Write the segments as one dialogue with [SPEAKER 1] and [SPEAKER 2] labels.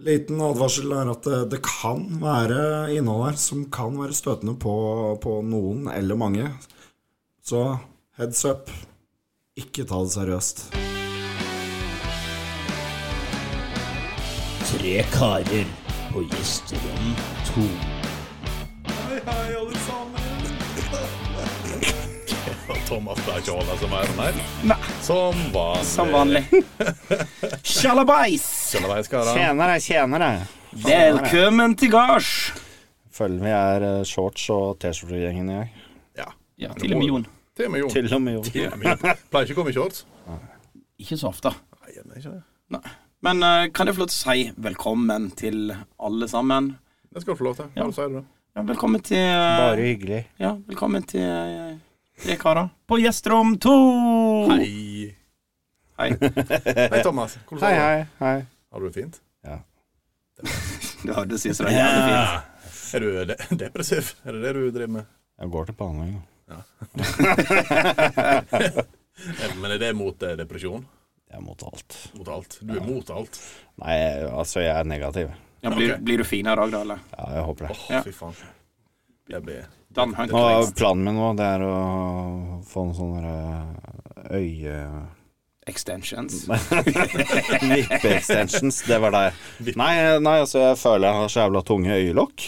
[SPEAKER 1] Liten advarsel er at eh, det, det kan være innhold her som kan være støtende på, på noen eller mange. Så heads up. Ikke ta det seriøst.
[SPEAKER 2] Tre karer på gjesterom to.
[SPEAKER 3] Thomas klarer ikke å holde seg med den her. Som vanlig.
[SPEAKER 4] Som vanlig. Sjalabais!
[SPEAKER 3] Underveis, karer.
[SPEAKER 4] Tjenere, tjenere. Velkommen til gards.
[SPEAKER 5] Føler vi er eh, shorts og T-skjorte-gjengen i dag.
[SPEAKER 3] Ja.
[SPEAKER 4] Ja, til og med Jon.
[SPEAKER 3] Til og med Jon.
[SPEAKER 5] Til og med jo.
[SPEAKER 3] Til og med Jon. Pleier ikke å komme i shorts.
[SPEAKER 4] Ikke så ofte.
[SPEAKER 3] Nei, jeg mener ikke det.
[SPEAKER 4] Nei. Men eh, kan jeg få lov til å si velkommen til alle sammen?
[SPEAKER 3] Det skal du få lov til. Hva
[SPEAKER 4] Ja.
[SPEAKER 3] du sier du? da?
[SPEAKER 4] Ja, velkommen til eh,
[SPEAKER 5] Bare hyggelig.
[SPEAKER 4] Ja, velkommen til eh, tre karer på gjesterom to. Oh.
[SPEAKER 3] Hei.
[SPEAKER 4] Hei.
[SPEAKER 3] Hei, Thomas. Hvordan
[SPEAKER 5] Hei,
[SPEAKER 3] har du det?
[SPEAKER 5] hei, hei.
[SPEAKER 3] Har du det fint?
[SPEAKER 4] Ja, det sier så jævlig fint.
[SPEAKER 3] Er du de depressiv? Er det det du driver med?
[SPEAKER 5] Jeg går til behandling. da.
[SPEAKER 3] Eh, Men er det mot eh, depresjon?
[SPEAKER 5] Jeg er mot alt.
[SPEAKER 3] Mot alt? Du er mot alt?
[SPEAKER 5] Nei, altså, jeg er negativ.
[SPEAKER 4] Ja, blir, blir du fin i dag, da, eller?
[SPEAKER 5] Ja, jeg håper det.
[SPEAKER 3] Åh,
[SPEAKER 4] Ja.
[SPEAKER 3] fy faen. Jeg blir
[SPEAKER 4] Dan Hank.
[SPEAKER 5] Og planen min nå, det er å få en sånn derre øye...
[SPEAKER 4] Extensions.
[SPEAKER 5] Vippe-extensions. Det var der. Nei, nei, altså, jeg føler jeg har så jævla tunge øyelokk.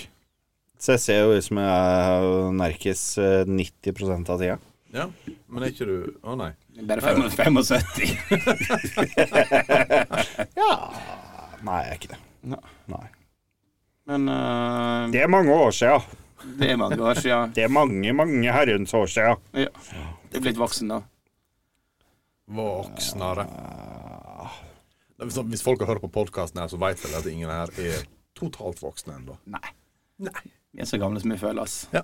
[SPEAKER 5] Så jeg ser jo ut som jeg er nerkes eh, 90 av tida.
[SPEAKER 3] Ja, men er ikke du Å, nei.
[SPEAKER 4] Bare 575.
[SPEAKER 5] Ja Nei, jeg er ikke det.
[SPEAKER 4] Nei.
[SPEAKER 5] Nei.
[SPEAKER 4] Men eh,
[SPEAKER 5] Det er mange år sia.
[SPEAKER 4] det er mange år siden.
[SPEAKER 5] Det er mange, mange herrens år sia.
[SPEAKER 4] Ja. Det er blitt voksen, da.
[SPEAKER 3] Voksnere. Nei, Hvis hvis folk hører på podkasten her, så vet vel at ingen her er totalt voksne ennå.
[SPEAKER 4] Nei.
[SPEAKER 3] Nei.
[SPEAKER 4] Vi er så gamle som vi føler oss.
[SPEAKER 3] Ja.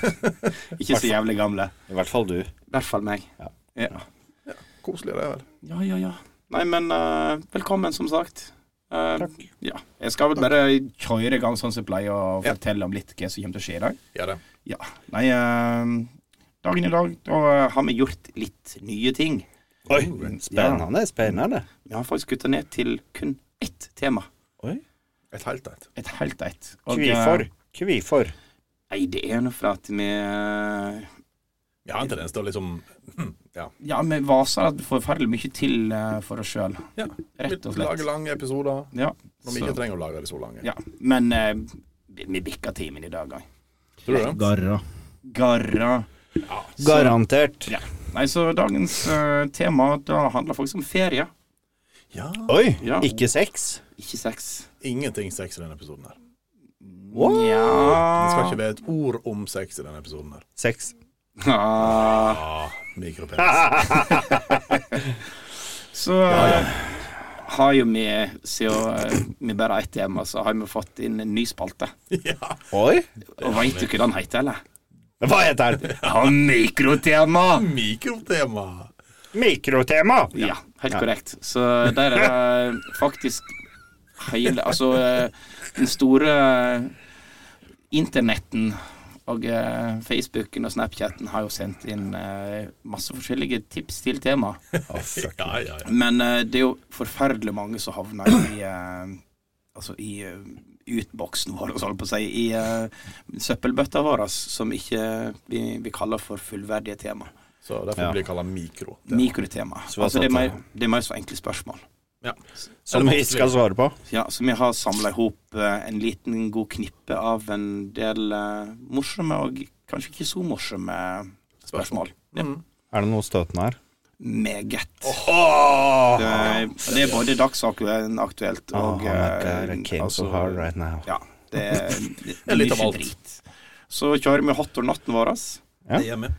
[SPEAKER 4] Ikke så jævlig gamle.
[SPEAKER 5] I hvert fall du.
[SPEAKER 4] I hvert fall meg.
[SPEAKER 5] Ja.
[SPEAKER 4] Ja,
[SPEAKER 3] Koselig, det vel.
[SPEAKER 4] ja, ja. ja. Nei, men eh, velkommen, som sagt. Eh, Ja. Jeg skal vel bare kjøre i gang sånn som jeg pleier, og
[SPEAKER 3] Ja.
[SPEAKER 4] fortelle om litt hva som kommer til å skje i dag.
[SPEAKER 3] Ja, det.
[SPEAKER 4] Ja. Nei, eh, dagen i dag da eh, har vi gjort litt nye ting.
[SPEAKER 5] Oi, spennende, spennende.
[SPEAKER 4] Vi har faktisk kutta ned til kun ett tema.
[SPEAKER 5] Oi.
[SPEAKER 3] Et helt et.
[SPEAKER 4] Et helt ett. Og, eh,
[SPEAKER 5] Kvifor. Kvifor.
[SPEAKER 4] Nei, det er nå for at vi eh,
[SPEAKER 3] Jeg har en tendens til å liksom hm, Ja.
[SPEAKER 4] Ja, vi vaser at forferdelig mye til eh, for oss sjøl.
[SPEAKER 3] ja.
[SPEAKER 4] Rett og
[SPEAKER 3] Vi Lager
[SPEAKER 4] slett.
[SPEAKER 3] lange episoder
[SPEAKER 4] Ja,
[SPEAKER 3] når vi
[SPEAKER 4] så-
[SPEAKER 3] ikke trenger å lage de så lange.
[SPEAKER 4] ja. Men eh, vi- vi bikker timen i dag òg.
[SPEAKER 3] Tror du det?
[SPEAKER 5] Garra.
[SPEAKER 4] Garra.
[SPEAKER 5] Garantert.
[SPEAKER 4] Ja. Nei, så dagens eh, tema da handler faktisk om ferie.
[SPEAKER 3] Ja.
[SPEAKER 5] Oi,
[SPEAKER 4] Ja.
[SPEAKER 5] ikke sex?
[SPEAKER 4] Ikke sex.
[SPEAKER 3] Ingenting sex i denne episoden her. Det skal
[SPEAKER 4] Nja
[SPEAKER 3] ikke være et ord om sex i denne episoden her.
[SPEAKER 5] Sex.
[SPEAKER 3] Ah,
[SPEAKER 4] Ah,
[SPEAKER 3] Mikropenis.
[SPEAKER 4] Så eh, har jo vi, siden eh, vi bare har ett tema, så har vi fått inn en ny spalte.
[SPEAKER 3] Ja.
[SPEAKER 5] Oi.
[SPEAKER 4] Og veit du hva den heter, eller?
[SPEAKER 5] Hva heter den?
[SPEAKER 4] Ja, mikrotema!
[SPEAKER 3] Mikrotema.
[SPEAKER 5] Mikrotema.
[SPEAKER 4] Ja, helt korrekt. Så der er det faktisk hele Altså eh, den store eh, internetten og eh, Facebooken og Snapchatten har jo sendt inn eh, masse forskjellige tips til tema.
[SPEAKER 3] Ja, ja, ja.
[SPEAKER 4] Men eh, det er jo forferdelig mange som havner i eh, Altså i eh, utboksen vår, holdt jeg på å si. I eh, søppelbøtta vår, som ikke vi, vi kaller for fullverdige tema.
[SPEAKER 3] Så derfor
[SPEAKER 5] Ja.
[SPEAKER 3] blir det kalt mikro.
[SPEAKER 4] Mikrotema.
[SPEAKER 5] Så hva
[SPEAKER 4] Altså, det
[SPEAKER 5] satt
[SPEAKER 4] er mer,
[SPEAKER 5] det?
[SPEAKER 4] det er mer så enkle spørsmål.
[SPEAKER 3] Ja.
[SPEAKER 5] Som vi skal svare på.
[SPEAKER 4] Ja, så vi har samla i hop eh, en liten god knippe av en del eh, morsomme og kanskje ikke så morsomme spørsmål. Ja.
[SPEAKER 3] Mhm.
[SPEAKER 5] Er det noe støtende her?
[SPEAKER 4] Meget. Det, er- det er både dagsaktuelt og
[SPEAKER 5] Oh, my God,
[SPEAKER 4] eh,
[SPEAKER 5] I came so
[SPEAKER 4] altså,
[SPEAKER 5] hard right now.
[SPEAKER 4] Ja. Det er, det
[SPEAKER 3] er
[SPEAKER 4] er
[SPEAKER 3] litt av
[SPEAKER 4] mye
[SPEAKER 3] alt.
[SPEAKER 4] drit. Så kjører vi hot or not-en vår.
[SPEAKER 5] Ja.
[SPEAKER 3] Det er med.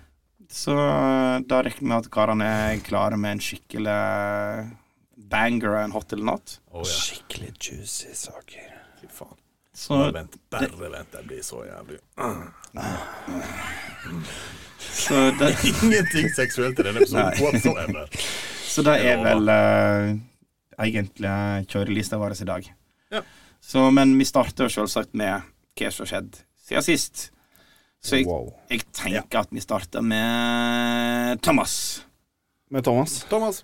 [SPEAKER 4] Så eh, da regner vi med at karene er klare med en skikkelig eh, banger og en hot eller not.
[SPEAKER 3] Å, ja.
[SPEAKER 5] Skikkelig juicy saker.
[SPEAKER 3] Fy faen.
[SPEAKER 4] Så
[SPEAKER 3] Bare vent, bare vent. Det blir så jævlig.
[SPEAKER 4] Så det,
[SPEAKER 3] Ingenting seksuelt i denne episoden
[SPEAKER 4] Nei.
[SPEAKER 3] whatsoever.
[SPEAKER 4] Så det er
[SPEAKER 3] Ja.
[SPEAKER 4] vel eh, egentlig kjørelista vår i dag.
[SPEAKER 3] Ja.
[SPEAKER 4] Så, men vi starter jo selvsagt med hva som har skjedd siden sist. Så jeg,
[SPEAKER 5] Wow.
[SPEAKER 4] jeg tenker at vi starter med Thomas.
[SPEAKER 5] Med Thomas.
[SPEAKER 3] Thomas,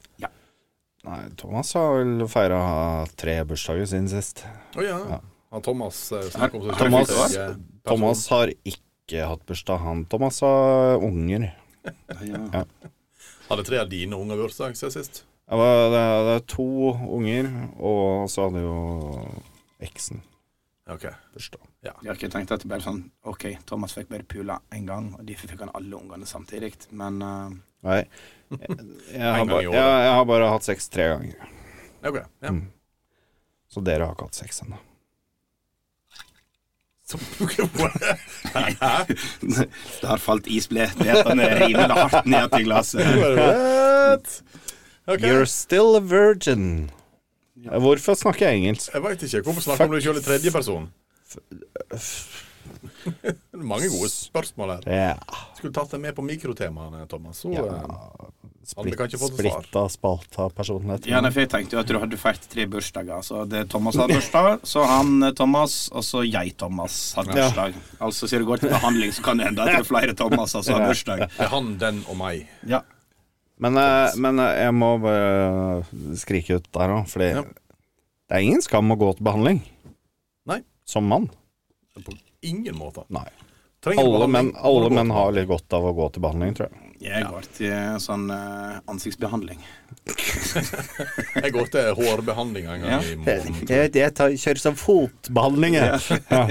[SPEAKER 5] Nei, Thomas har vel feira tre bursdager siden sist.
[SPEAKER 3] Å ja.
[SPEAKER 5] Ja.
[SPEAKER 3] Han Thomas eh, snakker om så
[SPEAKER 5] Thomas-
[SPEAKER 3] kjempeflink, eh, person.
[SPEAKER 5] Thomas har ikke hatt bursdag, han. Thomas har unger.
[SPEAKER 4] Ja.
[SPEAKER 3] Hadde tre av dine unger bursdag siden sist?
[SPEAKER 5] Det, var, det, det er to unger, og så hadde jo eksen
[SPEAKER 3] Ok.
[SPEAKER 5] bursdag.
[SPEAKER 4] Jeg har ikke tenkt at det bare sånn OK, Thomas fikk bare pula én gang, og derfor fikk han alle ungene samtidig. Men eh,
[SPEAKER 5] Nei. Jeg, jeg, har,
[SPEAKER 3] gang
[SPEAKER 5] ba,
[SPEAKER 3] i
[SPEAKER 5] jeg,
[SPEAKER 3] året.
[SPEAKER 5] jeg har bare hatt sex tre ganger.
[SPEAKER 3] Ok, ja.
[SPEAKER 5] Mm. Så dere har ikke hatt sex ennå.
[SPEAKER 3] Så, Hæ?
[SPEAKER 4] det har falt isbletene rimelig hardt ned til glasset.
[SPEAKER 3] What? Ok.
[SPEAKER 5] You're still a virgin. Hvorfor snakker jeg engelsk?
[SPEAKER 3] Jeg veit ikke. Hvorfor snakker du sjøl i tredjeperson? Det er mange gode spørsmål her.
[SPEAKER 5] Ja,
[SPEAKER 3] Skulle tatt deg med på mikrotemaene, Thomas. Så, eh, Hadde vi
[SPEAKER 5] splitt,
[SPEAKER 3] kanskje fått et svar?
[SPEAKER 5] splitta spalta personlighet.
[SPEAKER 4] Ja, nei, for jeg tenkte jo at du hadde feiret tre bursdager. Så det er Thomas har bursdag, så han eh, Thomas, og så jeg Thomas har bursdag. Altså siden du går til behandling, så kan det hende at det er flere Thomaser som har bursdag.
[SPEAKER 3] det er han, den og meg.
[SPEAKER 4] Ja.
[SPEAKER 5] Men, eh, men eh, jeg må bare skrike ut der òg, fordi
[SPEAKER 3] Ja.
[SPEAKER 5] det er ingen skam å gå til behandling.
[SPEAKER 3] Nei.
[SPEAKER 5] Som mann.
[SPEAKER 3] På ingen måte.
[SPEAKER 5] Nei.
[SPEAKER 3] Trenger du
[SPEAKER 5] Alle
[SPEAKER 3] behandling?
[SPEAKER 5] menn, alle
[SPEAKER 3] Må du gå
[SPEAKER 5] menn
[SPEAKER 3] til-
[SPEAKER 5] har litt godt av å gå til behandling, tror jeg.
[SPEAKER 4] Jeg går til eh, sånn eh, ansiktsbehandling.
[SPEAKER 3] Jeg går til hårbehandling en gang i måneden.
[SPEAKER 5] kjører som fotbehandling, jeg. Ja.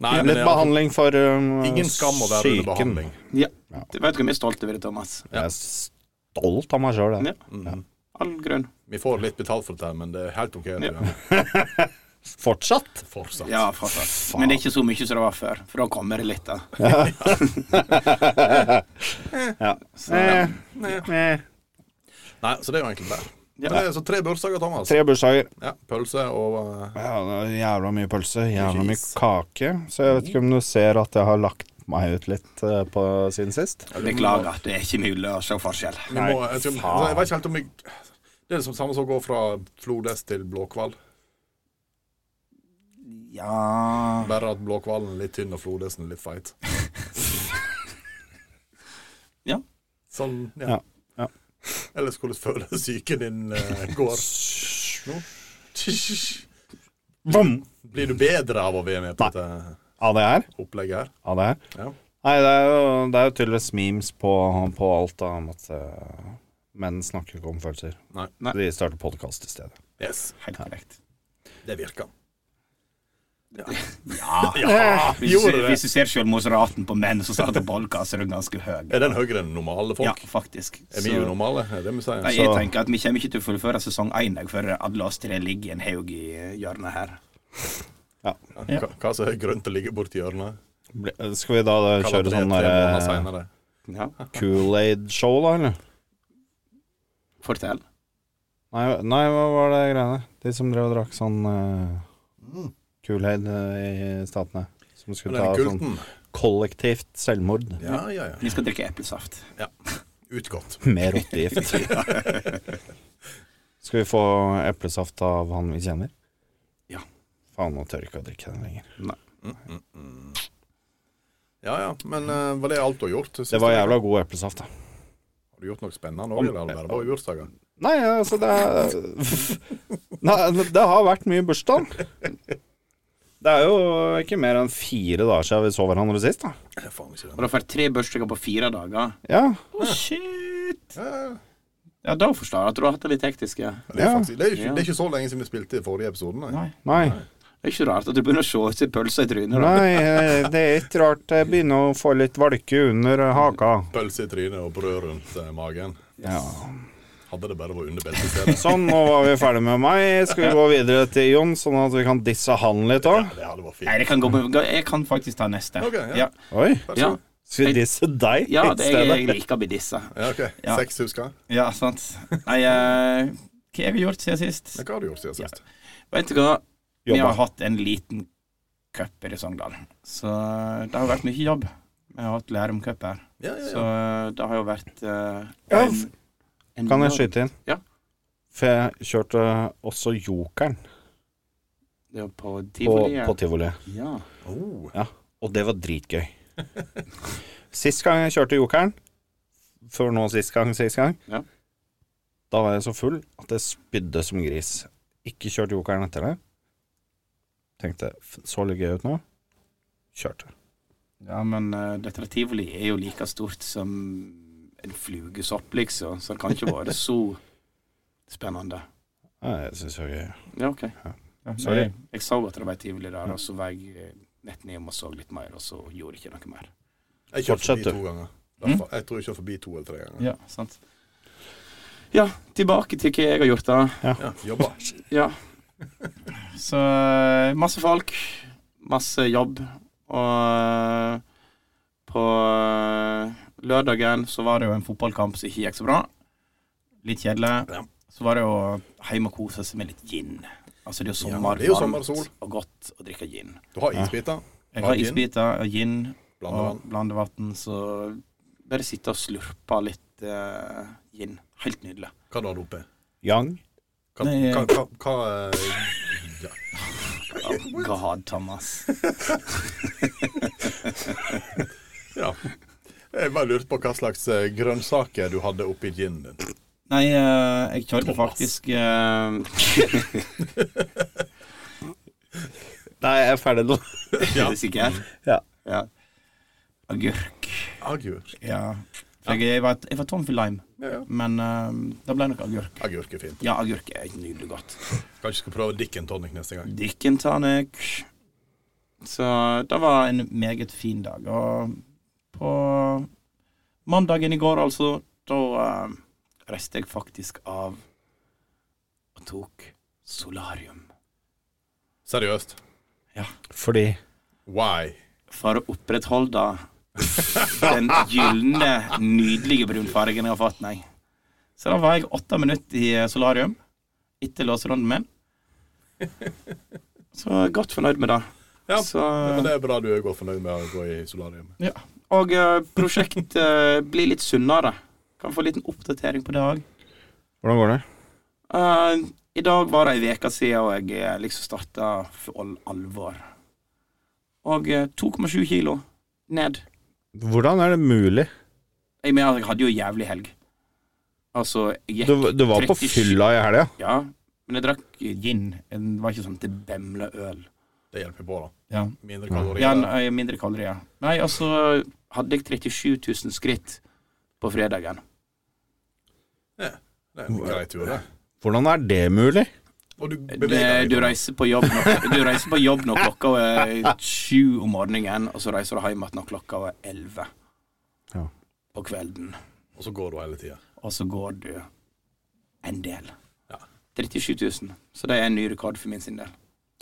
[SPEAKER 5] Nei,
[SPEAKER 3] Nei, men
[SPEAKER 5] litt
[SPEAKER 3] det er
[SPEAKER 5] behandling for um,
[SPEAKER 3] ingen skam å være under
[SPEAKER 5] syken.
[SPEAKER 3] behandling.
[SPEAKER 4] Ja.
[SPEAKER 5] Ja.
[SPEAKER 4] Du vet hvor mye jeg er stolt over det, Thomas.
[SPEAKER 5] Jeg er stolt av meg sjøl, jeg.
[SPEAKER 4] Ja. All grunn.
[SPEAKER 3] Vi får litt betalt for dette, her, men det er helt OK.
[SPEAKER 4] Ja.
[SPEAKER 3] Ja.
[SPEAKER 5] Fortsatt.
[SPEAKER 3] Fortsatt.
[SPEAKER 4] Ja, fortsatt. Men det er ikke så mye som det var før, for da kommer det litt, da.
[SPEAKER 5] Ja. Eh, eh.
[SPEAKER 3] Nei, så det er jo egentlig det.
[SPEAKER 4] Ja.
[SPEAKER 3] Men det er Så tre bursdager, Thomas.
[SPEAKER 5] Tre bursdager.
[SPEAKER 3] Ja, pølse og eh,
[SPEAKER 5] Ja, det er jævla mye pølse, jævla mye
[SPEAKER 3] is.
[SPEAKER 5] kake. Så jeg vet ikke om du ser at jeg har lagt meg ut litt eh, på siden sist.
[SPEAKER 4] Beklager, det er ikke mulig å se forskjell.
[SPEAKER 3] vi må, jeg, tror, jeg vet ikke helt om jeg Det er det som samme som å gå fra flodhest til blåkval.
[SPEAKER 4] Ja
[SPEAKER 3] Bare at blåkvalen er litt tynn og flodhesten er litt feit.
[SPEAKER 4] Ja.
[SPEAKER 3] Sånn, ja.
[SPEAKER 5] Ja, ja.
[SPEAKER 3] Ellers hvordan føler psyken din eh, går? Nå?
[SPEAKER 5] Vom!
[SPEAKER 3] Blir du bedre av å være med på
[SPEAKER 5] Nei.
[SPEAKER 3] dette
[SPEAKER 5] Av det her.
[SPEAKER 3] opplegget her?
[SPEAKER 5] Av det her.
[SPEAKER 3] Ja.
[SPEAKER 5] Nei, det er jo, det er jo tydeligvis memes på, på alt da, om at eh, menn snakker ikke om følelser.
[SPEAKER 3] Nei.
[SPEAKER 4] Nei.
[SPEAKER 5] De starter podkast i stedet.
[SPEAKER 3] Yes,
[SPEAKER 4] Helt korrekt.
[SPEAKER 3] det virker.
[SPEAKER 4] Hvis du,
[SPEAKER 3] Gjorde
[SPEAKER 4] ser-
[SPEAKER 3] det?
[SPEAKER 4] hvis du ser selvmordsraten på menn som starter podkast, er den ganske høy.
[SPEAKER 3] Er den høyere enn normale
[SPEAKER 4] Ja,
[SPEAKER 3] folk?
[SPEAKER 4] faktisk.
[SPEAKER 3] Er vi
[SPEAKER 4] Så-
[SPEAKER 3] unormale? Er det vi sier?
[SPEAKER 4] Nei, jeg
[SPEAKER 5] Så-
[SPEAKER 4] tenker at vi kommer ikke til å fullføre sesong én jeg, før alle oss tre ligger i en haug i hjørnet her.
[SPEAKER 3] Hva, hva som er grønt å ligge borti hjørnet?
[SPEAKER 5] Ble- Skal vi da eh,
[SPEAKER 3] Kaller
[SPEAKER 5] kjøre
[SPEAKER 3] det
[SPEAKER 5] sånn
[SPEAKER 3] tre måneder
[SPEAKER 5] derre
[SPEAKER 3] senere.
[SPEAKER 4] Ja.
[SPEAKER 5] Kool-Aid-show, da, eller?
[SPEAKER 4] Fortell.
[SPEAKER 5] Nei, nei, hva var det greiene? De som drev og drakk sånn eh, Kool-Aid eh, i statene. Som
[SPEAKER 3] Men
[SPEAKER 5] skulle
[SPEAKER 3] denne
[SPEAKER 5] ta sånn
[SPEAKER 3] kulten
[SPEAKER 5] kollektivt selvmord.
[SPEAKER 3] Ja, ja, ja.
[SPEAKER 4] Vi skal drikke eplesaft.
[SPEAKER 3] Utgått.
[SPEAKER 5] Med rottegift. Skal vi få eplesaft av han vi kjenner?
[SPEAKER 4] Ja.
[SPEAKER 5] Faen, nå tør jeg ikke å drikke den lenger.
[SPEAKER 3] Mm, Ja ja, men eh, var det alt du har gjort? siste
[SPEAKER 5] Det var
[SPEAKER 3] uka?
[SPEAKER 5] jævla god eplesaft, da.
[SPEAKER 3] Har du gjort noe spennende òg, eller har det bare vært bursdager?
[SPEAKER 5] Nei, altså, det er Nei, det har vært mye bursdag. Det er jo ikke mer enn fire dager siden vi så hverandre sist, da.
[SPEAKER 3] Jeg er faen ikke
[SPEAKER 4] Og da får jeg tre bursdager på fire dager.
[SPEAKER 5] Ja.
[SPEAKER 4] Å, shit!
[SPEAKER 3] Ja, ja.
[SPEAKER 4] Ja, da forstår jeg at du har hatt det litt hektisk. Ja.
[SPEAKER 3] Det er,
[SPEAKER 5] Ja.
[SPEAKER 3] faktisk, det, er ikke,
[SPEAKER 4] Ja.
[SPEAKER 3] det er ikke så lenge siden vi spilte i forrige episode. Nei.
[SPEAKER 5] Nei.
[SPEAKER 4] Det er ikke rart at du begynner å se ut som pølser i trynet. da.
[SPEAKER 5] Nei, eh, det er ikke rart jeg begynner å få litt valke under haka.
[SPEAKER 3] Pølse i trynet og brød rundt eh, magen.
[SPEAKER 5] Ja.
[SPEAKER 3] Hadde det bare vært under beltestedet.
[SPEAKER 5] Sånn, nå var vi ferdig med meg. Skal vi gå videre til Jon, sånn at vi kan disse han litt
[SPEAKER 3] Ja,
[SPEAKER 5] òg?
[SPEAKER 3] det hadde vært
[SPEAKER 4] Nei,
[SPEAKER 3] fint.
[SPEAKER 4] det kan gå med Jeg kan faktisk ta neste.
[SPEAKER 3] Ok, ja.
[SPEAKER 4] ja.
[SPEAKER 5] Oi,
[SPEAKER 4] Ja,
[SPEAKER 3] Vær så god.
[SPEAKER 5] skal vi disse deg
[SPEAKER 4] ja
[SPEAKER 5] i
[SPEAKER 4] det, jeg,
[SPEAKER 5] stedet?
[SPEAKER 4] jeg liker å bli dissa.
[SPEAKER 3] Ja, ok.
[SPEAKER 4] Ja.
[SPEAKER 3] Seks husker.
[SPEAKER 4] Ja, sant. Nei, eh, hva har jeg gjort siden sist?
[SPEAKER 3] Men hva har du gjort siden sist?
[SPEAKER 4] Vet du hva? Vi
[SPEAKER 5] Jobba.
[SPEAKER 4] har hatt en liten cup i Sogndal, så eh, det har vært mye jobb. Vi har hatt Lærum cup her,
[SPEAKER 3] Ja, ja,
[SPEAKER 4] så
[SPEAKER 3] ja.
[SPEAKER 4] det har jo vært eh,
[SPEAKER 5] Ja,
[SPEAKER 4] en, en
[SPEAKER 5] Kan jeg skyte inn?
[SPEAKER 4] Ja.
[SPEAKER 5] For jeg kjørte også Jokeren
[SPEAKER 4] Det var på
[SPEAKER 5] på,
[SPEAKER 4] tivoli? ja.
[SPEAKER 5] på tivoli,
[SPEAKER 4] ja.
[SPEAKER 3] Oh,
[SPEAKER 5] og det var dritgøy. Sist gang jeg kjørte Jokeren, før nå sist gang, sist gang,
[SPEAKER 4] Ja.
[SPEAKER 5] Da var jeg så full at jeg spydde som gris. Ikke kjørt jokeren etter det. Tenkte "F- så litt gøy ut nå. Kjørte.
[SPEAKER 4] Ja, men eh, dette tivoli er jo like stort som en flugesopp, liksom. Så det kan ikke være så spennende.
[SPEAKER 5] Ja, jeg syns det var gøy.
[SPEAKER 4] Ja, OK.
[SPEAKER 5] Ja.
[SPEAKER 4] Ja,
[SPEAKER 5] Sorry.
[SPEAKER 4] Jeg, jeg så at det var et tivoli der, og så var jeg eh, nett ned og så litt mer, og så gjorde jeg ikke noe mer.
[SPEAKER 3] Jeg kjørte
[SPEAKER 5] Fortsett, du.
[SPEAKER 3] forbi to ganger.
[SPEAKER 4] Mm.
[SPEAKER 3] Derfor- Jeg tror jeg kjørte forbi to eller tre ganger.
[SPEAKER 4] Ja, sant. Ja, tilbake til hva jeg har gjort, da.
[SPEAKER 3] Ja, jobba.
[SPEAKER 4] Ja. Så eh, masse folk, masse jobb. Og eh, på eh, lørdagen så var det jo en fotballkamp som ikke gikk så bra. Litt kjedelig.
[SPEAKER 3] Ja.
[SPEAKER 4] Så var det jo hjemme og kose seg med litt gin. Altså det er jo
[SPEAKER 3] Ja,
[SPEAKER 4] sommer,
[SPEAKER 3] det er jo
[SPEAKER 4] varmt
[SPEAKER 3] sommersol.
[SPEAKER 4] og godt å drikke gin.
[SPEAKER 3] Du har isbiter, Hva
[SPEAKER 4] Jeg
[SPEAKER 3] er
[SPEAKER 4] har
[SPEAKER 3] gin?
[SPEAKER 4] isbiter og gin og
[SPEAKER 3] blandevann.
[SPEAKER 4] blandevann, så bare sitte og slurpe litt eh, gin. Helt nydelig.
[SPEAKER 3] Hva har du oppi?
[SPEAKER 5] Yang.
[SPEAKER 3] Hva,
[SPEAKER 4] Nei,
[SPEAKER 3] hva, hva, hva eh,
[SPEAKER 4] Oh, God, Thomas.
[SPEAKER 3] Ja. Jeg bare lurte på hva slags eh, grønnsaker du hadde oppi ginen din.
[SPEAKER 4] Nei, eh, jeg kjørte faktisk eh,
[SPEAKER 5] Nei, jeg er ferdig nå.
[SPEAKER 4] Er du sikker?
[SPEAKER 5] Ja.
[SPEAKER 4] ja. Agurk.
[SPEAKER 3] Agurk.
[SPEAKER 4] Ja. For jeg, jeg, var, jeg var tom for lime,
[SPEAKER 3] Ja, ja.
[SPEAKER 4] men eh, det ble nok agurk.
[SPEAKER 3] Agurk er fint.
[SPEAKER 4] Ja, agurk er nydelig godt.
[SPEAKER 3] Kanskje skal prøve Dick and tonic neste gang.
[SPEAKER 4] Dicken tonic. Så det var en meget fin dag. Og på mandagen i går, altså, da eh, reiste jeg faktisk av og tok solarium.
[SPEAKER 3] Seriøst.
[SPEAKER 5] Fordi
[SPEAKER 3] Why?
[SPEAKER 4] for å opprettholde den gylne, nydelige brunfargen jeg har fått, nei. Så da var jeg åtte minutter i eh, solarium etter låserunden min. Så jeg er godt fornøyd med det.
[SPEAKER 3] Ja,
[SPEAKER 4] Så,
[SPEAKER 3] Men det er bra du er godt fornøyd med å gå i solarium.
[SPEAKER 4] ja. Og eh, prosjekt eh, blir litt sunnere. Kan få en liten oppdatering på det òg.
[SPEAKER 5] Hvordan går det?
[SPEAKER 4] I dag var det ei uke siden og jeg eh, liksom starta for all alvor. Og eh, 2,7 kilo ned.
[SPEAKER 5] Hvordan er det mulig?
[SPEAKER 4] Jeg mener, jeg hadde jo en jævlig helg. Altså, jeg gikk
[SPEAKER 5] Du, du var på
[SPEAKER 4] 37.
[SPEAKER 5] fylla i helga.
[SPEAKER 4] Ja, men jeg drakk gin. Det var ikke sånn til bemla øl.
[SPEAKER 3] Det hjelper på, da.
[SPEAKER 4] Ja,
[SPEAKER 3] Mindre
[SPEAKER 4] ja
[SPEAKER 3] kalorier.
[SPEAKER 4] nei, mindre kalorier. Nei, altså hadde jeg 37 000 skritt på fredagen.
[SPEAKER 3] Det er en grei tur, det.
[SPEAKER 5] Hvordan er det mulig?
[SPEAKER 3] Og du
[SPEAKER 4] Du,
[SPEAKER 3] beveger
[SPEAKER 4] du
[SPEAKER 3] deg.
[SPEAKER 4] reiser på jobb når, du reiser på jobb når klokka er sju om morgenen, og så reiser du hjem igjen når klokka er elleve
[SPEAKER 5] Ja.
[SPEAKER 4] på kvelden.
[SPEAKER 3] Og så går du hele tida.
[SPEAKER 4] Og så går du en del.
[SPEAKER 3] Ja.
[SPEAKER 4] 37 000. Så det er en ny rekord for min sin del.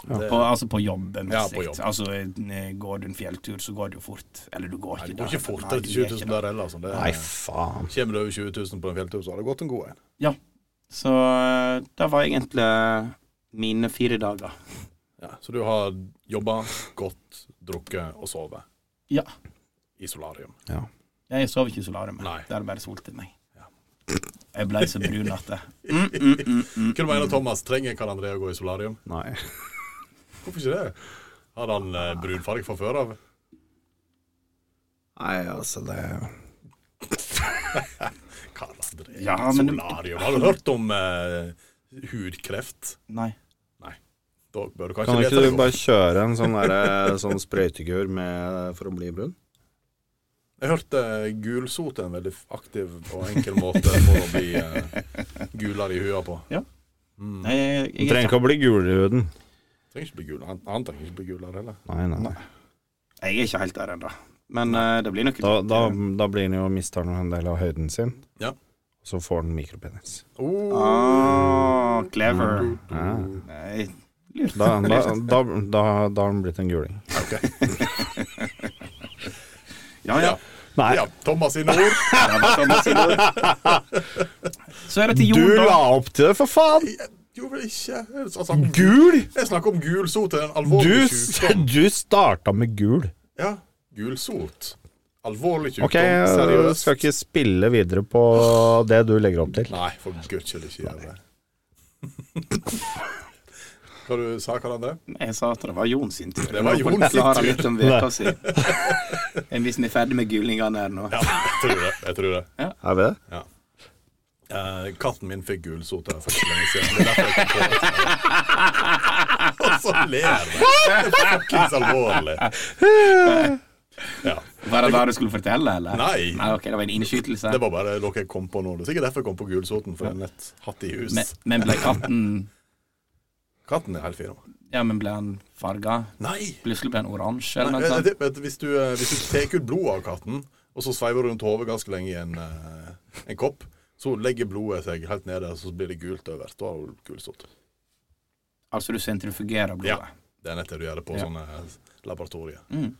[SPEAKER 5] Ja.
[SPEAKER 3] Det-
[SPEAKER 4] På, altså på jobben,
[SPEAKER 3] Eh, Ja,
[SPEAKER 4] mest
[SPEAKER 3] på
[SPEAKER 4] sikt.
[SPEAKER 3] jobb.
[SPEAKER 4] Altså, eh, går du en fjelltur, så går det jo fort. Eller du går
[SPEAKER 3] Nei,
[SPEAKER 4] ikke
[SPEAKER 3] Det går ikke fort
[SPEAKER 4] Nei,
[SPEAKER 3] til
[SPEAKER 4] det
[SPEAKER 3] 20
[SPEAKER 4] gjør ikke
[SPEAKER 3] 000
[SPEAKER 4] det.
[SPEAKER 3] der heller. Altså. Det,
[SPEAKER 5] Nei, faen.
[SPEAKER 3] kommer du over 20 000 på en fjelltur, så har det gått en god en.
[SPEAKER 4] Så eh, det var egentlig eh, mine fire dager.
[SPEAKER 3] Ja. Så du har jobba, gått, drukket og sovet.
[SPEAKER 4] Ja.
[SPEAKER 3] I solarium.
[SPEAKER 4] Jeg sov ikke i solarium.
[SPEAKER 3] Nei.
[SPEAKER 4] Det hadde bare solt i meg.
[SPEAKER 3] Ja.
[SPEAKER 4] Jeg blei så brun at det mm, mm, mm, mm.
[SPEAKER 3] Hva mener Thomas? Trenger Karl André å gå i solarium?
[SPEAKER 5] Nei.
[SPEAKER 3] Hvorfor ikke det? Har han eh, brunfarge fra før av?
[SPEAKER 5] Nei, altså, det
[SPEAKER 3] Karl André,
[SPEAKER 4] Ja, men-
[SPEAKER 3] solarium. Har du hørt om eh, hudkreft?
[SPEAKER 4] Nei.
[SPEAKER 3] Da bør du kanskje
[SPEAKER 5] Kan
[SPEAKER 3] lete
[SPEAKER 5] ikke
[SPEAKER 3] deg
[SPEAKER 5] du
[SPEAKER 3] opp.
[SPEAKER 5] bare kjøre en sånn, derre- sånn sprøytekur med, for å bli brun?
[SPEAKER 3] Jeg hørte eh, gulsot er en veldig aktiv og enkel måte for å bli eh, gulere i hua på.
[SPEAKER 4] Ja.
[SPEAKER 3] Mm.
[SPEAKER 4] Nei, jeg,
[SPEAKER 5] Du
[SPEAKER 4] jeg,
[SPEAKER 5] trenger
[SPEAKER 4] jeg,
[SPEAKER 5] ikke å bli gul i huden.
[SPEAKER 3] Trenger ikke bli gul. Han, han trenger ikke bli gulere heller.
[SPEAKER 5] Nei, nei, nei.
[SPEAKER 4] jeg er ikke helt der ennå. Men eh, det blir nok
[SPEAKER 5] Da, da, da blir han jo mister han en del av høyden sin.
[SPEAKER 3] Ja.
[SPEAKER 5] Og så får han mikropenis.
[SPEAKER 3] Oh.
[SPEAKER 4] Ah, clever.
[SPEAKER 3] Mm.
[SPEAKER 5] Ja.
[SPEAKER 4] Nei, lurt.
[SPEAKER 5] Da, da, da, da, da har han blitt en guling.
[SPEAKER 4] Ja, ja.
[SPEAKER 5] Nei,
[SPEAKER 3] Ja, Thomas sine ord.
[SPEAKER 4] Ja, det
[SPEAKER 3] sånn,
[SPEAKER 4] kan man
[SPEAKER 3] altså,
[SPEAKER 4] si nå. Så er det til Jon,
[SPEAKER 5] du
[SPEAKER 4] da.
[SPEAKER 5] la opp til det, for faen!
[SPEAKER 3] Jeg gjorde ikke Jeg snakker om,
[SPEAKER 5] Gul!
[SPEAKER 3] jeg snakker om gulsot, en
[SPEAKER 5] Du,
[SPEAKER 3] alvorlig
[SPEAKER 5] s-
[SPEAKER 3] sykdom.
[SPEAKER 5] du starta med gul.
[SPEAKER 3] Ja, gulsot. Alvorlig sykdom.
[SPEAKER 5] Ok, jeg
[SPEAKER 3] Seriøst.
[SPEAKER 5] skal ikke spille videre på det du legger opp til.
[SPEAKER 3] Nei, for guds skyld ikke gjør det. Hva du sa Karl André?
[SPEAKER 4] Jeg sa at det var Jon sin tur.
[SPEAKER 3] Det var
[SPEAKER 4] Nå
[SPEAKER 3] Jon
[SPEAKER 4] kunne jeg
[SPEAKER 3] sin
[SPEAKER 4] klare
[SPEAKER 3] tur.
[SPEAKER 4] litt om veka si. Enn Hvis vi er ferdig med gulingene her nå.
[SPEAKER 3] Ja, jeg tror det. Jeg tror det.
[SPEAKER 5] Er vi det?
[SPEAKER 3] Ja. Eh, katten min fikk gulsot her for ikke lenge siden. Det er derfor jeg kom på det. Og så ler de. Det er fuckings alvorlig. Ja.
[SPEAKER 4] Var det det du skulle fortelle, eller?
[SPEAKER 3] Nei.
[SPEAKER 4] ok, Det var en innskytelse.
[SPEAKER 3] Det var bare noe jeg kom på nå. Det er sikkert derfor jeg kom på gulsoten, for den er et hatt i hus.
[SPEAKER 4] Men, men ble katten
[SPEAKER 3] Katten er helt fin. også.
[SPEAKER 4] Ja, men ble han farga?
[SPEAKER 3] Nei!
[SPEAKER 4] Plutselig ble han oransje, eller
[SPEAKER 3] Nei,
[SPEAKER 4] noe
[SPEAKER 3] jeg-
[SPEAKER 4] sånt?
[SPEAKER 3] jeg tipper at Hvis du, eh, hvis du tar ut blodet av katten, og så sveiver rundt hodet ganske lenge i en, eh, en kopp, så legger blodet seg helt nede, og så blir det gult over. Da har du gulsot.
[SPEAKER 4] Altså du sentrifugerer
[SPEAKER 3] Ja.
[SPEAKER 4] blodet?
[SPEAKER 3] Det er nettet du gjør det på
[SPEAKER 4] Ja.
[SPEAKER 3] sånne eh, laboratorier.
[SPEAKER 4] Mm.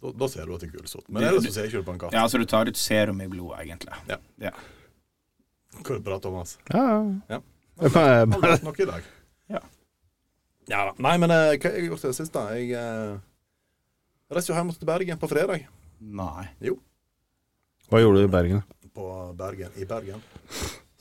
[SPEAKER 3] Da, da ser du at det er gulsot. Men
[SPEAKER 4] Du-
[SPEAKER 3] ellers
[SPEAKER 4] du-
[SPEAKER 3] så ser jeg ikke det på en katt.
[SPEAKER 4] Ja, altså du tar ut serum i blodet, egentlig.
[SPEAKER 3] Hva er det bra, Thomas?
[SPEAKER 5] Ja,
[SPEAKER 3] Ja.
[SPEAKER 5] ja. Jeg bare-
[SPEAKER 3] Har du
[SPEAKER 5] bare-
[SPEAKER 3] hatt noe i dag?
[SPEAKER 4] Ja.
[SPEAKER 3] Ja da. Nei, men eh, hva har jeg gjort til det siste? Jeg eh, reiste jo hjem til Bergen på fredag.
[SPEAKER 4] Nei.
[SPEAKER 5] Hva gjorde du i Bergen?
[SPEAKER 3] på Bergen, i Bergen.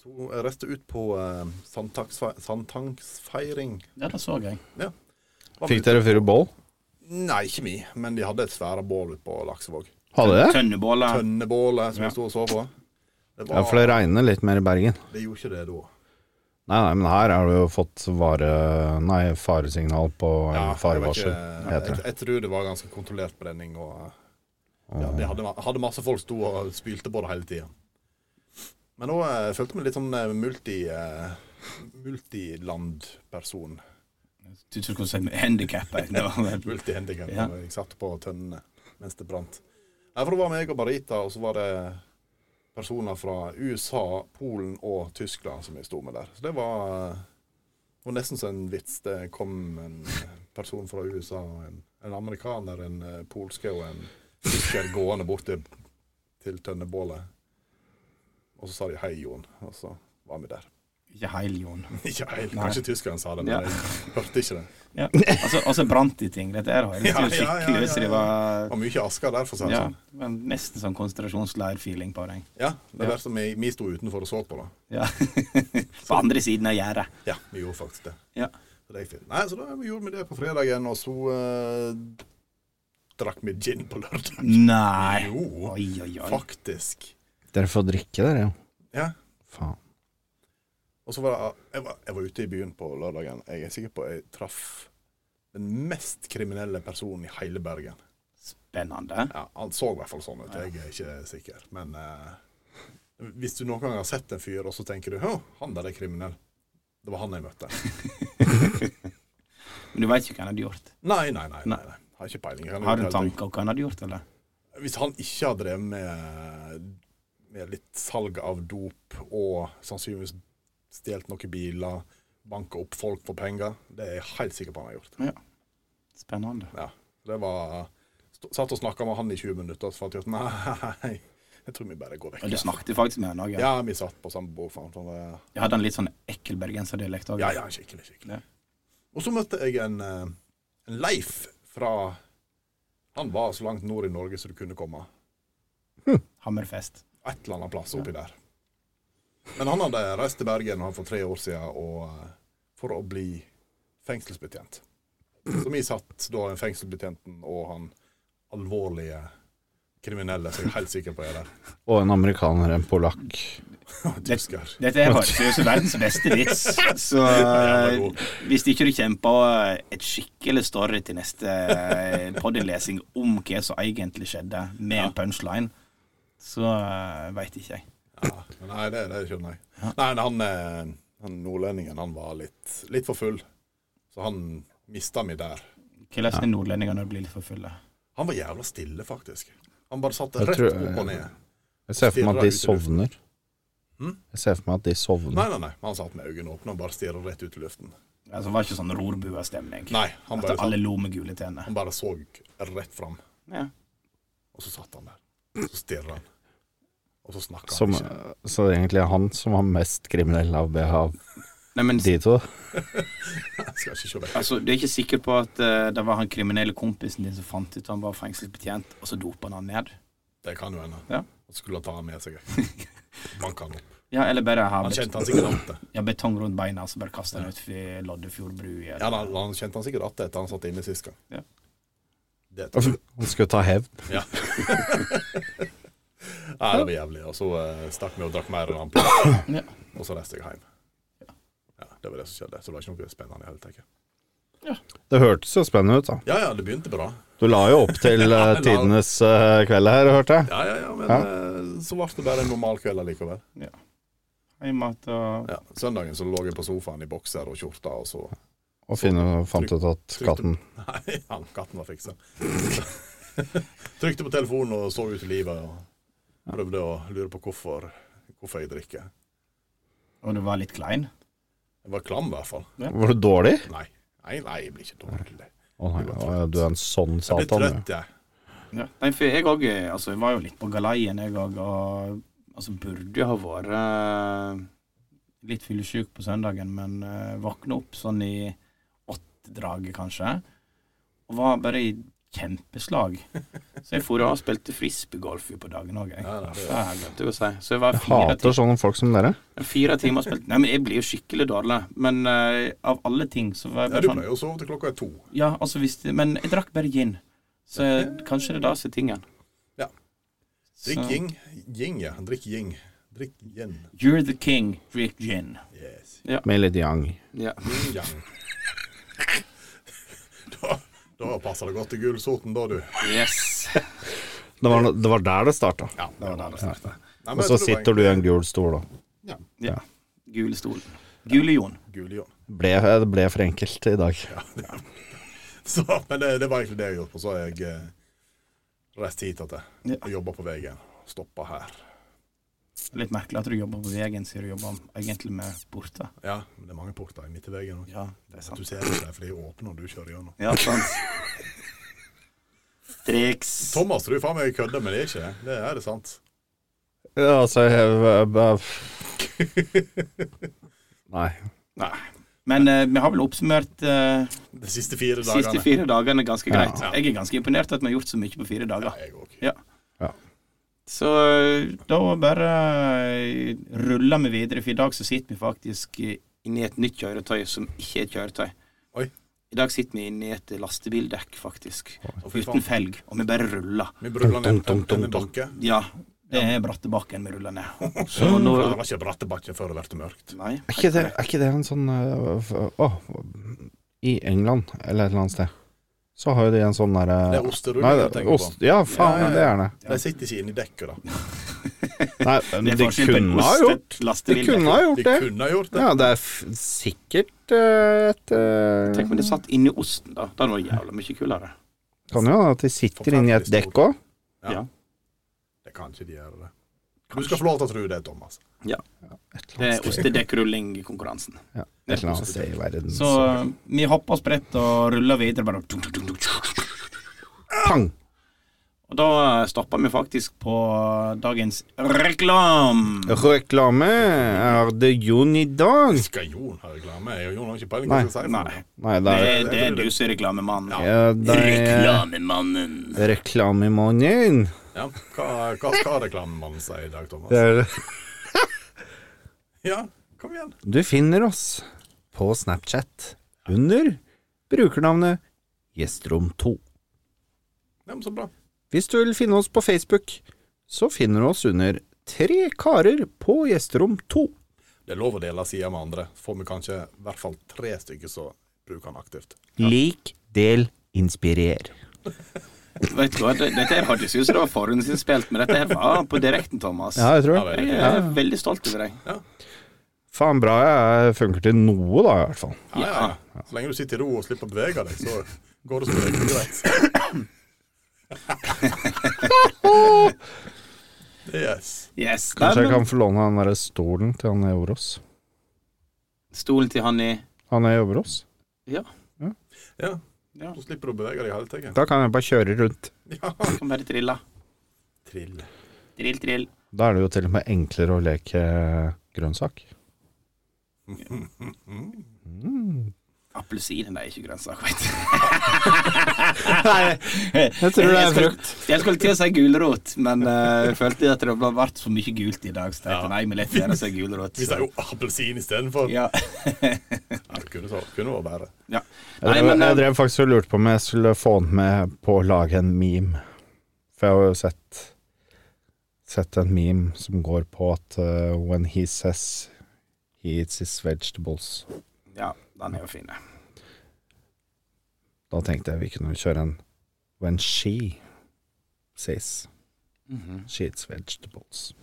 [SPEAKER 3] Så jeg reiste ut på eh, sandtagsfe- sandtanksfeiring.
[SPEAKER 4] Ja, det så jeg.
[SPEAKER 3] Var vi
[SPEAKER 5] Fikk dere fyre boll?
[SPEAKER 3] ute- Nei, ikke mi, men de hadde et svære bål ute på Laksevåg.
[SPEAKER 5] Hadde det?
[SPEAKER 4] Tønnebåler.
[SPEAKER 3] Tønnebålet som
[SPEAKER 4] Ja.
[SPEAKER 3] jeg sto og så på. Det, var,
[SPEAKER 5] Ja, for det regner litt mer i Bergen.
[SPEAKER 3] det gjorde ikke det da.
[SPEAKER 5] Nei, nei, men her har du jo fått vare... Nei, faresignal på
[SPEAKER 3] Ja,
[SPEAKER 5] eller
[SPEAKER 3] det var
[SPEAKER 5] farevarsel,
[SPEAKER 3] ikke-
[SPEAKER 5] heter
[SPEAKER 3] jeg,
[SPEAKER 5] det.
[SPEAKER 3] jeg tror det var ganske kontrollert brenning. Og, eh, ja, de hadde, ma- hadde masse folk sto og spylte på det hele tida. Men nå eh, følte jeg meg litt sånn eh, multi, eh, multilandperson.
[SPEAKER 4] Du skulle si handikappa.
[SPEAKER 3] Multihandicap.
[SPEAKER 4] Ja.
[SPEAKER 3] Jeg satt på tønnene mens det brant. Nei, for det var meg og Barita, og så var det personer fra USA, Polen og Tyskland som jeg sto med der. Så det var, det var nesten som en vits. Det kom en person fra USA, og en, en amerikaner, en eh, polske og en tysker gående bort til, til tønnebålet. Og så sa de 'hei, Jon', og så var vi der.
[SPEAKER 4] Ikke heil, Jon.
[SPEAKER 3] Ikke helt,
[SPEAKER 4] Nei.
[SPEAKER 3] kanskje tyskeren sa det, men
[SPEAKER 4] Ja.
[SPEAKER 3] jeg hørte ikke det.
[SPEAKER 4] Ja. Altså, altså brant de ting. Dette her har jeg
[SPEAKER 3] Ja,
[SPEAKER 4] lyst til
[SPEAKER 3] ja, ja,
[SPEAKER 4] skikkelig hvis
[SPEAKER 3] ja,
[SPEAKER 4] de
[SPEAKER 3] ja. Det
[SPEAKER 4] var
[SPEAKER 3] var mye asker der, for å si det
[SPEAKER 4] ja,
[SPEAKER 3] sånn.
[SPEAKER 4] men Nesten sånn konsentrasjonsleir-feeling på deg.
[SPEAKER 3] Ja, det
[SPEAKER 4] Ja.
[SPEAKER 3] var som vi, vi sto utenfor og så på, da.
[SPEAKER 4] Ja. på andre siden av gjerdet.
[SPEAKER 3] Ja, vi gjorde faktisk det.
[SPEAKER 4] Ja.
[SPEAKER 3] Så det gikk fint. Nei, så da gjorde vi det på fredagen, og så eh, drakk vi gin på lørdag.
[SPEAKER 4] Nei.
[SPEAKER 3] Jo,
[SPEAKER 4] Oi, oi, oi.
[SPEAKER 3] faktisk.
[SPEAKER 5] Dere får drikke der, ja.
[SPEAKER 3] Ja.
[SPEAKER 5] Faen.
[SPEAKER 3] Og så var det, ah, jeg, var, jeg var ute i byen på lørdagen. Jeg er sikker på jeg traff den mest kriminelle personen i hele Bergen.
[SPEAKER 4] Spennende.
[SPEAKER 3] Ja, Han så i hvert fall sånn ut, jeg er ikke sikker. Men eh, hvis du noen gang har sett en fyr, og så tenker du 'Å, han der er kriminell'. Det var han jeg møtte.
[SPEAKER 4] Men du veit ikke hva han hadde gjort.
[SPEAKER 3] Nei, nei, nei.
[SPEAKER 4] Nei.
[SPEAKER 3] nei, nei. Har ikke peiling. Jeg kan
[SPEAKER 4] Har du
[SPEAKER 3] ikke-
[SPEAKER 4] tanker om hva han hadde gjort, eller?
[SPEAKER 3] Hvis han ikke har drevet med, med litt salg av dop og sannsynligvis stjålet noen biler, banka opp folk for penger, det er jeg helt sikker på han har gjort.
[SPEAKER 4] Spennende.
[SPEAKER 3] Ja. Det var st- Satt og snakka med han i 20 minutter, og så fant jeg ut nei, jeg tror vi bare går vekk.
[SPEAKER 4] Og du snakket faktisk med han òg? Ja.
[SPEAKER 3] Ja, vi satt på samme bord. Faen, sånn, det-
[SPEAKER 4] Jeg Hadde han litt sånn ekkel bergenserdialekt òg?
[SPEAKER 3] Ja, ja, skikkelig, skikkelig.
[SPEAKER 4] Ja.
[SPEAKER 3] Og så møtte jeg en, eh, en Leif fra Han var så langt nord i Norge som du kunne komme.
[SPEAKER 4] Hammerfest.
[SPEAKER 3] et eller annet plass oppi der. Men han hadde reist til Bergen han for tre år siden og, eh, for å bli fengselsbetjent. Så vi satt da fengselsbetjenten og han alvorlige kriminelle som jeg er helt sikker på er der.
[SPEAKER 5] Og en amerikaner, en polakk.
[SPEAKER 3] Tysker.
[SPEAKER 4] Dette her høres jo ut som verdens beste vits, så eh,
[SPEAKER 3] Ja, det var god.
[SPEAKER 4] hvis ikke du kjemper et skikkelig story til neste poddelesing om hva som egentlig skjedde, med en punchline, så veit ikke jeg.
[SPEAKER 3] Ja, men nei, det, det skjønner jeg. Nei, men han, eh, han nordlendingen han var litt, litt for full, så han mista meg der.
[SPEAKER 4] Hvordan er nordlendinger når de blir litt for fulle?
[SPEAKER 3] Han var jævla stille, faktisk. Han bare satt
[SPEAKER 5] Jeg
[SPEAKER 3] rett
[SPEAKER 5] tror-
[SPEAKER 3] opp og ned.
[SPEAKER 5] Jeg ser for meg at de sovner.
[SPEAKER 3] Hm?
[SPEAKER 5] Jeg ser for meg at de
[SPEAKER 3] Nei,
[SPEAKER 5] sovner.
[SPEAKER 3] nei, nei. Han satt med øynene åpne og bare stirra rett ut i luften.
[SPEAKER 4] Altså, det var ikke sånn rorbuestemning.
[SPEAKER 3] Nei, han bare,
[SPEAKER 4] At alle lo med gule tenner.
[SPEAKER 3] han bare så rett fram,
[SPEAKER 4] sånn- Ja.
[SPEAKER 3] og så satt han der. Så stirra han, og så snakka
[SPEAKER 5] Som,
[SPEAKER 3] han ikke.
[SPEAKER 5] så det er egentlig han som var mest kriminell av BH av
[SPEAKER 4] Nei, men
[SPEAKER 5] de to.
[SPEAKER 3] Jeg skal ikke se vekk.
[SPEAKER 4] altså, du er ikke sikker på at eh, det var han kriminelle kompisen din som fant ut han var fengselsbetjent, og så dopa han han ned?
[SPEAKER 3] Det kan jo hende.
[SPEAKER 4] Ja.
[SPEAKER 3] Og så skulle han ta han med seg. Banka han opp.
[SPEAKER 4] Ja, eller bare ha
[SPEAKER 3] Han
[SPEAKER 4] bet
[SPEAKER 3] kjente han sikkert att det.
[SPEAKER 4] ja, betong rundt beina, så bare kaste han utfor Loddefjord bru.
[SPEAKER 3] Ja, da, han kjente han sikkert att det etter han satt inne sist gang.
[SPEAKER 4] Ja.
[SPEAKER 3] Det tror jeg.
[SPEAKER 5] Han skulle ta hevn.
[SPEAKER 3] Ja. Nei, det var jævlig. Og så eh, stakk vi og drakk mer enn han på,
[SPEAKER 4] Ja.
[SPEAKER 3] og så reiste jeg hjem. Ja, Det var det som skjedde. Så det var ikke noe spennende i det hele tatt.
[SPEAKER 5] Det hørtes jo spennende ut, da.
[SPEAKER 3] Ja ja, det begynte bra.
[SPEAKER 5] Du la jo opp til eh, tidenes eh, kveld her, hørte jeg.
[SPEAKER 3] Ja ja, ja, men
[SPEAKER 5] Ja.
[SPEAKER 3] eh, så ble det bare en normal kveld allikevel.
[SPEAKER 4] Hjemme at, og,
[SPEAKER 3] Ja. Søndagen så lå jeg på sofaen i bokser og skjorta, og så
[SPEAKER 5] Og finne, fant ut at katten
[SPEAKER 3] Nei, han katten var fiksa. Trykte på telefonen og så ut i livet og prøvde å lure på hvorfor, hvorfor jeg drikker.
[SPEAKER 4] og du var litt klein.
[SPEAKER 3] Jeg var klam i hvert fall.
[SPEAKER 5] Var du dårlig?
[SPEAKER 3] Nei, nei, nei jeg blir ikke dårlig.
[SPEAKER 5] Å nei, å, du er en sånn
[SPEAKER 3] Jeg
[SPEAKER 5] satan,
[SPEAKER 3] blir
[SPEAKER 5] du.
[SPEAKER 3] trøtt, jeg.
[SPEAKER 4] Ja. Nei, for jeg òg altså, jeg var jo litt på galeien, jeg òg, og altså, burde jo ha vært eh, litt fyllesyk på søndagen, men eh, våkna opp sånn i åttedraget, kanskje, og var bare i kjempeslag. Så jeg for og spilte frisbeegolf på dagen òg, jeg.
[SPEAKER 3] Ja, det er det.
[SPEAKER 4] det har jeg glemt å si. Så jeg var
[SPEAKER 5] Jeg
[SPEAKER 4] fire, ti
[SPEAKER 5] hater sånne folk som dere.
[SPEAKER 4] fire timer og spilte Nei, men jeg blir jo skikkelig dårlig, men eh, av alle ting så var jeg
[SPEAKER 3] Ja, du
[SPEAKER 4] bare sånn
[SPEAKER 3] pleier jo å sove til klokka er to.
[SPEAKER 4] Ja, altså hvis det, Men jeg drakk bare gin. Så kanskje det er det som er tingen.
[SPEAKER 3] Ja. Drikk
[SPEAKER 4] Så-
[SPEAKER 3] ying. Ying, ja. Drikk ying. Drikk yin.
[SPEAKER 4] You're the king, drikk gin.
[SPEAKER 3] Yes.
[SPEAKER 5] Med litt yang.
[SPEAKER 4] Ja.
[SPEAKER 3] Yin yang. Da, da passer det godt til gulsoten, da, du.
[SPEAKER 4] Yes.
[SPEAKER 5] Det var, no- det var der det starta.
[SPEAKER 3] Ja, det var der det starta.
[SPEAKER 5] Og så sitter du i en gul stol, da.
[SPEAKER 4] Ja. Gule stol. Gule Jon.
[SPEAKER 3] Gulion.
[SPEAKER 5] Ble, det ble for enkelt i dag.
[SPEAKER 3] Så, men det, det var egentlig det jeg gjorde på. Så har jeg eh, reist hit at jeg
[SPEAKER 4] Ja.
[SPEAKER 3] og jobba på veien. Stoppa her.
[SPEAKER 4] Litt merkelig at du jobber på veien siden du jobber egentlig med borte.
[SPEAKER 3] Ja, men det er mange porter midt i veien òg.
[SPEAKER 4] Ja, det er
[SPEAKER 3] Du ser ikke det, for de er åpne når du kjører gjennom.
[SPEAKER 4] Ja, sant. Triks.
[SPEAKER 3] Thomas, du faen meg kødder, men det er ikke det. Det er det sant.
[SPEAKER 5] Ja, altså jeg, jeg, jeg- Nei.
[SPEAKER 4] Nei. Men eh, vi har vel oppsummert eh,
[SPEAKER 3] De siste fire
[SPEAKER 4] de siste
[SPEAKER 3] dagene.
[SPEAKER 4] fire dagene ganske greit.
[SPEAKER 3] Ja.
[SPEAKER 4] Jeg er ganske imponert at vi har gjort så mye på fire
[SPEAKER 3] Ja,
[SPEAKER 4] dager.
[SPEAKER 3] jeg òg.
[SPEAKER 4] Ja.
[SPEAKER 5] Ja.
[SPEAKER 4] Så eh, da bare eh, ruller vi videre, for i dag så sitter vi faktisk eh, inni et nytt kjøretøy som ikke er et kjøretøy.
[SPEAKER 3] Oi.
[SPEAKER 4] I dag sitter vi inni et lastebildekk, faktisk.
[SPEAKER 3] Å, fy
[SPEAKER 4] Uten
[SPEAKER 3] faen.
[SPEAKER 4] felg, og vi bare ruller.
[SPEAKER 3] Vi brudla ned en, en, en bakke.
[SPEAKER 4] Ja, det er bratte bakken vi ruller ned. Så nå
[SPEAKER 3] Det var ikke bratte bakke før det ble mørkt.
[SPEAKER 4] Nei.
[SPEAKER 5] Er ikke det, er ikke det en sånn øh, f- Åh, i England eller et eller annet sted, så har jo de en sånn derre
[SPEAKER 3] Det er osterull
[SPEAKER 5] Nei,
[SPEAKER 3] du
[SPEAKER 5] det-
[SPEAKER 3] tenker
[SPEAKER 5] ost,
[SPEAKER 3] på.
[SPEAKER 5] ja, faen,
[SPEAKER 3] Ja, ja, ja.
[SPEAKER 5] det er det.
[SPEAKER 3] De sitter ikke inne i dekket, da.
[SPEAKER 5] Nei,
[SPEAKER 4] Det
[SPEAKER 5] men
[SPEAKER 4] er
[SPEAKER 5] de
[SPEAKER 4] forskjell på en
[SPEAKER 5] kunne ha
[SPEAKER 4] ost-
[SPEAKER 5] gjort
[SPEAKER 4] et
[SPEAKER 5] De
[SPEAKER 4] lastebildekk.
[SPEAKER 5] kunne ha gjort
[SPEAKER 3] De
[SPEAKER 5] det.
[SPEAKER 3] kunne ha gjort det.
[SPEAKER 5] Ja, det er f sikkert øh, et øh,
[SPEAKER 4] Tenk om det satt inni osten, da. Da hadde det vært jævla mye kulere.
[SPEAKER 5] Kan jo hende at de sitter inni et dekk òg.
[SPEAKER 3] Ja.
[SPEAKER 4] Ja.
[SPEAKER 3] Det kan ikke de gjøre. det. Du skal få lov til å tro det, Thomas.
[SPEAKER 4] Det er ostedekkrullingkonkurransen.
[SPEAKER 5] Ja, et eller annet sted i verden.
[SPEAKER 4] Så eh, vi hopper oss bredt og ruller videre. Bare. tung, tung, tung, tung, tung.
[SPEAKER 5] Pang!
[SPEAKER 4] Og da eh, stopper vi faktisk på eh, dagens reklam.
[SPEAKER 5] Reklame er det Jon i dag?
[SPEAKER 3] Skal Jon ha reklame? Jeg og Jon har ikke peiling
[SPEAKER 5] Nei.
[SPEAKER 3] på hva jeg skal si. for
[SPEAKER 4] Nei,
[SPEAKER 3] noe.
[SPEAKER 5] Nei, det
[SPEAKER 4] det
[SPEAKER 5] er
[SPEAKER 4] er, det er du som er reklamemannen.
[SPEAKER 5] ja, det er
[SPEAKER 4] Reklamemannen.
[SPEAKER 5] Reklamemannen.
[SPEAKER 3] Ja, hva, hva skal reklamemannen si i dag, Thomas?
[SPEAKER 5] Det er
[SPEAKER 3] Ja, kom igjen.
[SPEAKER 5] Du finner oss på Snapchat under brukernavnet Gjestrom2.
[SPEAKER 3] Ja, men så bra.
[SPEAKER 5] Hvis du vil finne oss på Facebook, så finner du oss under Tre karer på Gjesterom2.
[SPEAKER 3] Det er lov å dele sida med andre. Får vi kanskje i hvert fall tre stykker som bruker den aktivt.
[SPEAKER 5] Lik, del, inspirer.
[SPEAKER 4] Vet du hva, det- dette her hørtes ut som det var forhåndsinnspilt, men dette her var på direkten, Thomas.
[SPEAKER 5] Ja, jeg tror
[SPEAKER 3] Ja,
[SPEAKER 5] det.
[SPEAKER 3] vel.
[SPEAKER 4] Jeg er veldig stolt over deg.
[SPEAKER 5] Faen bra jeg funker til noe, da, i hvert fall.
[SPEAKER 3] Ja, ja, ja. Så lenge du sitter i ro og slipper å bevege deg, så går det som regel greit. Yes.
[SPEAKER 4] Yes.
[SPEAKER 5] Kanskje
[SPEAKER 4] Nei,
[SPEAKER 5] jeg
[SPEAKER 4] men-
[SPEAKER 5] kan få låne den derre stolen til han Euros.
[SPEAKER 4] Stolen til han i
[SPEAKER 5] Han er jobber hos.
[SPEAKER 4] Ja.
[SPEAKER 3] Ja,
[SPEAKER 4] ja.
[SPEAKER 3] så slipper du å bevege deg i hele tatt.
[SPEAKER 5] Da kan jeg bare kjøre rundt.
[SPEAKER 3] Ja.
[SPEAKER 4] Kan bare trille.
[SPEAKER 3] Trill.
[SPEAKER 4] Trill, trill.
[SPEAKER 5] Da er det jo til og med enklere å leke eh, grønnsak. Mm.
[SPEAKER 4] Appelsinen er ikke grønnsak, vet du.
[SPEAKER 5] Jeg tror det er
[SPEAKER 4] skulle-
[SPEAKER 5] frukt.
[SPEAKER 4] Jeg skulle til å si gulrot, men eh, jeg følte at det ble vært for mye gult i dag. Så tenkte jeg nei, vi lar være å si gulrot.
[SPEAKER 3] Vi sier jo appelsin istedenfor. Ja.
[SPEAKER 4] Ja.
[SPEAKER 3] Ja, det kunne så- kunne vært bedre.
[SPEAKER 4] ja. Nei,
[SPEAKER 5] Jeg drev,
[SPEAKER 4] men
[SPEAKER 5] jeg
[SPEAKER 4] eh,
[SPEAKER 5] drev faktisk og lurte på om jeg skulle få han med på å lage en meme. For jeg har jo sett sett en meme som går på at eh, when he says he eats his vegetables
[SPEAKER 4] Ja, den er jo fin. det.
[SPEAKER 5] Da tenkte jeg vi kunne kjøre en when she says
[SPEAKER 4] Mhm.
[SPEAKER 5] she eats vegetables.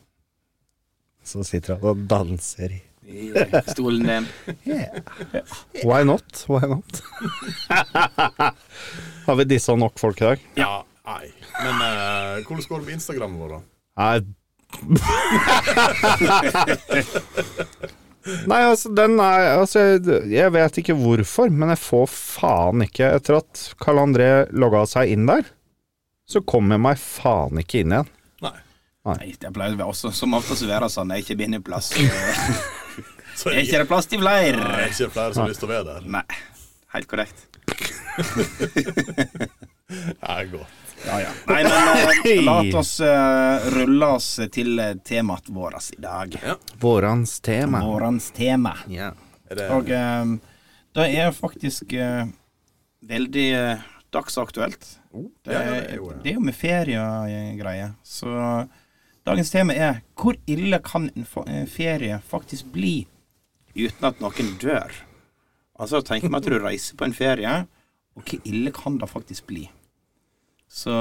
[SPEAKER 5] Så sitter han og danser i
[SPEAKER 4] I Stolen eh, din.
[SPEAKER 5] Yeah. Why not? Why not? Har vi dissa nok folk i dag?
[SPEAKER 3] Ja, nei. Men eh, hvordan går det med Instagrammen vår, da?
[SPEAKER 5] Nei Nei, altså, den er Altså, jeg- jeg vet ikke hvorfor, men jeg får faen ikke Etter at Karl André logga seg inn der, så kom jeg meg faen ikke inn igjen.
[SPEAKER 3] Nei.
[SPEAKER 4] Nei, det pleier å være også som oftest å være sånn. Det er ikke bindeplass.
[SPEAKER 3] Så
[SPEAKER 4] Det er ikke det plass til
[SPEAKER 3] Nei,
[SPEAKER 4] flere.
[SPEAKER 3] ikke flere som har lyst til å være der.
[SPEAKER 4] Nei. Helt korrekt.
[SPEAKER 3] Nei, godt.
[SPEAKER 4] Ja, ja. Nei, men la oss eh, rulle oss til eh, temaet vårt i dag.
[SPEAKER 5] Vårens tema.
[SPEAKER 4] Vårens tema.
[SPEAKER 5] Ja.
[SPEAKER 3] Er det,
[SPEAKER 4] Og eh, det er faktisk eh, veldig eh, dagsaktuelt. Det
[SPEAKER 3] Oh, ja,
[SPEAKER 4] er,
[SPEAKER 3] det er jo, ja.
[SPEAKER 4] det er jo med feriegreier. Så dagens tema er hvor ille kan en fa- eh, ferie faktisk bli uten at noen dør? Altså, tenk meg at du reiser på en ferie, og hvor ille kan det faktisk bli? Så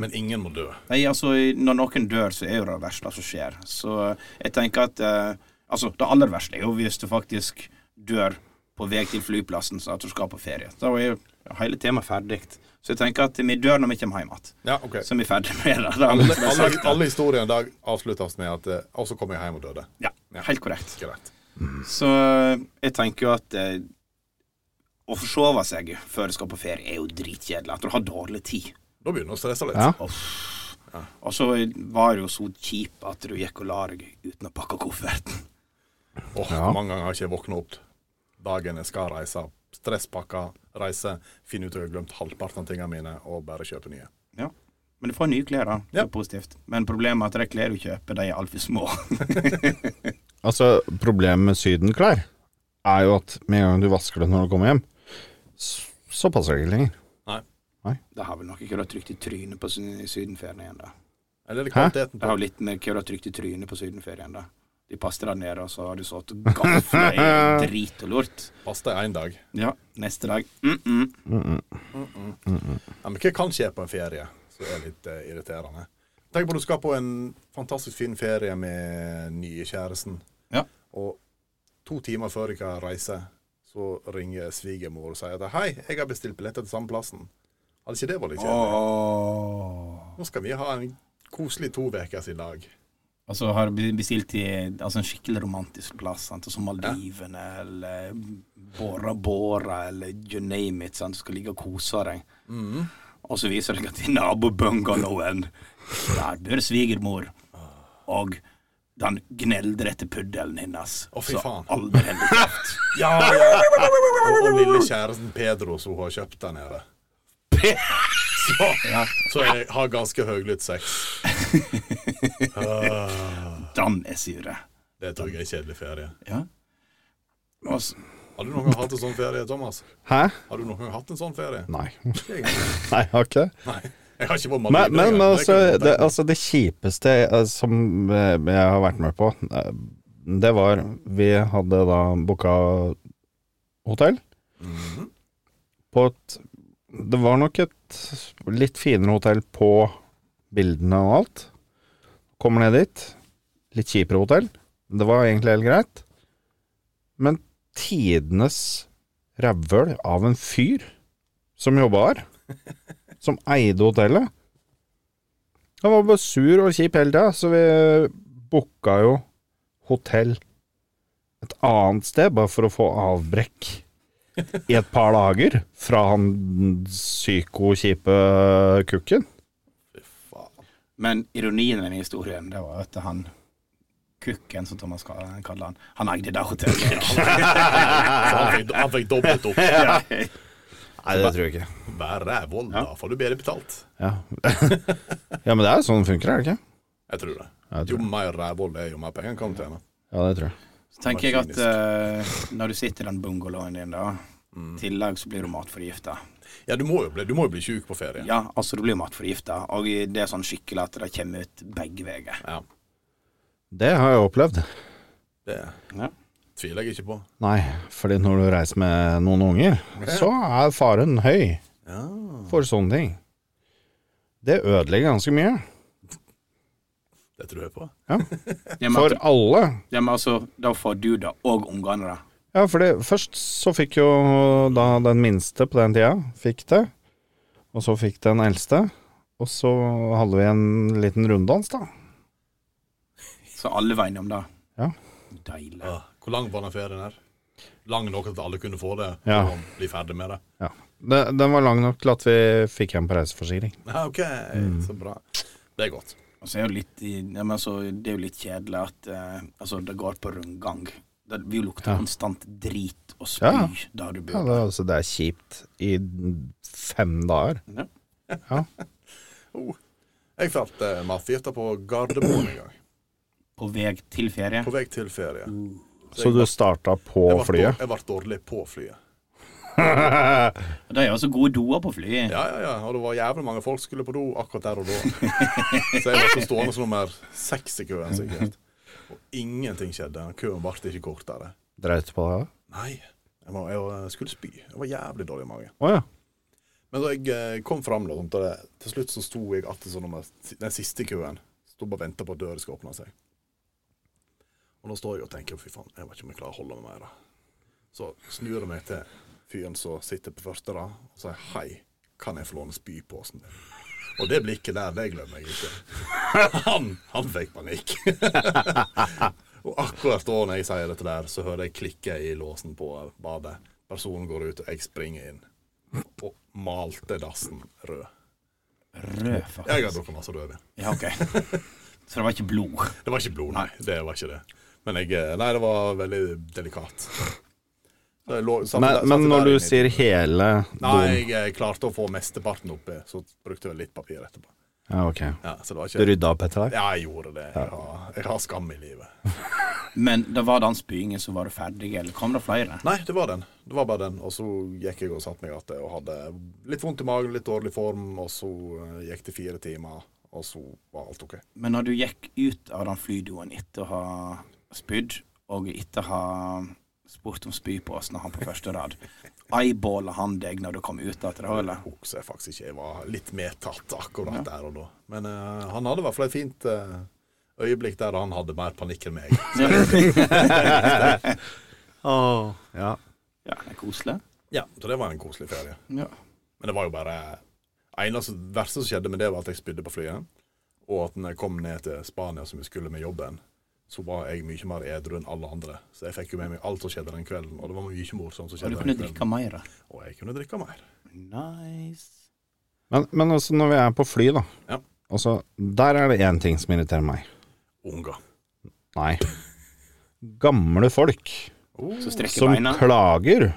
[SPEAKER 3] men ingen må dø.
[SPEAKER 4] Nei, altså, når noen dør, så er jo det det verste som skjer. Så jeg tenker at eh, Altså, det aller verste er jo hvis du faktisk dør på vei til flyplassen, så at du skal på ferie. Da er jo hele temaet ferdig. Så jeg tenker at vi dør når vi kommer hjem igjen.
[SPEAKER 3] Ja, ok.
[SPEAKER 4] Så vi er ferdig med det. det. er
[SPEAKER 3] Alle,
[SPEAKER 4] alt som er
[SPEAKER 3] alle,
[SPEAKER 4] sagt, da.
[SPEAKER 3] alle historier en dag avsluttes med at eh, Og så kommer jeg hjem og døde.
[SPEAKER 4] Ja, helt korrekt.
[SPEAKER 3] Greit.
[SPEAKER 4] Så eh, jeg tenker jo at eh, å forsove seg før du skal på ferie, er jo dritkjedelig. At du har dårlig tid.
[SPEAKER 3] Da begynner jeg å stresse litt.
[SPEAKER 5] Ja.
[SPEAKER 4] Og så var det jo så kjip at du gikk og la deg uten å pakke kofferten.
[SPEAKER 3] Åh,
[SPEAKER 5] Ja.
[SPEAKER 3] Mange ganger har jeg ikke våkna opp dagen jeg skal reise. Stresspakka, reise, finne ut at jeg har glemt halvparten av tingene mine, og bare kjøpe nye.
[SPEAKER 4] Ja. Men du får nye klær, da. Det
[SPEAKER 3] Ja.
[SPEAKER 4] er positivt. Men problemet er at de klærne du kjøper, de er altfor små.
[SPEAKER 5] Altså, problemet med sydenklær er jo at med en gang du vasker det når du kommer hjem, s- så passer det ikke lenger.
[SPEAKER 4] det har vel nok ikke du har trykt i trynet på sy- sydenferien igjen, da.
[SPEAKER 3] Eller er det
[SPEAKER 5] Hæ?
[SPEAKER 3] kvaliteten
[SPEAKER 4] Det
[SPEAKER 3] på
[SPEAKER 4] har jo litt med hva du har trykt i trynet på sydenferien, da. De passer der nede, og så har du sådd gafler i drit og lort.
[SPEAKER 3] pasta i én dag?
[SPEAKER 4] Ja, neste dag mm -mm.
[SPEAKER 3] Ja, men hva kan skje på en ferie som er litt eh, irriterende? Tenk på at du skal på en fantastisk fin ferie med nye kjæresten.
[SPEAKER 4] Ja.
[SPEAKER 3] Og to timer før jeg kan reise, så ringer svigermor og sier at hei, jeg har bestilt billetter til samme plassen. Hadde ikke det vært litt kjedelig? Nå skal vi ha en koselig to ukers i dag.
[SPEAKER 4] Og så har du be- bestilt i altså en skikkelig romantisk plass, sant? som Maldivene eller Bora Bora eller you name it. Sant? Du skal ligge og kose deg.
[SPEAKER 3] Mm.
[SPEAKER 4] Og så viser det seg at i nabobungalowen der bor svigermor. Og den gneldrete puddelen hennes.
[SPEAKER 3] Å, fy faen.
[SPEAKER 4] Så aldri hender kraft.
[SPEAKER 3] Ja, ja. Og, og lille kjæresten Pedro som hun har kjøpt der nede. Så, så jeg har ganske høylytt sex.
[SPEAKER 4] Den er sure.
[SPEAKER 3] Det tror jeg er en kjedelig ferie.
[SPEAKER 4] Ja. Og s-
[SPEAKER 3] Har du noen gang hatt en sånn ferie, Thomas?
[SPEAKER 5] Hæ?
[SPEAKER 3] Har du noen gang hatt en sånn ferie?
[SPEAKER 5] Nei.
[SPEAKER 3] Jeg, nei,
[SPEAKER 5] Nei, jeg har ikke det.
[SPEAKER 3] jeg har ikke vært med
[SPEAKER 5] Men, men, men altså, det,
[SPEAKER 3] det,
[SPEAKER 5] altså, det kjipeste eh, som eh, jeg har vært med på, eh, det var Vi hadde da booka hotell på et Det var nok et litt finere hotell på bildene og alt. Kommer ned dit. Litt kjipere hotell. Det var egentlig helt greit. Men tidenes rævhøl av en fyr som jobba her, som eide hotellet han var bare sur og kjip hele tida, så vi booka jo hotell et annet sted, bare for å få avbrekk i et par dager fra han psyko-kjipe kukken.
[SPEAKER 4] Men ironien i den historien, det var at han Kukken, som Thomas ka- kaller han, han eide det hotellet.
[SPEAKER 3] han, fikk, han fikk dobbelt opp.
[SPEAKER 4] Ja.
[SPEAKER 5] Nei, det tror jeg ikke.
[SPEAKER 3] Vær rævhold, da får du bedre betalt.
[SPEAKER 5] Ja, ja men det er jo sånn det funker, er det ikke?
[SPEAKER 3] Jeg tror det.
[SPEAKER 5] Jeg tror
[SPEAKER 3] Jo mer rævhold det er, jo mer penger kan du tjene.
[SPEAKER 5] Ja, det tror jeg.
[SPEAKER 4] Så tenker jeg at eh, når du sitter i den bungalowen din, da,
[SPEAKER 5] Mm.
[SPEAKER 4] I tillegg så blir du matforgifta.
[SPEAKER 3] Ja, du må jo bli, du må jo bli sjuk på ferie.
[SPEAKER 4] Ja, altså du blir matforgifta, og det er sånn skikkelig at det kommer ut begge veier.
[SPEAKER 3] Ja.
[SPEAKER 5] Det har jeg opplevd.
[SPEAKER 3] Det
[SPEAKER 4] Ja.
[SPEAKER 3] tviler jeg ikke på.
[SPEAKER 5] Nei, fordi når du reiser med noen unger, så er faren høy
[SPEAKER 3] Ja.
[SPEAKER 5] for sånne ting. Det ødelegger ganske mye.
[SPEAKER 3] Det tror jeg på.
[SPEAKER 4] Ja, men,
[SPEAKER 5] For alle.
[SPEAKER 4] ja, men altså, da får du det, og ungene det.
[SPEAKER 5] Ja, for det, først så fikk jo da den minste på den tida, fikk det. Og så fikk den eldste. Og så hadde vi en liten runddans, da.
[SPEAKER 4] Så alle var innom det.
[SPEAKER 5] Ja.
[SPEAKER 4] Deilig.
[SPEAKER 3] Ja. Hvor lang var den ferien her? Lang nok at alle kunne få det,
[SPEAKER 5] Ja.
[SPEAKER 3] og bli ferdig med det.
[SPEAKER 5] Ja. Den, den var lang nok til at vi fikk en på reiseforsikring.
[SPEAKER 3] Ja, OK,
[SPEAKER 5] Mm.
[SPEAKER 3] så bra. Det er godt.
[SPEAKER 4] Og så er jo litt, i- ja, men altså, det er jo litt kjedelig at eh, altså, det går på rundgang. Det vil jo lukte
[SPEAKER 5] Ja.
[SPEAKER 4] konstant drit og spy
[SPEAKER 5] Ja.
[SPEAKER 4] der du
[SPEAKER 5] Ja,
[SPEAKER 4] bor.
[SPEAKER 5] det, er altså, det er kjipt i fem dager.
[SPEAKER 4] Ja.
[SPEAKER 3] Jeg falt eh, matforgifta på Gardermoen en gang,
[SPEAKER 4] På vei til ferie.
[SPEAKER 3] på vei til ferie.
[SPEAKER 5] Uh. Så du starta på
[SPEAKER 3] Jeg ble dår-
[SPEAKER 5] flyet?
[SPEAKER 3] Jeg ble dårlig på flyet.
[SPEAKER 4] Og det er jo også gode doer på flyet.
[SPEAKER 3] Ja, ja, ja. Og det var jævlig mange folk skulle på do akkurat der og da. Så jeg var så stående som nummer seks i køen, sikkert. Og ingenting skjedde. Køen ble ikke kortere.
[SPEAKER 5] Dreit du på deg da?
[SPEAKER 3] Nei. Jeg, må, jeg skulle spy. Jeg var jævlig dårlig i magen.
[SPEAKER 5] Å ja.
[SPEAKER 3] Men da jeg eh, kom fram, da, sånn, til det- til slutt så sto jeg sånn atter som nummer den siste i køen. Sto bare og venta på at døra skulle åpne seg. Og da står jeg og tenker fy faen, jeg vet ikke om jeg klarer å holde meg mer. da. Så snur jeg meg til fyren som sitter på første rad, og sier hei, kan jeg få låne spyposen din? Og det blikket der, det glemmer jeg ikke. Han, han fikk panikk. og akkurat da når jeg sier dette der, så hører jeg klikke i låsen på badet. Personen går ut, og jeg springer inn og malte dassen rød.
[SPEAKER 4] Rød, faktisk.
[SPEAKER 3] Jeg har drukket masse rødvin.
[SPEAKER 4] Ja, ok. Så det var ikke blod.
[SPEAKER 3] Det var ikke blod, nei. Det var ikke det. Men jeg, eh, nei, det var veldig delikat. Så jeg lå- satt
[SPEAKER 5] Men,
[SPEAKER 3] der- satt
[SPEAKER 5] men
[SPEAKER 3] der
[SPEAKER 5] når du
[SPEAKER 3] inne i-
[SPEAKER 5] sier hele doen
[SPEAKER 3] Nei, jeg eh, klarte å få mesteparten oppi, så brukte jeg litt papir etterpå.
[SPEAKER 5] Ja, ok.
[SPEAKER 3] Ja, så det var
[SPEAKER 5] Du
[SPEAKER 3] ikke
[SPEAKER 5] rydda opp etter deg?
[SPEAKER 3] Ja, jeg gjorde det. Jeg har, jeg har skam i livet.
[SPEAKER 4] Men det var den spyingen som var du ferdig, eller kom det flere?
[SPEAKER 3] Nei, det var den. Det var bare den. Og så gikk jeg og satte meg igjen og hadde litt vondt i magen, litt dårlig form, og så eh, gikk det fire timer, og så var alt OK.
[SPEAKER 4] Men når du gikk ut av den flydoen etter å ha spydd, og etter å ha spurt om spyposen av han på første rad, eyeballa han deg når du kom ut av det hullet?
[SPEAKER 3] husker jeg faktisk ikke. Jeg var litt medtatt akkurat der og da. Men eh, han hadde i hvert fall et fint eh, øyeblikk der han hadde mer panikk enn meg.
[SPEAKER 5] Åh, ja.
[SPEAKER 4] Ja, det er koselig.
[SPEAKER 3] Ja, Så det var en koselig ferie.
[SPEAKER 4] Ja.
[SPEAKER 3] Men det var jo bare eh, eneste verste som skjedde med det, var at jeg spydde på flyet. Og at når jeg kom ned til Spania, som jeg skulle med jobben, så var jeg mye mer edru enn alle andre. Så jeg fikk jo med meg alt som skjedde den kvelden, og det var mye morsomt som
[SPEAKER 4] Og du
[SPEAKER 3] skjedde
[SPEAKER 4] kunne
[SPEAKER 3] den
[SPEAKER 4] drikke
[SPEAKER 3] kvelden.
[SPEAKER 4] mer.
[SPEAKER 3] Og jeg kunne drikke mer.
[SPEAKER 4] Nice.
[SPEAKER 5] Men, men også når vi er på fly, da.
[SPEAKER 3] Ja.
[SPEAKER 5] Altså, der er det én ting som irriterer meg.
[SPEAKER 3] Unger.
[SPEAKER 5] Nei. Gamle folk
[SPEAKER 4] Så strekker
[SPEAKER 5] som
[SPEAKER 4] beina.
[SPEAKER 5] klager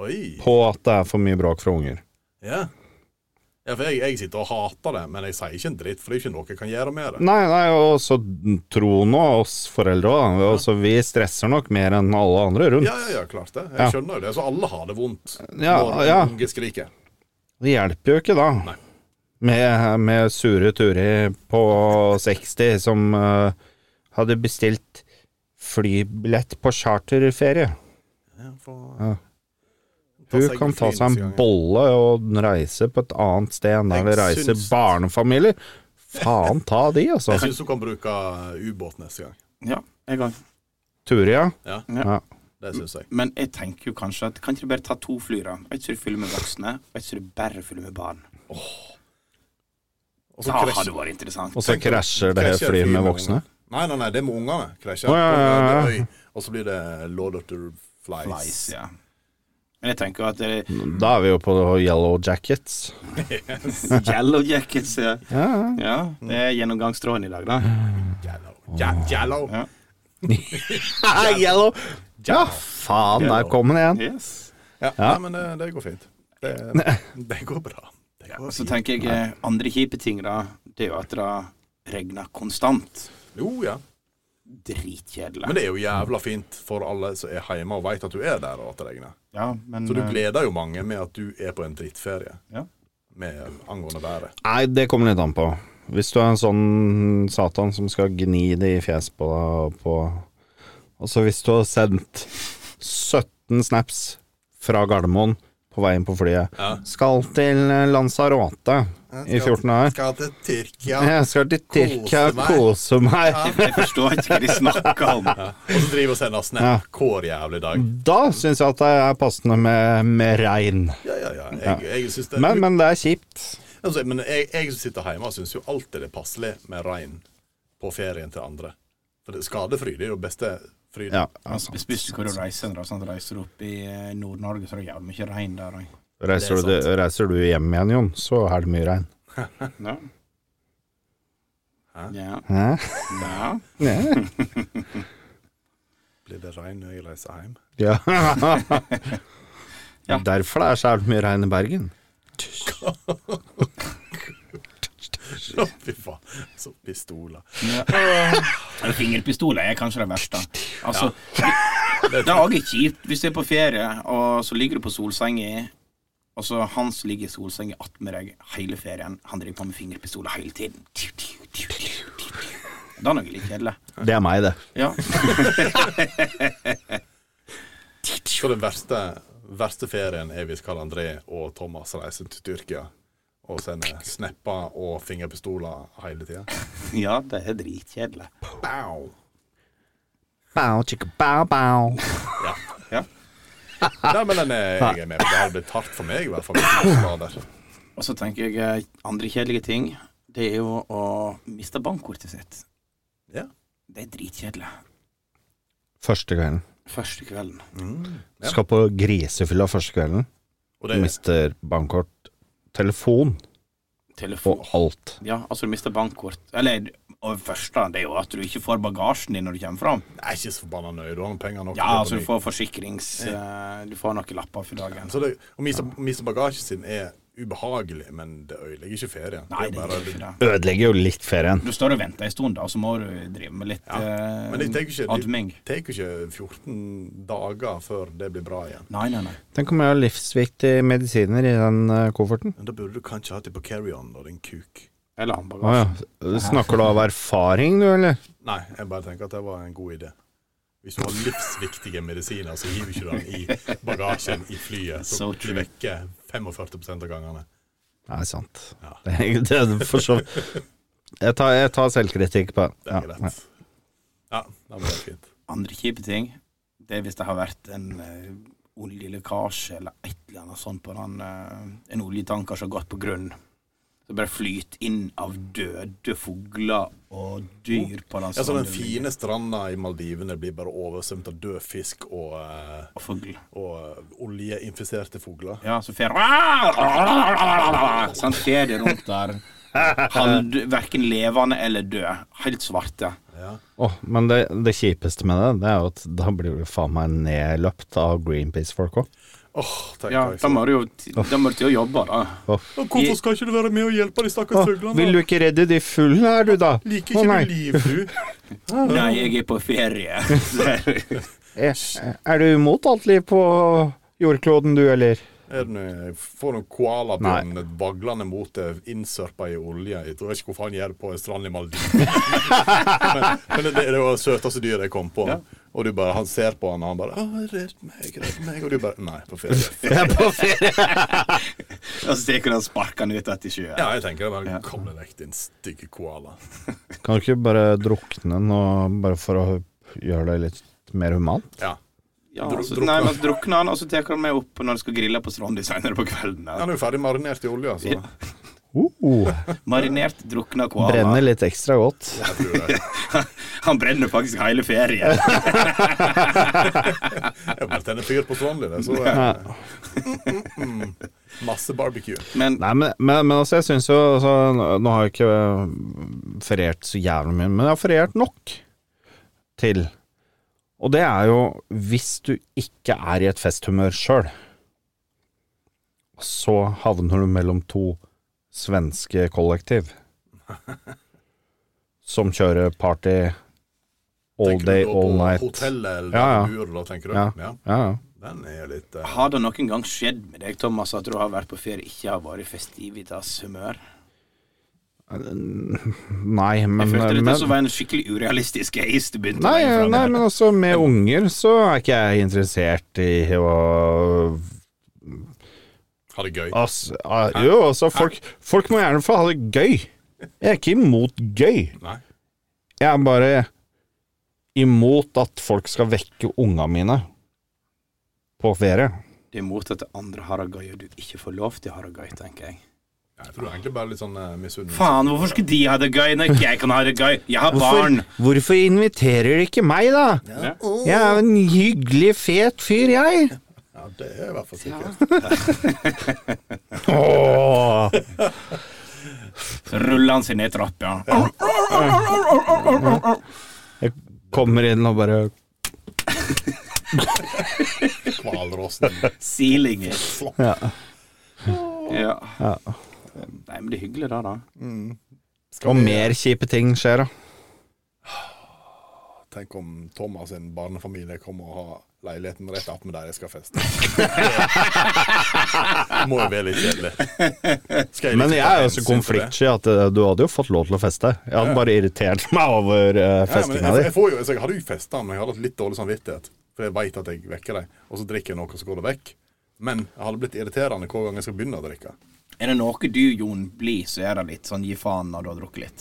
[SPEAKER 3] Oi.
[SPEAKER 5] på at det er for mye bråk fra unger.
[SPEAKER 3] Ja. ja, for jeg, jeg sitter og hater det, men jeg sier ikke en dritt, for det er ikke noe jeg kan gjøre med det.
[SPEAKER 5] Nei, nei, og så tro nå oss foreldre òg, altså vi stresser nok mer enn alle andre rundt.
[SPEAKER 3] Ja, ja, ja, klart det.
[SPEAKER 5] Ja.
[SPEAKER 3] Jeg skjønner jo det. Så alle har det vondt
[SPEAKER 5] Ja,
[SPEAKER 3] når
[SPEAKER 5] ja.
[SPEAKER 3] unge skriker.
[SPEAKER 5] Det hjelper jo ikke da,
[SPEAKER 3] Nei.
[SPEAKER 5] med, med sure Turi på 60 som eh, hadde bestilt flybillett på charterferie.
[SPEAKER 3] Ja, for...
[SPEAKER 5] Ja.
[SPEAKER 3] Ta
[SPEAKER 5] Hun
[SPEAKER 3] seg
[SPEAKER 5] kan
[SPEAKER 3] en
[SPEAKER 5] ta
[SPEAKER 3] fin
[SPEAKER 5] seg en
[SPEAKER 3] gang.
[SPEAKER 5] bolle og reise på et annet sted enn der
[SPEAKER 3] Jeg
[SPEAKER 5] det reiser
[SPEAKER 3] syns-
[SPEAKER 5] barnefamilier. Faen ta de, altså.
[SPEAKER 3] Jeg syns hun kan bruke eh, ubåt neste gang.
[SPEAKER 4] Ja, en gang.
[SPEAKER 5] Turi, ja.
[SPEAKER 3] Ja,
[SPEAKER 5] ja.
[SPEAKER 3] det syns jeg.
[SPEAKER 4] Men jeg tenker jo kanskje at kan ikke du bare ta to fly, da? Et som du fyller med voksne, og et som du bare fyller med barn.
[SPEAKER 3] Og
[SPEAKER 4] Da
[SPEAKER 3] så krasj-
[SPEAKER 4] hadde det vært interessant.
[SPEAKER 5] Og så krasjer det
[SPEAKER 3] krasjer
[SPEAKER 5] flyet med
[SPEAKER 3] ungene.
[SPEAKER 5] voksne.
[SPEAKER 3] Nei, nei, nei, det er med ungene. Krasjer.
[SPEAKER 5] Å, ja, ja, ja.
[SPEAKER 3] Det er øy, Og så blir det Lord of the Flies.
[SPEAKER 4] Flies, ja. Men jeg tenker at eh, det
[SPEAKER 5] Da er vi jo på Yellow Jackets.
[SPEAKER 4] Yellow jackets, ja.
[SPEAKER 5] Ja,
[SPEAKER 4] ja. Det er gjennomgangstråden i dag, da.
[SPEAKER 3] Jello. Ja, jello.
[SPEAKER 4] Ja.
[SPEAKER 5] Yellow. Ja, faen, der kom den igjen.
[SPEAKER 4] Yes.
[SPEAKER 3] Ja, Nei, men det, det går fint. Det, det går bra. Det går
[SPEAKER 4] Og så
[SPEAKER 3] fint.
[SPEAKER 4] tenker jeg eh, andre kjipe ting, da. Det er jo at det regner konstant.
[SPEAKER 3] Jo, ja.
[SPEAKER 4] dritkjedelig.
[SPEAKER 3] Men det er jo jævla fint for alle som er hjemme og veit at du er der og at det regner.
[SPEAKER 4] Ja, men
[SPEAKER 3] Så du
[SPEAKER 4] eh,
[SPEAKER 3] gleder jo mange med at du er på en drittferie
[SPEAKER 4] Ja.
[SPEAKER 3] med eh, angående været.
[SPEAKER 5] Nei, det kommer litt an på. Hvis du er en sånn satan som skal gni det i fjes på deg på Altså, hvis du har sendt 17 snaps fra Gardermoen på veien på flyet
[SPEAKER 3] Ja.
[SPEAKER 5] Skal til Lanzarote i 14 år.
[SPEAKER 3] Skal til Tyrkia.
[SPEAKER 5] Jeg skal til Tyrkia
[SPEAKER 3] meg.
[SPEAKER 5] kose meg.
[SPEAKER 4] Jeg forstår ikke hva de snakker om.
[SPEAKER 3] Og så driver og sender snap
[SPEAKER 5] Ja. Mm.
[SPEAKER 3] hver jævlig dag.
[SPEAKER 5] Da syns jeg at det er passende med, med regn.
[SPEAKER 3] Ja, ja, ja. Jeg, jeg synes det,
[SPEAKER 5] Men, men det er kjipt.
[SPEAKER 3] Altså, men jeg, jeg som sitter hjemme, syns jo alltid det er passelig med regn på ferien til andre. For det- skadefryd er jo beste fryd.
[SPEAKER 5] Ja, altså.
[SPEAKER 4] Altså, hvis- hvis du hvor du reiser, da, sant? reiser du opp i eh, Nord-Norge, så er det jævlig mye regn der òg.
[SPEAKER 5] Reiser, du,
[SPEAKER 3] Det er
[SPEAKER 5] reiser du hjem igjen, Jon, så er det mye regn.
[SPEAKER 4] Ja.
[SPEAKER 3] Hæ?
[SPEAKER 4] Ja.
[SPEAKER 5] Hæ?
[SPEAKER 4] ja.
[SPEAKER 5] Ja.
[SPEAKER 3] Blir det regn når jeg reiser hjem?
[SPEAKER 5] Ja.
[SPEAKER 4] Ja.
[SPEAKER 5] Derfor det er så jævlig mye regn i Bergen.
[SPEAKER 3] Å, Fy faen. Så pistoler.
[SPEAKER 4] Men Fingerpistoler er kanskje det verste. Altså, det er også kjipt hvis du er på ferie, og så ligger du på solsenga, og så han som ligger i solsenga attmed deg hele ferien, han driver på med fingerpistoler hele tiden. Det er noe litt kjedelig.
[SPEAKER 5] Det er meg, det.
[SPEAKER 4] Ja.
[SPEAKER 3] Så den verste, verste ferien er hvis Karl André og Thomas reiser til Tyrkia og sender snapper og fingerpistoler hele tida.
[SPEAKER 4] ja, det er dritkjedelig.
[SPEAKER 3] Bow!
[SPEAKER 5] Bow, chicka, bow, bow.
[SPEAKER 3] Ja.
[SPEAKER 4] Ja.
[SPEAKER 3] Nei, men den er, jeg er med. på. Det hadde blitt hardt for meg, i hvert fall. hvis jeg var der.
[SPEAKER 4] Og så tenker jeg eh, andre kjedelige ting. Det er jo å miste bankkortet sitt.
[SPEAKER 3] Ja.
[SPEAKER 4] Det er dritkjedelig.
[SPEAKER 5] Første kvelden.
[SPEAKER 4] Første kvelden.
[SPEAKER 3] Ja.
[SPEAKER 5] Skal på grisefylla første kvelden.
[SPEAKER 3] Og det,
[SPEAKER 5] Mister bankkort, telefon
[SPEAKER 4] Telefon.
[SPEAKER 5] og alt.
[SPEAKER 4] Ja, altså du mister bankkort. Eller og det første det er jo at du ikke får bagasjen din når du kommer fram.
[SPEAKER 3] Jeg er ikke så forbanna nøye. Du har noen penger nok.
[SPEAKER 4] Ja, altså du får forsikrings... eh, Du får noen lapper for dagen.
[SPEAKER 3] Så det, å miste, miste bagasjen sin er ubehagelig, men det ødelegger ikke ferien.
[SPEAKER 4] Nei, det
[SPEAKER 3] er
[SPEAKER 4] er
[SPEAKER 3] bare,
[SPEAKER 4] ikke det.
[SPEAKER 5] Ødelegger jo litt ferien.
[SPEAKER 4] Du står og venter en stund, da, og så må du drive med litt
[SPEAKER 3] Ja,
[SPEAKER 4] eh,
[SPEAKER 3] men jeg tenker ikke-
[SPEAKER 4] adming.
[SPEAKER 3] det tar jo ikke 14 dager før det blir bra igjen.
[SPEAKER 4] Nei, nei, nei.
[SPEAKER 5] Tenk om jeg har livsviktige medisiner i den eh, kofferten.
[SPEAKER 3] Men da burde du kanskje hatt det på carry-on og din kuk.
[SPEAKER 4] Eller annen
[SPEAKER 5] Å ja.
[SPEAKER 4] bagasje.
[SPEAKER 5] Snakker du av erfaring, du, eller?
[SPEAKER 3] Nei, jeg bare tenker at det var en god idé. Hvis du har livsviktige medisiner, så hiver du ikke den i bagasjen i flyet. Så
[SPEAKER 4] So
[SPEAKER 3] blir
[SPEAKER 4] true.
[SPEAKER 3] det vekke 45 av gangene.
[SPEAKER 5] Nei, sant.
[SPEAKER 3] Ja.
[SPEAKER 5] Det, er- det er for så Jeg tar, jeg tar selvkritikk på
[SPEAKER 3] Det er
[SPEAKER 5] Ja.
[SPEAKER 3] greit. Ja, det blir fint.
[SPEAKER 4] Andre kjipe ting, det er hvis det har vært en eh, oljelekkasje eller et eller annet sånt på den, eh, en oljetanker som har gått på grunn. Så bare flyter inn av døde fugler og dyr på den
[SPEAKER 3] Oh. Ja, så den
[SPEAKER 4] stranden.
[SPEAKER 3] fine stranda i Maldivene blir bare oversvømt av død fisk og eh,
[SPEAKER 4] Og fugl.
[SPEAKER 3] og oljeinfiserte fugler.
[SPEAKER 4] Ja, så fer Sånn fer de rundt der. Halv, verken levende eller død. Helt svarte.
[SPEAKER 3] Ja.
[SPEAKER 5] Åh, men det, det kjipeste med det, det er jo at da blir du faen meg nedløpt av Greenpeace-folk òg.
[SPEAKER 3] Åh, tenk
[SPEAKER 4] Ja,
[SPEAKER 3] deg,
[SPEAKER 4] da må du jo da må du til å jobbe, da.
[SPEAKER 3] Og Hvorfor skal ikke du være med og hjelpe de stakkars fuglene?
[SPEAKER 5] Vil du ikke redde de fuglene her, du, da?
[SPEAKER 3] Liker
[SPEAKER 5] Å,
[SPEAKER 3] ikke
[SPEAKER 5] nei.
[SPEAKER 3] du liv, du?
[SPEAKER 4] Nei, jeg er på ferie.
[SPEAKER 5] Er, Eh, er du imot alt liv på jordkloden, du, eller?
[SPEAKER 3] Er det noe- Får noen koalabjørn vaglende mot deg, innsørpa i olje. Jeg tror ikke hvor faen gjør det på en strand i Maldivene. men, men det, det var det søteste dyret jeg kom på. Og du bare, han ser på han, og han bare Å, 'Redd meg, redd meg.' Og du bare Nei, på ferie.
[SPEAKER 5] Jeg er på ferie.
[SPEAKER 4] Og så stikker han sparkene ut etter sjøen.
[SPEAKER 3] Ja, jeg tenker det bare Kom deg vekk, din stygge koala.
[SPEAKER 5] Kan du ikke bare drukne nå, bare for å gjøre det litt mer humant?
[SPEAKER 3] Ja.
[SPEAKER 4] Ja,
[SPEAKER 3] Dru-
[SPEAKER 4] altså,
[SPEAKER 3] drukner.
[SPEAKER 4] nei, men så drukner han, og så tar han meg opp når han skal grille på Strandi senere på kvelden.
[SPEAKER 3] Han
[SPEAKER 4] Der.
[SPEAKER 3] er jo ferdig marinert i olje, så
[SPEAKER 4] Ja.
[SPEAKER 5] Uh,
[SPEAKER 4] Marinert, drukna koala.
[SPEAKER 5] brenner litt ekstra godt.
[SPEAKER 3] jeg tror det.
[SPEAKER 4] Han brenner faktisk hele ferien.
[SPEAKER 3] Jeg bare tenner fyr på Trondheim, det, så eh, Masse barbecue.
[SPEAKER 4] Men
[SPEAKER 5] Nei, men, men, men altså, jeg syns jo altså, Nå har jeg ikke øh, feriert så jævlig mye, men jeg har feriert nok til. Og det er jo hvis du ikke er i et festhumør sjøl, så havner du mellom to svenske kollektiv som kjører party all
[SPEAKER 3] Tenker du
[SPEAKER 5] day,
[SPEAKER 3] da
[SPEAKER 5] all
[SPEAKER 3] på
[SPEAKER 5] night.
[SPEAKER 3] Hotellet eller
[SPEAKER 5] Ja, ja.
[SPEAKER 3] bur, da, tenker du?
[SPEAKER 5] Ja.
[SPEAKER 3] Ja.
[SPEAKER 5] Ja, ja.
[SPEAKER 3] Den er jo litt eh,
[SPEAKER 4] Har det noen gang skjedd med deg, Thomas, at du har vært på ferie ikke har vært i festivitas humør?
[SPEAKER 5] Nei, men, eh,
[SPEAKER 4] Jeg følte dette
[SPEAKER 5] men
[SPEAKER 4] som var en skikkelig urealistisk case du begynte
[SPEAKER 5] Nei,
[SPEAKER 4] med.
[SPEAKER 5] nei, men også med unger så er ikke jeg interessert i å
[SPEAKER 3] Ha det gøy.
[SPEAKER 5] ass, ah, Jo, altså, folk, folk må gjerne få ha det gøy. Jeg er ikke imot gøy.
[SPEAKER 3] Nei.
[SPEAKER 5] Jeg er bare imot at folk skal vekke unga mine på ferie.
[SPEAKER 4] Det er imot at andre har det gøy, og du ikke får lov til å ha det gøy, tenker jeg.
[SPEAKER 3] Jeg tror egentlig bare litt sånn eh, misunnelse.
[SPEAKER 4] Faen, hvorfor skulle de ha det gøy når ikke jeg kan ha det gøy? Jeg har barn!
[SPEAKER 5] hvorfor inviterer de ikke meg, da? Jeg er en hyggelig, fet fyr, jeg.
[SPEAKER 3] Ja, det er i hvert fall sikkert.
[SPEAKER 5] Åh.
[SPEAKER 4] Ruller han seg ned trappa.
[SPEAKER 5] Jeg kommer inn og bare
[SPEAKER 3] Hvalrossen.
[SPEAKER 4] Siling.
[SPEAKER 5] ja.
[SPEAKER 4] Ja.
[SPEAKER 5] Ja.
[SPEAKER 4] Nei, men det er hyggelig, da, da.
[SPEAKER 5] Og mer kjipe ting skjer, da.
[SPEAKER 3] Tenk om Thomas sin barnefamilie kommer og har leiligheten rett attmed der jeg skal feste. Må jo være litt kjedelig. Skal
[SPEAKER 5] Men
[SPEAKER 3] liksom
[SPEAKER 5] jeg
[SPEAKER 3] ta
[SPEAKER 5] er jo
[SPEAKER 3] hensyn
[SPEAKER 5] så
[SPEAKER 3] til det?
[SPEAKER 5] konfliktsky at eh, du hadde jo fått lov til å feste. Jeg hadde bare irritert meg over eh,
[SPEAKER 3] Ja, men
[SPEAKER 5] festinga
[SPEAKER 3] jeg,
[SPEAKER 5] di.
[SPEAKER 3] jeg, får jo, altså, jeg hadde jo festa, men jeg hadde hatt litt dårlig samvittighet. For jeg veit at jeg vekker deg, og så drikker jeg noe, og så går det vekk. Men jeg hadde blitt irriterende hver gang jeg skal begynne å drikke.
[SPEAKER 4] Er det noe du, Jon, blir, så er det litt sånn gi faen når du har drukket litt.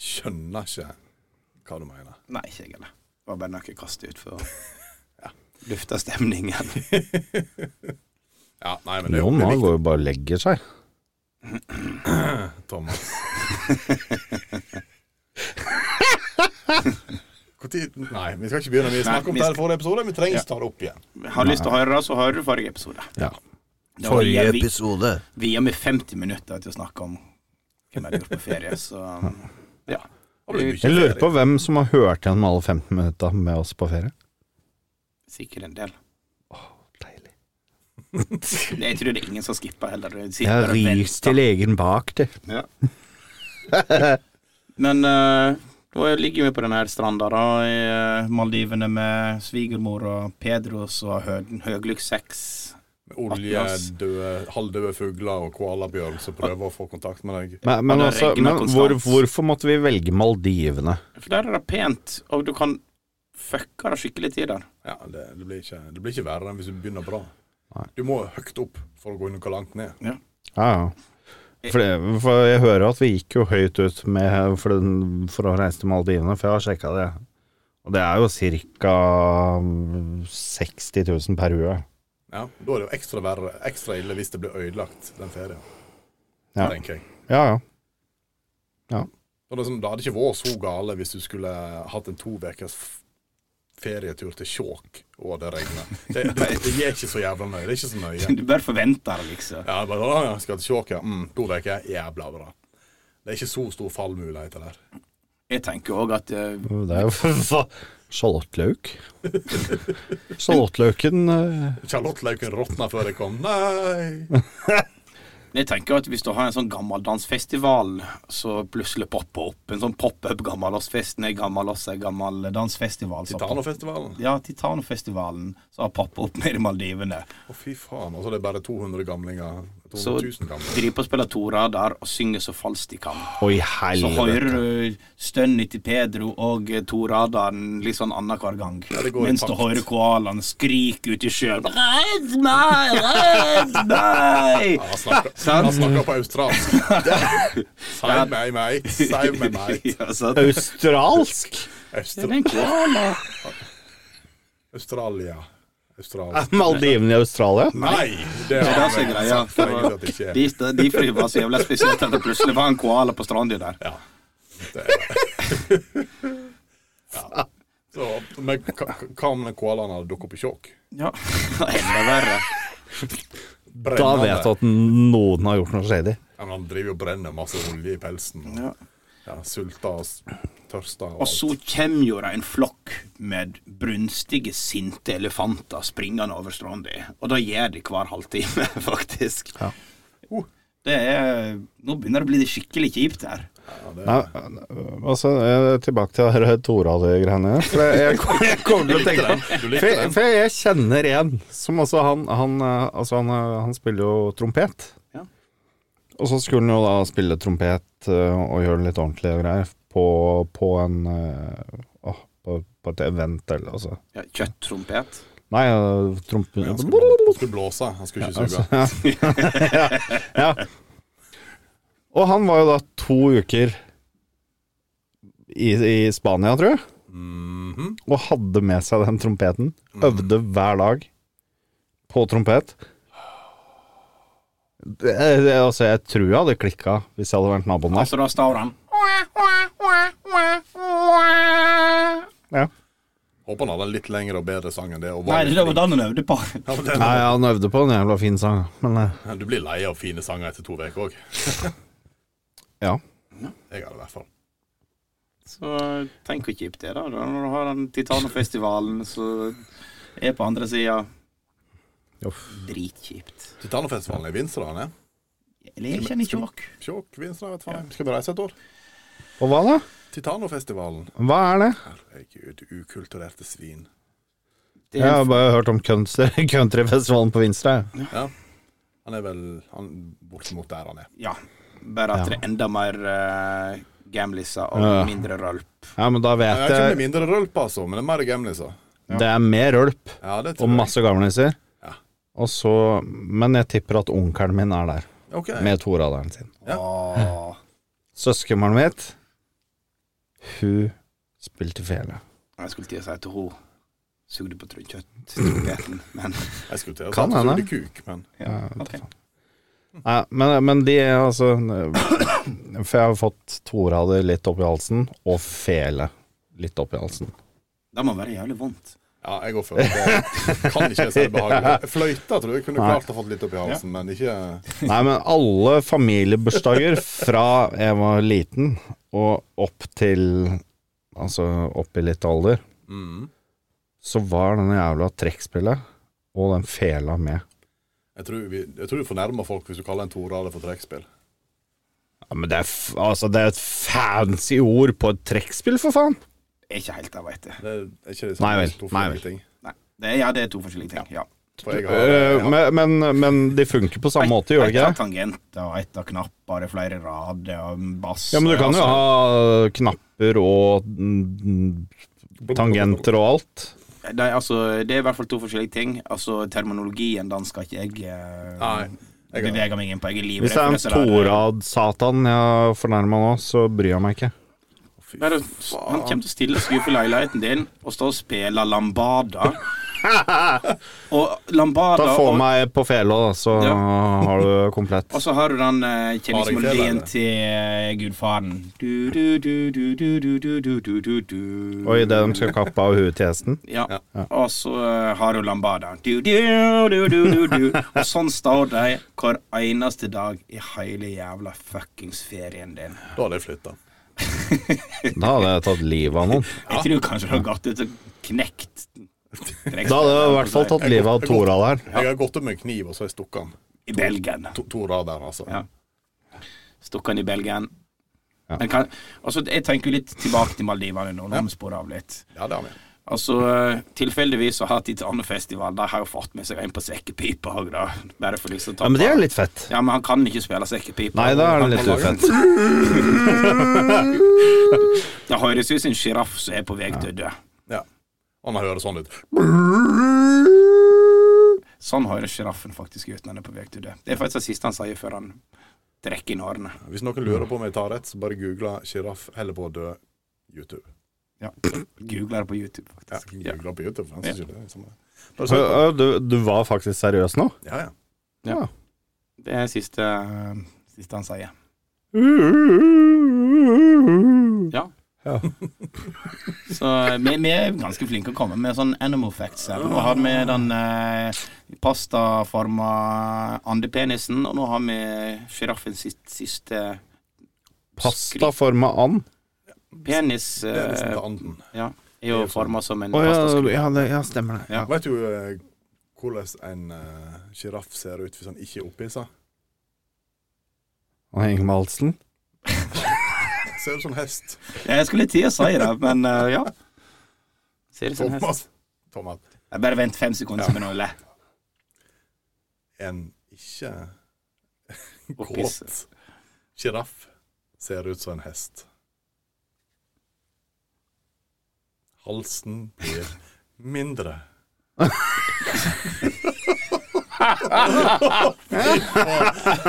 [SPEAKER 3] Skjønner ikke hva du mener.
[SPEAKER 4] Nei, ikke jeg heller. Det var bare noe jeg kastet ut for å lufte stemningen.
[SPEAKER 3] Ja, nei, men det er jo
[SPEAKER 5] Jon nå
[SPEAKER 3] viktig,
[SPEAKER 5] går jo bare og legger seg.
[SPEAKER 3] Thomas. Hvor tid- Nei, vi skal ikke begynne. Vi snakket om
[SPEAKER 4] vi
[SPEAKER 3] det
[SPEAKER 4] skal-
[SPEAKER 3] her i forrige episode. Vi trenger ikke ta det opp igjen.
[SPEAKER 4] Har du lyst til å høre det, så hører du forrige episode.
[SPEAKER 5] Ja.
[SPEAKER 4] Da
[SPEAKER 6] Forrige
[SPEAKER 4] gir vi-
[SPEAKER 6] episode.
[SPEAKER 4] Vi gir meg 50 minutter til å snakke om hvem jeg har gjort på ferie, så um, ja.
[SPEAKER 3] Da blir det mye
[SPEAKER 5] Jeg lurer
[SPEAKER 3] ferie.
[SPEAKER 5] på hvem som har hørt gjennom alle 15 minutta med oss på ferie.
[SPEAKER 4] Sikkert en del. Jeg tror det er ingen som skipper heller. De sitter
[SPEAKER 5] Jeg
[SPEAKER 4] bare og
[SPEAKER 5] ris
[SPEAKER 4] venter.
[SPEAKER 5] til legen bak, du.
[SPEAKER 4] Ja. Men eh, nå ligger vi på denne her stranda da, i eh, Maldivene med svigermor og Pedros og hø høglykk sex. Atlas.
[SPEAKER 3] Oljedøde, halvdøde fugler og koalabjørn som prøver å få kontakt med deg.
[SPEAKER 5] Men, men,
[SPEAKER 4] det
[SPEAKER 5] altså,
[SPEAKER 4] regner
[SPEAKER 5] men hvor,
[SPEAKER 4] konstant.
[SPEAKER 5] hvorfor måtte vi velge Maldivene?
[SPEAKER 4] For der er det pent, og du kan fucke det skikkelig til der.
[SPEAKER 3] Ja, det, det, blir ikke, det blir ikke verre enn hvis du begynner bra.
[SPEAKER 5] Nei.
[SPEAKER 3] Du må høyt opp for å gå noe langt ned.
[SPEAKER 5] Ja, ja. For, det, for jeg hører at vi gikk jo høyt ut med, for, den, for å reise til Maldivene, for jeg har sjekka det. Og det er jo ca. 60 000 per hue.
[SPEAKER 3] Ja, Da er det jo ekstra, verre, ekstra ille hvis det blir ødelagt den ferien,
[SPEAKER 5] Ja.
[SPEAKER 3] tenker jeg.
[SPEAKER 5] Ja, ja.
[SPEAKER 3] Og det, er sånn, det hadde ikke vært så gale hvis du skulle hatt en to ukers f- ferietur til Skjåk og det regner. Det, det, det er ikke så jævla nøye. Det er ikke så nøye.
[SPEAKER 4] Du bare forventer det, liksom.
[SPEAKER 3] Ja, bare, «Å, ja, skal til Skjåk, ja. Mm, to uker, jævla bra. Det er ikke så stor fallmulighet der.
[SPEAKER 4] Jeg tenker òg at eh,
[SPEAKER 5] Det er jo hva? Sjalottløk. Sjalottløken eh,
[SPEAKER 3] Charlottelauken råtna før jeg kom. Nei!
[SPEAKER 4] Men Jeg tenker at hvis du har en sånn gammeldansfestival, så plutselig popper opp en sånn pop-up gammeldansfest Nei, gammeldass er gammeldansfestivalen. så-
[SPEAKER 3] Titanofestivalen.
[SPEAKER 4] Ja, Titanofestivalen som har poppet opp nede i Maldivene.
[SPEAKER 3] Å, fy faen. Altså, det er bare 200 gamlinger. 200
[SPEAKER 4] Så
[SPEAKER 3] 000 gamlinger.
[SPEAKER 4] driver på å spille to rader og synger så falskt de kan.
[SPEAKER 5] Oi,
[SPEAKER 4] Så hører
[SPEAKER 5] helvete.
[SPEAKER 4] du stønnet til Pedro og eh, to radaren litt sånn annenhver gang.
[SPEAKER 3] det går i
[SPEAKER 4] Mens du
[SPEAKER 3] takt.
[SPEAKER 4] hører koalaen skrike ute i sjøen. Redd meg! Redd meg!
[SPEAKER 3] Ja, han snakker,
[SPEAKER 4] Sant?
[SPEAKER 3] han snakker på australsk. Save meg, mate. Save meg, mate.
[SPEAKER 4] Ja, sant?
[SPEAKER 5] Australsk?
[SPEAKER 4] Det er
[SPEAKER 3] Austra
[SPEAKER 4] en koala.
[SPEAKER 3] Australia. Australia.
[SPEAKER 5] Er Maldivene i Australia?
[SPEAKER 3] Nei! Det
[SPEAKER 4] Det er altså
[SPEAKER 3] har
[SPEAKER 4] det som er
[SPEAKER 3] jeg
[SPEAKER 4] greia.
[SPEAKER 3] sagt for lenge at det ikke er.
[SPEAKER 4] De, de fordi det var så jævla spesielt at det plutselig var en koala på stranda der.
[SPEAKER 3] Ja. Det er det. Ja. Så, men hva- hva om den koalaen hadde dukket opp i sjokk?
[SPEAKER 4] Ja. Enda verre.
[SPEAKER 5] Da vet du at noen har gjort noe shady.
[SPEAKER 3] Ja, men han driver jo og brenner masse olje i pelsen. Og, ja.
[SPEAKER 4] Ja.
[SPEAKER 3] sulter og s- tørster. Og
[SPEAKER 4] Og så kommer jo det en flokk med brunstige, sinte elefanter springende over stranda. Og det gjør de hver halvtime, faktisk.
[SPEAKER 5] Ja.
[SPEAKER 4] Uh, Det er, nå begynner det å bli det skikkelig kjipt her.
[SPEAKER 3] Ja, det,
[SPEAKER 5] Nei, altså, eh, tilbake til det her Tora-greiene. For jeg, jeg, kom- jeg kommer til å tenke på
[SPEAKER 3] Du
[SPEAKER 5] for,
[SPEAKER 3] likte
[SPEAKER 5] jeg-
[SPEAKER 3] den?
[SPEAKER 5] for jeg kjenner en som også han, han, eh, altså han, eh, han spiller jo trompet.
[SPEAKER 4] Ja.
[SPEAKER 5] Og så skulle han jo da spille trompet eh, og gjøre det litt ordentlig og greier på, på en eh, åh, på, på et event eller altså
[SPEAKER 4] Ja, Kjøttrompet.
[SPEAKER 5] Nei, eh, trompe...
[SPEAKER 3] Han skulle, han skulle blåse, han skulle ikke suge.
[SPEAKER 4] altså,
[SPEAKER 5] ja. Og han var jo da to uker i, i Spania, tror jeg,
[SPEAKER 3] Mhm.
[SPEAKER 5] og hadde med seg den trompeten. Øvde hver dag på trompet. Det, det, altså, jeg tror jeg hadde klikka hvis jeg hadde vært naboen der.
[SPEAKER 4] Altså, da står han.
[SPEAKER 5] Ja.
[SPEAKER 3] Håper han hadde en litt lengre og bedre sang enn det. Og
[SPEAKER 4] Nei,
[SPEAKER 3] var
[SPEAKER 4] det var den han øvde på.
[SPEAKER 3] Ja, men det-
[SPEAKER 5] Nei, han øvde på en jævla fin sang, men eh,
[SPEAKER 3] Du blir lei av fine sanger etter to uker òg.
[SPEAKER 5] ja.
[SPEAKER 3] Jeg er det i hvert fall.
[SPEAKER 4] Så tenk hvor kjipt det er, da. Når du har den Titanofestivalen som er på andre sida. Dritkjipt.
[SPEAKER 3] Titanofestivalen i Vinstra, han er.
[SPEAKER 4] Eller jeg kjenner ikke nok.
[SPEAKER 3] Sjokk, Vinstra, vet faen. jeg. Skal vi reise et år?
[SPEAKER 5] Og hva da?
[SPEAKER 3] Titanofestivalen.
[SPEAKER 5] Hva er det?
[SPEAKER 3] Herregud, ukulturerte svin.
[SPEAKER 4] Det
[SPEAKER 5] Jeg
[SPEAKER 4] er
[SPEAKER 5] har bare hørt om country- countryfestivalen på Vinstra. jeg.
[SPEAKER 3] Ja. Han er vel han, bortimot der han er.
[SPEAKER 4] Ja. Bare at det er enda mer uh, gamliser og
[SPEAKER 5] Ja.
[SPEAKER 4] mindre rølp.
[SPEAKER 5] Ja, men da
[SPEAKER 3] Jeg
[SPEAKER 5] vet
[SPEAKER 3] er ikke
[SPEAKER 5] jeg
[SPEAKER 3] med mindre rølp, altså, men det er mer gamliser.
[SPEAKER 5] Det er mer rølp
[SPEAKER 3] Ja, det
[SPEAKER 5] og
[SPEAKER 3] tror jeg.
[SPEAKER 5] masse gamliser.
[SPEAKER 3] Ja.
[SPEAKER 5] Og så, men jeg tipper at onkelen min er der,
[SPEAKER 3] Ok.
[SPEAKER 5] med toraderen sin.
[SPEAKER 3] Ja.
[SPEAKER 4] Åh.
[SPEAKER 5] Søskenbarnet mitt, hun spilte fele.
[SPEAKER 4] Jeg skulle til å si at hun sugde på tru- kjøtttrompeten, men
[SPEAKER 3] Jeg skulle til å si
[SPEAKER 5] Kan hende.
[SPEAKER 3] sugde kuk, men
[SPEAKER 4] ja, ok.
[SPEAKER 5] Nei, men, men de er altså For jeg har fått torader litt opp i halsen, og fele litt opp i halsen.
[SPEAKER 4] Det må være jævlig vondt.
[SPEAKER 3] ja, jeg går for det. Kan ikke jeg si det behagelig. Fløyta tror jeg kunne klart å fått litt opp i halsen, men ikke
[SPEAKER 5] Nei, men alle familiebursdager fra jeg var liten og opp til Altså opp i litt alder,
[SPEAKER 3] mm.
[SPEAKER 5] så var denne jævla trekkspillet og den fela med.
[SPEAKER 3] Jeg tror, vi, jeg tror du fornærmer folk hvis du kaller en torader for trekkspill.
[SPEAKER 5] Ja, men det er, f altså, det er et fancy ord på et trekkspill, for faen!
[SPEAKER 4] Jeg er ikke helt der, veit jeg.
[SPEAKER 3] Det er ikke det
[SPEAKER 5] Nei
[SPEAKER 3] samme
[SPEAKER 5] vel,
[SPEAKER 3] som to
[SPEAKER 5] nei vel.
[SPEAKER 3] forskjellige ting.
[SPEAKER 4] Nei. Det, ja, det er to forskjellige ting. Ja.
[SPEAKER 3] For jeg har,
[SPEAKER 5] Øh, men, men, men de funker på samme måte, gjør de
[SPEAKER 4] Ett
[SPEAKER 5] ikke
[SPEAKER 4] av
[SPEAKER 5] det?
[SPEAKER 4] tangenter, og ett av knapper, det er flere rader, og en bass
[SPEAKER 5] Ja, men du kan jo
[SPEAKER 4] altså,
[SPEAKER 5] ha knapper og mm, tangenter og alt.
[SPEAKER 4] Nei, altså, Det er i hvert fall to forskjellige ting. Altså, Terminologien den skal ikke jeg, eh,
[SPEAKER 3] Nei, jeg har-
[SPEAKER 4] bevege meg inn på. Jeg er livredd
[SPEAKER 5] Hvis det er en
[SPEAKER 4] for disse der-
[SPEAKER 5] torad-satan jeg har fornærma nå, så bryr jeg meg ikke.
[SPEAKER 4] Nei, det- Han kommer til å stille seg utenfor leiligheten din og stå og spille lambada. og lambada
[SPEAKER 5] Da
[SPEAKER 4] og-
[SPEAKER 5] får meg på fela, da, så
[SPEAKER 4] Ja.
[SPEAKER 5] har du komplett.
[SPEAKER 4] Og så har du den eh, kjenningsmelodien
[SPEAKER 3] Har jeg
[SPEAKER 4] til eh, gudfaren. Du, du, du, du, du, du, du, du, du, du, du.
[SPEAKER 5] Og idet de skal kappe av huet til hesten
[SPEAKER 4] Ja. Og så eh, har du lambada. Du, du, du, du, du, du. Og sånn står de hver eneste dag i hele jævla fuckings ferien din.
[SPEAKER 3] Da hadde jeg flytta.
[SPEAKER 5] Da hadde jeg tatt livet av noen.
[SPEAKER 4] Jeg tror kanskje du har gått ut og knekt
[SPEAKER 5] Da hadde jeg i hvert fall tatt livet av toraderen.
[SPEAKER 3] Jeg har gått opp med en kniv, og så har jeg stukket den.
[SPEAKER 4] I Belgien.
[SPEAKER 3] To, to rader, altså.
[SPEAKER 4] Ja. Stukk han i Belgien.
[SPEAKER 5] Ja.
[SPEAKER 4] Men kan, altså, jeg tenker jo litt tilbake til Maldivene nå, når vi sporer av litt.
[SPEAKER 3] Ja, det har vi.
[SPEAKER 4] Altså, eh, Tilfeldigvis så har Titanefestival De har jo fått med seg en på sekkepipa òg, da. Bare for liksom å ta
[SPEAKER 5] Ja, men det er jo litt fett.
[SPEAKER 4] Ja, men han kan ikke spille sekkepipa.
[SPEAKER 5] Nei, da er det litt
[SPEAKER 3] Han lager
[SPEAKER 5] ufett.
[SPEAKER 4] Det høres ut som en sjiraff som er på vei til å dø.
[SPEAKER 3] Ja. Og han hører sånn ut.
[SPEAKER 4] Sånn høres sjiraffen faktisk ut når han er på vei til å dø. Det er faktisk det siste han sier før han trekker inn årene.
[SPEAKER 3] Hvis noen
[SPEAKER 4] Mm.
[SPEAKER 3] lurer på om jeg tar rett, så bare google 'sjiraff holder på å dø' YouTube.
[SPEAKER 4] Ja. Googler det på YouTube,
[SPEAKER 3] Ja,
[SPEAKER 4] faktisk. Ja.
[SPEAKER 3] googler på YouTube, for han synes ikke det er samme. Bare
[SPEAKER 5] Så,
[SPEAKER 3] søk på.
[SPEAKER 5] ø, Du, du var faktisk seriøs nå?
[SPEAKER 3] Ja, ja.
[SPEAKER 4] Ja. Det er siste, siste han sier. Ja.
[SPEAKER 5] Ja.
[SPEAKER 4] Så vi, vi er ganske flinke å komme med sånn animal facts her. Nå har vi den eh, pastaforma andepenisen, og nå har vi sjiraffen sitt siste
[SPEAKER 5] Pasta forma and?
[SPEAKER 4] penis.
[SPEAKER 3] Det er nesten
[SPEAKER 4] Eh,
[SPEAKER 3] til anden.
[SPEAKER 4] ja, er jo sånn. forma som en
[SPEAKER 5] Å ja,
[SPEAKER 4] pastaskrubb.
[SPEAKER 5] ja, det, ja, stemmer det.
[SPEAKER 4] Ja.
[SPEAKER 3] Vet du eh, hvordan en sjiraff ser ut hvis han ikke er opphissa?
[SPEAKER 5] Han henger med halsen.
[SPEAKER 3] Ser ut som en hest.
[SPEAKER 4] Jeg skulle til å si det, men eh, ja. Ser ut som en hest.
[SPEAKER 3] Thomas. Thomas.
[SPEAKER 4] Jeg bare vent fem sekunder, så begynner jeg å le.
[SPEAKER 3] En ikke
[SPEAKER 4] Og
[SPEAKER 3] kåt
[SPEAKER 4] pisse.
[SPEAKER 3] sjiraff ser ut som en hest. Halsen blir mindre.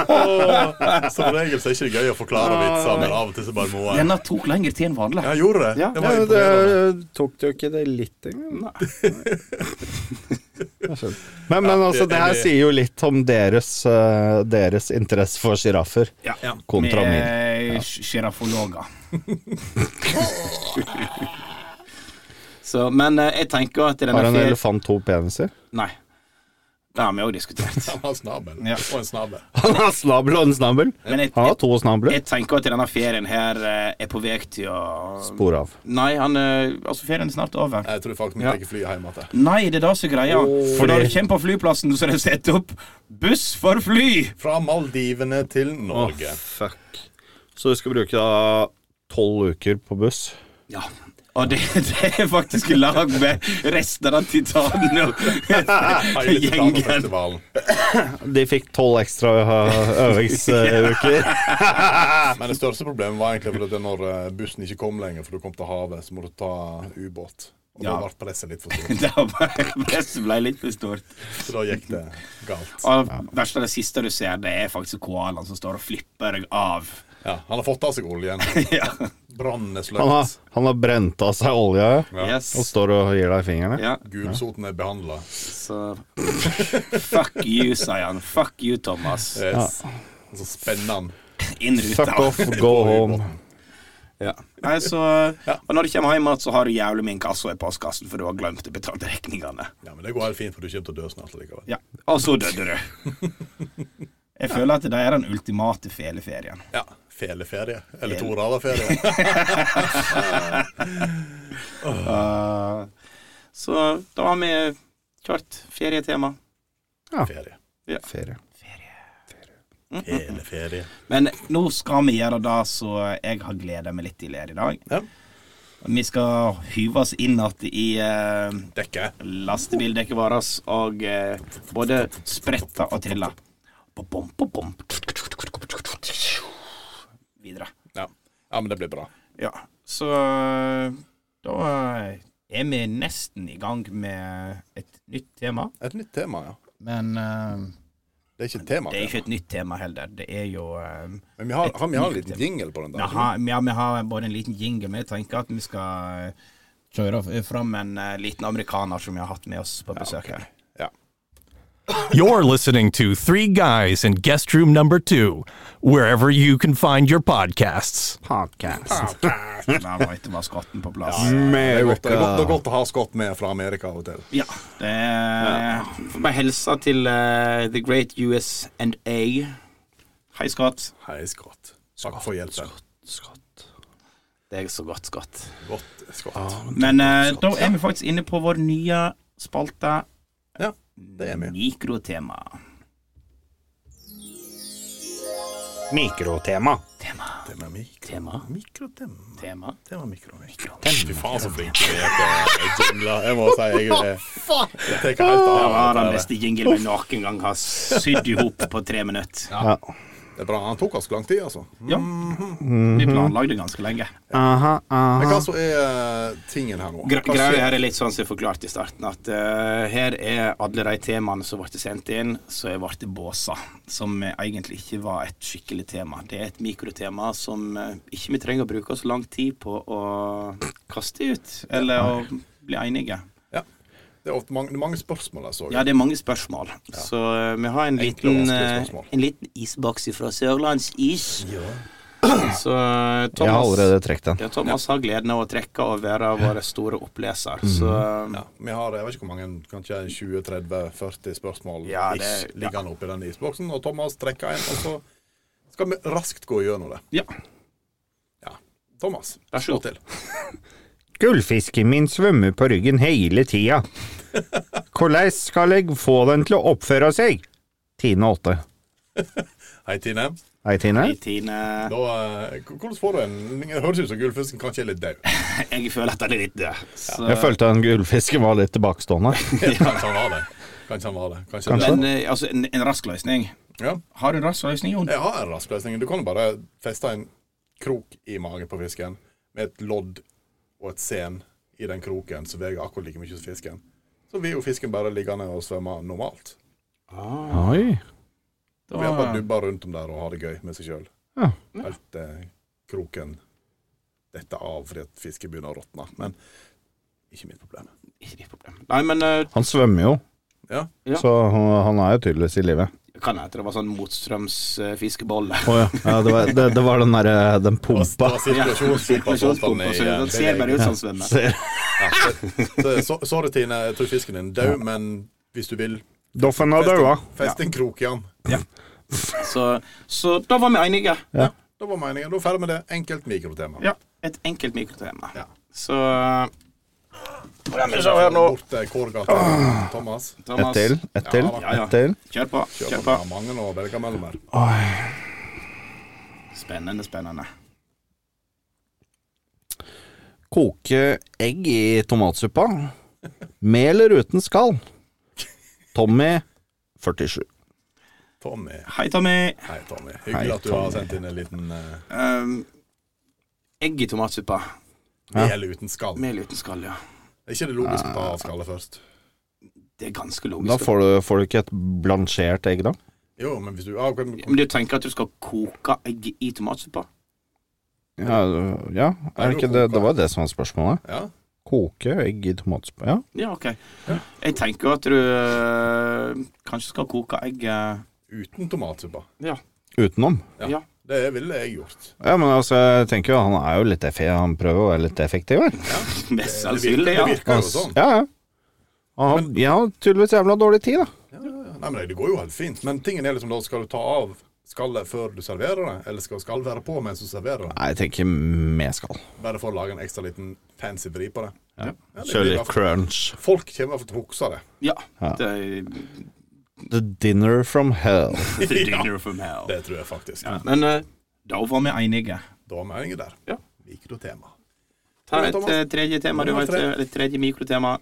[SPEAKER 3] Åh, Som regel så er det ikke gøy å forklare vitser, men av og til så bare må jeg.
[SPEAKER 4] Denne tok lengre tid enn vanlig.
[SPEAKER 3] Ja, gjorde det?
[SPEAKER 5] Ja,
[SPEAKER 3] Det var
[SPEAKER 5] men
[SPEAKER 3] imponerende.
[SPEAKER 5] det tok du ikke det litt engang? Nei. Jeg skjønner. Men, men altså, det her sier jo litt om deres, eh, deres interesse for sjiraffer
[SPEAKER 4] Ja.
[SPEAKER 5] kontra min.
[SPEAKER 4] Med eh, sjiraffologer. Så, men eh, jeg tenker at denne
[SPEAKER 5] Har en
[SPEAKER 4] fer-
[SPEAKER 5] elefant to peniser?
[SPEAKER 4] Nei. Det har vi òg diskutert.
[SPEAKER 3] Han har snabel.
[SPEAKER 4] Ja.
[SPEAKER 3] Og en snabel.
[SPEAKER 5] Han har snabel og en snabel.
[SPEAKER 4] Men jeg,
[SPEAKER 5] Han har
[SPEAKER 4] jeg,
[SPEAKER 5] to snabler.
[SPEAKER 4] jeg tenker at denne ferien her eh, er på vei til å
[SPEAKER 5] Spor av.
[SPEAKER 4] Nei, han, eh, altså ferien er snart over.
[SPEAKER 3] Jeg tror faktisk vi
[SPEAKER 4] Ja.
[SPEAKER 3] tar flyet hjem igjen.
[SPEAKER 4] Nei, det er det som er greia. For når
[SPEAKER 5] Fordi-
[SPEAKER 4] du kommer på flyplassen, så er det satt opp 'buss for fly'.
[SPEAKER 3] Fra Maldivene til Norge.
[SPEAKER 5] fuck. Så du skal bruke da tolv uker på buss?
[SPEAKER 4] Ja. Og det, det er faktisk i lag med resten av Titanen og
[SPEAKER 3] Hele
[SPEAKER 4] gjengen.
[SPEAKER 3] Titanfestivalen.
[SPEAKER 5] De fikk tolv ekstra ø- øvingsuker.
[SPEAKER 3] Men det største problemet var egentlig fordi at når eh, bussen ikke kom lenger, for du kom til havet, så må du ta ubåt. Og
[SPEAKER 4] Ja.
[SPEAKER 3] da ble presset litt for stort,
[SPEAKER 4] Det var bare- presset ble litt for stort.
[SPEAKER 3] så da gikk det galt.
[SPEAKER 4] Og det verste av det siste du ser, det er faktisk koalaen som står og flipper deg av.
[SPEAKER 3] Ja, han har fått av seg oljen.
[SPEAKER 4] ja.
[SPEAKER 3] Brannen er
[SPEAKER 5] Han har,
[SPEAKER 3] sløkt.
[SPEAKER 5] han har brent av seg olja
[SPEAKER 3] Ja.
[SPEAKER 4] Yes.
[SPEAKER 5] og står og gir deg fingrene.
[SPEAKER 4] Ja,
[SPEAKER 3] Gulsoten er behandla.
[SPEAKER 4] så Fuck you, sier han. Fuck you, Thomas.
[SPEAKER 3] Yes. Eh, Og Så spenner han.
[SPEAKER 4] Inn
[SPEAKER 5] Fuck
[SPEAKER 4] ruta.
[SPEAKER 5] off, go home.
[SPEAKER 4] Ja. Nei, så Og når du kommer hjem igjen, så har du jævlig med inkasso i postkassen, for du har glemt å betale regningene.
[SPEAKER 3] Ja, men det går helt fint, for du kommer til å dø snart likevel.
[SPEAKER 4] Ja. Og så døde du. Jeg føler at det er den ultimate feleferien.
[SPEAKER 3] Ja. Feleferie. Eller
[SPEAKER 4] Fel-
[SPEAKER 3] to rader ferie.
[SPEAKER 4] Eh, så da har vi kjørt ferietema.
[SPEAKER 3] Ferie.
[SPEAKER 5] Ferie.
[SPEAKER 3] Feleferie.
[SPEAKER 4] Men nå skal vi gjøre det så jeg har gleda meg litt til her i dag.
[SPEAKER 3] Ja.
[SPEAKER 4] Vi skal hyve oss inn igjen i eh,
[SPEAKER 3] Dekke.
[SPEAKER 4] lastebildekket vårt og eh, både sprette og trille. Ba-bom, ba-bom. Videre.
[SPEAKER 3] Ja. ja, men det blir bra.
[SPEAKER 4] Ja, så eh, da er vi nesten i gang med et nytt tema.
[SPEAKER 3] Et nytt tema, ja.
[SPEAKER 4] Men eh,
[SPEAKER 3] Det er ikke et tema,
[SPEAKER 4] det er ikke et nytt tema heller. Det er jo eh,
[SPEAKER 3] men vi har, har vi har en
[SPEAKER 4] nytt
[SPEAKER 3] liten
[SPEAKER 4] tema.
[SPEAKER 3] jingle på den der.
[SPEAKER 4] vi har- ja, vi har både en liten jingle, men jeg tenker at vi skal eh, kjøre f- fram en eh, liten amerikaner som vi har hatt med oss på besøk her.
[SPEAKER 3] Ja.
[SPEAKER 6] You're listening to Three Guys in Guest Room Number Two, wherever you can find your podcasts.
[SPEAKER 5] Podcast.
[SPEAKER 4] La meg ikke være skotten på plass.
[SPEAKER 3] Det er, godt, det, er godt, det
[SPEAKER 5] America.
[SPEAKER 3] er godt å ha skott med fra Amerika av og til.
[SPEAKER 4] Ja. Det er, får Eh, bare hilse til eh, The Great US and A. Hei, Scott.
[SPEAKER 3] Hei, Scott. Takk for hjelpen.
[SPEAKER 4] Det er så godt, Scott.
[SPEAKER 3] Godt, Scott.
[SPEAKER 4] Men eh, da er vi faktisk inne på vår nye spalte
[SPEAKER 3] Ja, det er vi.
[SPEAKER 4] Mikrotema.
[SPEAKER 5] Mikrotema.
[SPEAKER 3] Det med mik
[SPEAKER 4] Tema?
[SPEAKER 3] mikrotem.
[SPEAKER 4] Tema?
[SPEAKER 3] Det var mikro. Fy faen, så flink du er til jingler. Jeg må si jeg er Jeg tar helt
[SPEAKER 4] Det var
[SPEAKER 3] av.
[SPEAKER 4] den
[SPEAKER 3] dette her.
[SPEAKER 4] beste jingelen vi noen gang har sydd i hop på tre minutter.
[SPEAKER 5] Ja.
[SPEAKER 3] Det er bra. Han tok oss lang tid, altså.
[SPEAKER 4] Ja. Vi planlagde ganske lenge.
[SPEAKER 5] Aha, aha.
[SPEAKER 3] Men hva så er eh, tingen her nå?
[SPEAKER 4] Gre-
[SPEAKER 3] Hva
[SPEAKER 4] Greia
[SPEAKER 3] skjer?
[SPEAKER 4] her er litt sånn som jeg forklarte i starten, at eh, her er alle de temaene som ble sendt inn, så jeg ble båsa. Som eh, egentlig ikke var et skikkelig tema. Det er et mikrotema som eh, ikke vi trenger å bruke så lang tid på å kaste ut, eller å bli enige.
[SPEAKER 3] Ja. Det er ofte mange, mange spørsmål altså. jeg så.
[SPEAKER 4] Ja, det er mange spørsmål. Så eh, vi har en
[SPEAKER 3] Enkle og
[SPEAKER 4] liten,
[SPEAKER 3] vanskelige
[SPEAKER 4] eh,
[SPEAKER 3] spørsmål.
[SPEAKER 4] en liten isboks fra Sørlandsis. Så eh, Thomas
[SPEAKER 5] Jeg har allerede trukket den.
[SPEAKER 4] Ja, Thomas har gleden av å trekke og være vår store oppleser,
[SPEAKER 5] Mm.
[SPEAKER 4] så eh,
[SPEAKER 3] Ja, vi har jeg vet ikke hvor mange, kanskje 20-30-40 spørsmål
[SPEAKER 4] Ja, det-
[SPEAKER 3] ish, liggende oppi den isboksen. Og Thomas trekker en, og så skal vi raskt gå gjennom det.
[SPEAKER 4] Ja.
[SPEAKER 3] Ja. Thomas,
[SPEAKER 4] Vær så
[SPEAKER 3] slå
[SPEAKER 4] god.
[SPEAKER 3] til.
[SPEAKER 5] Gullfisken min svømmer på ryggen hele tida. Hvordan skal jeg få den til å oppføre seg? Tine åtte.
[SPEAKER 3] Hei, Tine.
[SPEAKER 5] Hei, Tine.
[SPEAKER 4] I Tine
[SPEAKER 3] Da, eh, h- hvordan får du en Det høres ut som gullfisken kanskje er litt daud.
[SPEAKER 4] Jeg føler at han er litt død. Så,
[SPEAKER 5] Jeg følte den gullfisken var litt tilbakestående.
[SPEAKER 3] Kanskje han var det. Kanskje han var det. Kanskje
[SPEAKER 5] Kanskje.
[SPEAKER 4] men eh, altså, en, en rask løsning.
[SPEAKER 3] Det. Ja.
[SPEAKER 4] Har du en rask løsning, Jon?
[SPEAKER 3] Jeg har en rask løsning. Du kan jo bare feste en krok i magen på fisken med et lodd og et sen i den kroken som veier akkurat like mye som fisken. Så vil jo fisken bare liggende og svømme normalt.
[SPEAKER 5] Oi.
[SPEAKER 3] Da vil han bare dubbe rundt om der og ha det gøy med seg sjøl.
[SPEAKER 5] Ja.
[SPEAKER 3] Helt til kroken detter av fordi at fisken begynner å råtne. Men ikke mitt problem.
[SPEAKER 4] Ikke mitt problem. Nei, men eh,
[SPEAKER 5] Han svømmer jo,
[SPEAKER 3] Ja.
[SPEAKER 4] Ja.
[SPEAKER 5] så han han er jo tydeligvis i live.
[SPEAKER 4] kan hende det var sånn motstrøms eh, fiskebolle.
[SPEAKER 5] Å ja. ja det, var, det, det var den derre den
[SPEAKER 3] Det
[SPEAKER 5] pumpa.
[SPEAKER 3] var
[SPEAKER 4] Ja,
[SPEAKER 3] sirkulasjonspumpa som holdt han i, eh,
[SPEAKER 4] sirkulasjonspumpa, så Den ser bare ut sånn som han svømmer.
[SPEAKER 5] Ser-
[SPEAKER 3] Så- så- Sorry, Tine. Jeg tror fisken din er død, men hvis du vil,
[SPEAKER 5] Doffen har
[SPEAKER 3] fest
[SPEAKER 5] daua.
[SPEAKER 3] en, fest en krok i den.
[SPEAKER 4] Så, så da var vi enige.
[SPEAKER 3] Det var meningen. Da er vi ferdig med det. Enkelt mikrotema.
[SPEAKER 4] Ja. Et enkelt mikrotema.
[SPEAKER 3] Ja.
[SPEAKER 4] Så La meg se her nå.
[SPEAKER 3] Bort til Kårgata. Thomas.
[SPEAKER 5] Ett
[SPEAKER 4] Thomas,
[SPEAKER 5] til, ett til,
[SPEAKER 4] Ja, ja.
[SPEAKER 5] ett til.
[SPEAKER 4] kjør på.
[SPEAKER 3] Kjør på.
[SPEAKER 4] Kjør på.
[SPEAKER 3] Det er mange å velge mellom her.
[SPEAKER 4] Spennende, spennende.
[SPEAKER 5] Koke egg i tomatsuppa. Med eller uten skall. Tommy 47.
[SPEAKER 3] Tommy.
[SPEAKER 4] Hei, Tommy.
[SPEAKER 3] Hei, Tommy.
[SPEAKER 5] Hei,
[SPEAKER 3] Hyggelig at du
[SPEAKER 5] Tommy.
[SPEAKER 3] har sendt inn en liten eh,
[SPEAKER 4] Um, egg i tomatsuppa.
[SPEAKER 3] mel uten skall.
[SPEAKER 4] Mel uten skall, ja.
[SPEAKER 3] Er ikke det logisk å ta
[SPEAKER 4] Ah,
[SPEAKER 3] av skallet først?
[SPEAKER 4] Det er ganske
[SPEAKER 5] Da
[SPEAKER 4] logisk.
[SPEAKER 5] får du, får du ikke et blansjert egg, da?
[SPEAKER 3] Jo, men hvis du ah, kan,
[SPEAKER 4] Men du tenker at du skal koke egg i tomatsuppa?
[SPEAKER 5] Ja, ja. Er det, ikke det, det var jo det som var spørsmålet.
[SPEAKER 3] Ja.
[SPEAKER 5] Koke egg i tomatsuppa. Ja.
[SPEAKER 4] Ja, OK. Jeg tenker jo at du øh, kanskje skal koke eh, egget
[SPEAKER 3] Uten tomatsuppa.
[SPEAKER 4] Ja.
[SPEAKER 5] Utenom.
[SPEAKER 3] Ja.
[SPEAKER 4] Ja.
[SPEAKER 3] Det ville jeg gjort.
[SPEAKER 5] Ja, men altså, jeg tenker jo han er jo litt effektiv. Han prøver å være litt effektiv her.
[SPEAKER 4] Mest
[SPEAKER 3] Det virker,
[SPEAKER 4] sannsynlig, ja.
[SPEAKER 3] det virker jo sånn.
[SPEAKER 5] Ja, ja. Han har ja, tydeligvis jævla dårlig tid, da.
[SPEAKER 3] Nei, men Det går jo helt fint. Men tingen er liksom da, skal du ta av skallet før du serverer det? Eller skal skallet være på mens du serverer det?
[SPEAKER 5] Nei, jeg tenker med skall.
[SPEAKER 3] Bare for å lage en ekstra liten fancy vri på det. Ja. det
[SPEAKER 5] Kjør
[SPEAKER 3] blir i
[SPEAKER 5] litt
[SPEAKER 3] hvert fall-
[SPEAKER 5] crunch.
[SPEAKER 3] Folk kommer i hvert fall til å huske det.
[SPEAKER 4] Ja.
[SPEAKER 5] Ja.
[SPEAKER 4] Det er
[SPEAKER 5] The dinner from hell.
[SPEAKER 4] the dinner from hell.
[SPEAKER 3] Det tror jeg faktisk.
[SPEAKER 4] Ja. Men øh, da var vi enige.
[SPEAKER 3] Da var meningen der.
[SPEAKER 4] Ja.
[SPEAKER 3] Mikrotema.
[SPEAKER 4] Ta
[SPEAKER 3] Ja,
[SPEAKER 4] et
[SPEAKER 3] Thomas.
[SPEAKER 4] øh, tredje tema. Du
[SPEAKER 3] Nummer
[SPEAKER 4] har et,
[SPEAKER 3] tre.
[SPEAKER 4] øh, et tredje mikrotema.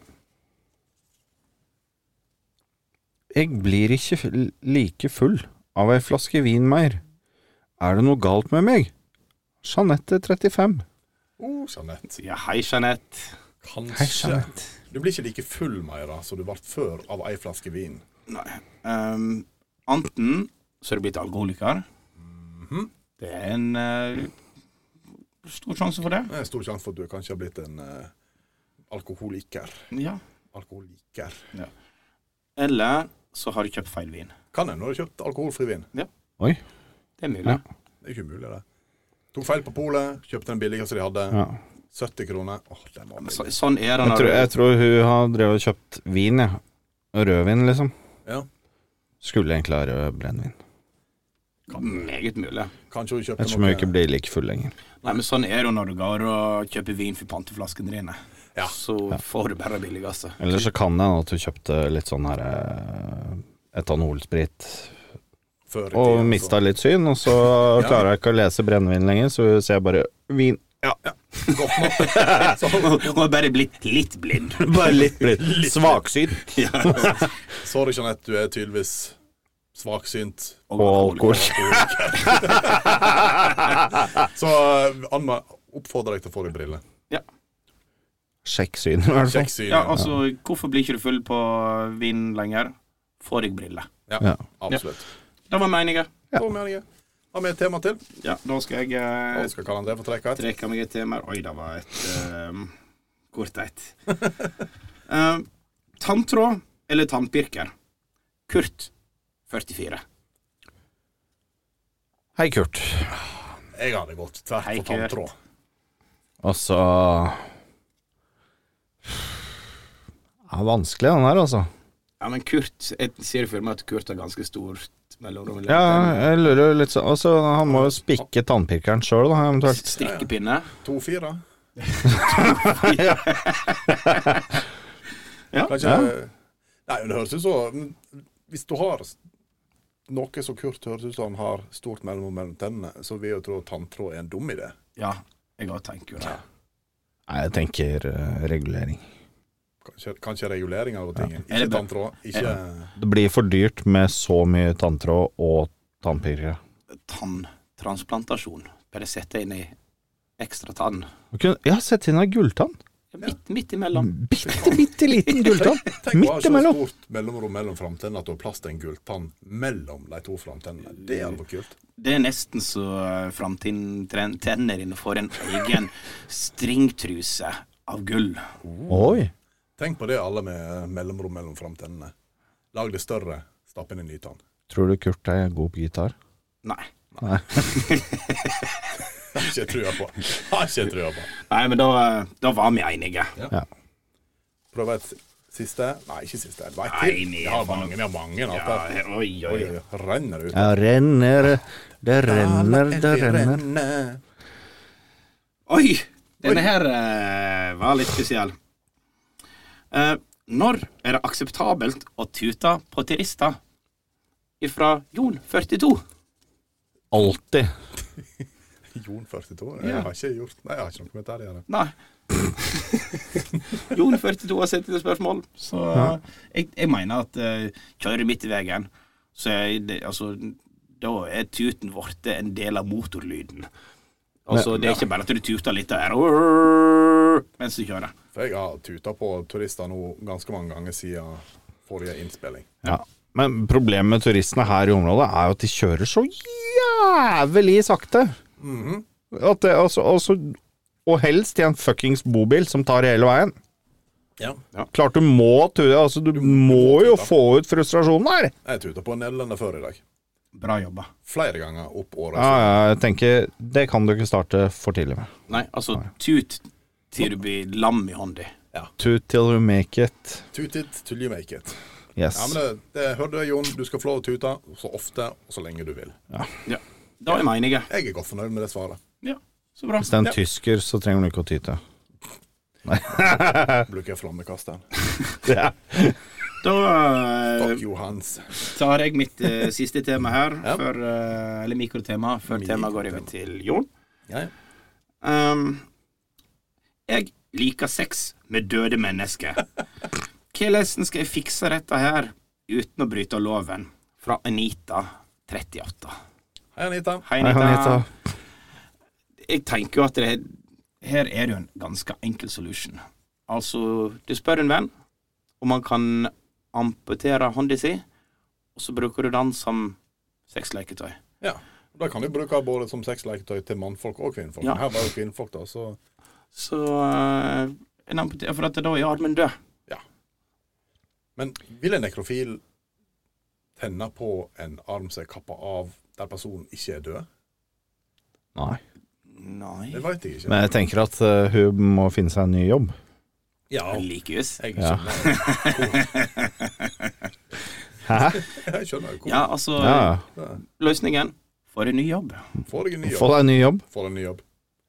[SPEAKER 5] Jeg blir ikke f- like full av ei flaske vin mer. Er det noe galt med meg? Jeanette 35.
[SPEAKER 3] Oh, Jeanette.
[SPEAKER 4] Ja, hei, Jeanette.
[SPEAKER 3] Kanskje. Du blir ikke like full mer da, som du ble før av ei flaske vin.
[SPEAKER 4] Nei. Um, enten så er du blitt alkoholiker.
[SPEAKER 3] Mhm.
[SPEAKER 4] Det er en øh, stor sjanse for det.
[SPEAKER 3] Det er stor sjanse for at du kanskje har blitt en eh, alkoholiker.
[SPEAKER 4] Ja.
[SPEAKER 3] Alkoholiker.
[SPEAKER 4] Eller så har du kjøpt feil vin.
[SPEAKER 3] Kan en når du har kjøpt alkoholfri vin?
[SPEAKER 5] Oi.
[SPEAKER 4] Det er mulig.
[SPEAKER 5] Ja.
[SPEAKER 3] Det er ikke umulig, det. Tok feil på polet, kjøpte den billigste de hadde.
[SPEAKER 5] Ja.
[SPEAKER 3] 70 kroner. Åh, den var
[SPEAKER 4] Så,
[SPEAKER 3] billig.
[SPEAKER 4] sånn er det
[SPEAKER 5] Jeg
[SPEAKER 4] når
[SPEAKER 5] tror,
[SPEAKER 4] du
[SPEAKER 5] jeg tror hun har drevet og kjøpt vin, jeg. Ja. Rødvin, liksom.
[SPEAKER 3] Ja.
[SPEAKER 5] Skulle egentlig ha rød brennevin.
[SPEAKER 4] Meget mulig.
[SPEAKER 3] Kanskje hun kjøpte
[SPEAKER 5] Ettersom hun ikke blir like full lenger.
[SPEAKER 4] Nei, men sånn er det når du går og kjøper vin for panteflaskene dine.
[SPEAKER 3] Ja.
[SPEAKER 4] Så får du bare det billigste.
[SPEAKER 5] Eller så kan det hende at hun kjøpte litt sånn her eh, etanolsprit
[SPEAKER 3] før i
[SPEAKER 5] og
[SPEAKER 3] tiden, altså.
[SPEAKER 5] mista litt syn, og så klarer jeg ikke å lese brennevin lenger, så hun ser bare vin.
[SPEAKER 3] så. Godt nok. Så-
[SPEAKER 4] Du må bare bli litt blind.
[SPEAKER 5] Bare litt, litt svaksynt.
[SPEAKER 3] Sorry, Jeanette, du er tydeligvis svaksynt.
[SPEAKER 5] Og alkohol.
[SPEAKER 3] Så eh, Anna, oppfordrer deg til å få deg briller.
[SPEAKER 5] Sjekk synet, i hvert fall.
[SPEAKER 3] Sjekk synet.
[SPEAKER 4] Ja, altså, hvorfor blir ikke du full på vin lenger? Får jeg briller.
[SPEAKER 5] Ja.
[SPEAKER 3] Absolutt.
[SPEAKER 4] Det var meninga.
[SPEAKER 3] Da mener jeg Har vi et tema til?
[SPEAKER 4] Ja, da skal jeg
[SPEAKER 3] Da
[SPEAKER 4] eh,
[SPEAKER 3] skal Karl André få trekke et.
[SPEAKER 4] trekke meg et tema. Oi, det var et eh, kort et. Eh, tanntråd eller tannpirker? Kurt 44.
[SPEAKER 5] Hei, Kurt.
[SPEAKER 3] Jeg hadde gått tvert
[SPEAKER 4] Hei,
[SPEAKER 3] på tanntråd.
[SPEAKER 5] Altså Det er vanskelig, den her, altså.
[SPEAKER 4] Ja, men Kurt Jeg ser for meg at Kurt er ganske stort mellomrom.
[SPEAKER 5] Ja, jeg lurer jo litt sånn Altså, han må jo spikke tannpirkeren sjøl, da, eventuelt.
[SPEAKER 4] Strikkepinne.
[SPEAKER 3] 2-4.
[SPEAKER 4] Ja.
[SPEAKER 3] Kanskje Nei, men det høres ut som Hvis du har noe som Kurt høres ut som han har stort mellomrom mellom tennene, så vil jeg jo tro at tanntråd er en dum idé.
[SPEAKER 4] Ja, jeg òg tenker jo det.
[SPEAKER 5] Nei, jeg tenker eh, regulering.
[SPEAKER 3] Kanskje, kanskje regulering av ting.
[SPEAKER 4] Er
[SPEAKER 3] Ikke
[SPEAKER 4] det bra?
[SPEAKER 3] tanntråd. Ikke
[SPEAKER 5] Det blir for dyrt med så mye tanntråd og tannpirkere.
[SPEAKER 4] Tanntransplantasjon. Bare sette inn ei ekstra tann.
[SPEAKER 5] Du kunne- Ja, sett inn ei gulltann.
[SPEAKER 4] Midt, midt imellom.
[SPEAKER 5] Bitte, bitte liten gulltann.
[SPEAKER 3] Tenk å ha
[SPEAKER 5] Midt
[SPEAKER 3] så
[SPEAKER 5] imellom.
[SPEAKER 3] stort mellomrom mellom framtennene at du har plass til en gulltann mellom de to framtennene. Det hadde vært kult.
[SPEAKER 4] Det er nesten så eh, framtiden tren- tenner dine får en egen stringtruse av gull.
[SPEAKER 5] Oi.
[SPEAKER 3] Tenk på det, alle med mellomrom mellom framtennene. Lag det større, stapp inn en ny tann.
[SPEAKER 5] Tror du Kurt er god på gitar?
[SPEAKER 4] Nei.
[SPEAKER 3] Har ikke trua på. Har ikke trua på.
[SPEAKER 4] Nei, men da, eh, da var vi enige.
[SPEAKER 5] Ja.
[SPEAKER 3] Prøv et siste. Nei, ikke siste. Det var et
[SPEAKER 4] Nei,
[SPEAKER 3] til. Vi
[SPEAKER 4] nei,
[SPEAKER 3] har mange, vi har mange.
[SPEAKER 4] Ja,
[SPEAKER 3] Ja, ja.
[SPEAKER 4] oi,
[SPEAKER 3] Oi,
[SPEAKER 4] oi.
[SPEAKER 3] oi, oi, renner ut.
[SPEAKER 5] Ja, renner, det renner, det renner.
[SPEAKER 4] Oi! Denne her eh, var litt spesiell. Eh, når er det akseptabelt å tute på turister? Ifra Jon 42.
[SPEAKER 5] Alltid.
[SPEAKER 3] Jon 42. Jeg har ikke gjort Nei, jeg har ikke noe med dette å gjøre.
[SPEAKER 4] Nei. Jon 42 har sendt inn et spørsmål, så eh, jeg, jeg mener at eh, kjører midt i veien, så er det, altså, da er tuten blitt en del av motorlyden. Altså, Det er ikke bare at du tuter litt og er mens du kjører.
[SPEAKER 3] For jeg har tuta på turister nå ganske mange ganger siden forrige innspilling.
[SPEAKER 5] Ja. Men problemet med turistene her i området er jo at de kjører så jævlig sakte. Mhm. At det, altså, altså, og helst i en fuckings bobil som tar hele veien.
[SPEAKER 3] Ja.
[SPEAKER 5] Klart du må ture, altså, du, må, jo få ut frustrasjonen her.
[SPEAKER 3] Jeg tuta på Nederlendene før i dag.
[SPEAKER 4] Bra jobba.
[SPEAKER 3] Flere ganger opp året.
[SPEAKER 5] Ja, ja, jeg tenker, det kan du ikke starte for tidlig med.
[SPEAKER 4] Nei, altså tut til du blir lam i hånda.
[SPEAKER 5] Toot till you make it.
[SPEAKER 3] Tut it till you make it. Ja, men
[SPEAKER 5] Yes.
[SPEAKER 3] det, det hørte jeg, Jon. Du skal få lov til å tute så ofte og så lenge du vil.
[SPEAKER 4] Ja. Da er vi enige.
[SPEAKER 3] Jeg er godt fornøyd med det svaret.
[SPEAKER 4] Ja, så bra.
[SPEAKER 5] Hvis det er en tysker, så trenger du ikke å tyte.
[SPEAKER 3] Bruker jeg flammekasteren.
[SPEAKER 5] Ja.
[SPEAKER 4] Da eh,
[SPEAKER 3] Fuck you, Hans.
[SPEAKER 4] tar jeg mitt eh, siste tema her,
[SPEAKER 3] Ja.
[SPEAKER 4] før, eh, eller mikrotema, før temaet går over til Jon.
[SPEAKER 3] Ja, ja.
[SPEAKER 4] Ehm, jeg liker sex med døde mennesker. Hvordan skal jeg fikse dette her uten å bryte loven? Fra Anita 38.
[SPEAKER 3] Hei, Anita.
[SPEAKER 4] Hei,
[SPEAKER 5] Hei,
[SPEAKER 4] Anita.
[SPEAKER 5] Anita.
[SPEAKER 4] jeg tenker jo at det, her er det jo en ganske enkel solution. Altså, du spør en venn om han kan amputere hånda si, og så bruker du den som sexleketøy.
[SPEAKER 3] Ja. Da kan du bruke både som sexleketøy til mannfolk og kvinnfolk.
[SPEAKER 4] Ja.
[SPEAKER 3] Men Her var jo kvinnfolk, da, så
[SPEAKER 4] Så eh, en amputer, For at da er armen død.
[SPEAKER 3] Men vil en nekrofil tenne på en arm som er kappa av der personen ikke er død?
[SPEAKER 5] Nei.
[SPEAKER 4] Nei
[SPEAKER 3] Det veit jeg ikke.
[SPEAKER 5] Men jeg tenker at eh, hun må finne seg en ny jobb.
[SPEAKER 3] Ja,
[SPEAKER 4] Likehus.
[SPEAKER 3] jeg
[SPEAKER 5] Ja.
[SPEAKER 3] skjønner.
[SPEAKER 5] Hæ?
[SPEAKER 3] Jeg skjønner jo hvor
[SPEAKER 4] Ja, altså
[SPEAKER 5] Ja,
[SPEAKER 4] Løsningen får en ny jobb.
[SPEAKER 3] Får deg en ny
[SPEAKER 5] ja. Få
[SPEAKER 3] jobb.
[SPEAKER 5] deg en ny jobb.
[SPEAKER 3] Får en ny jobb.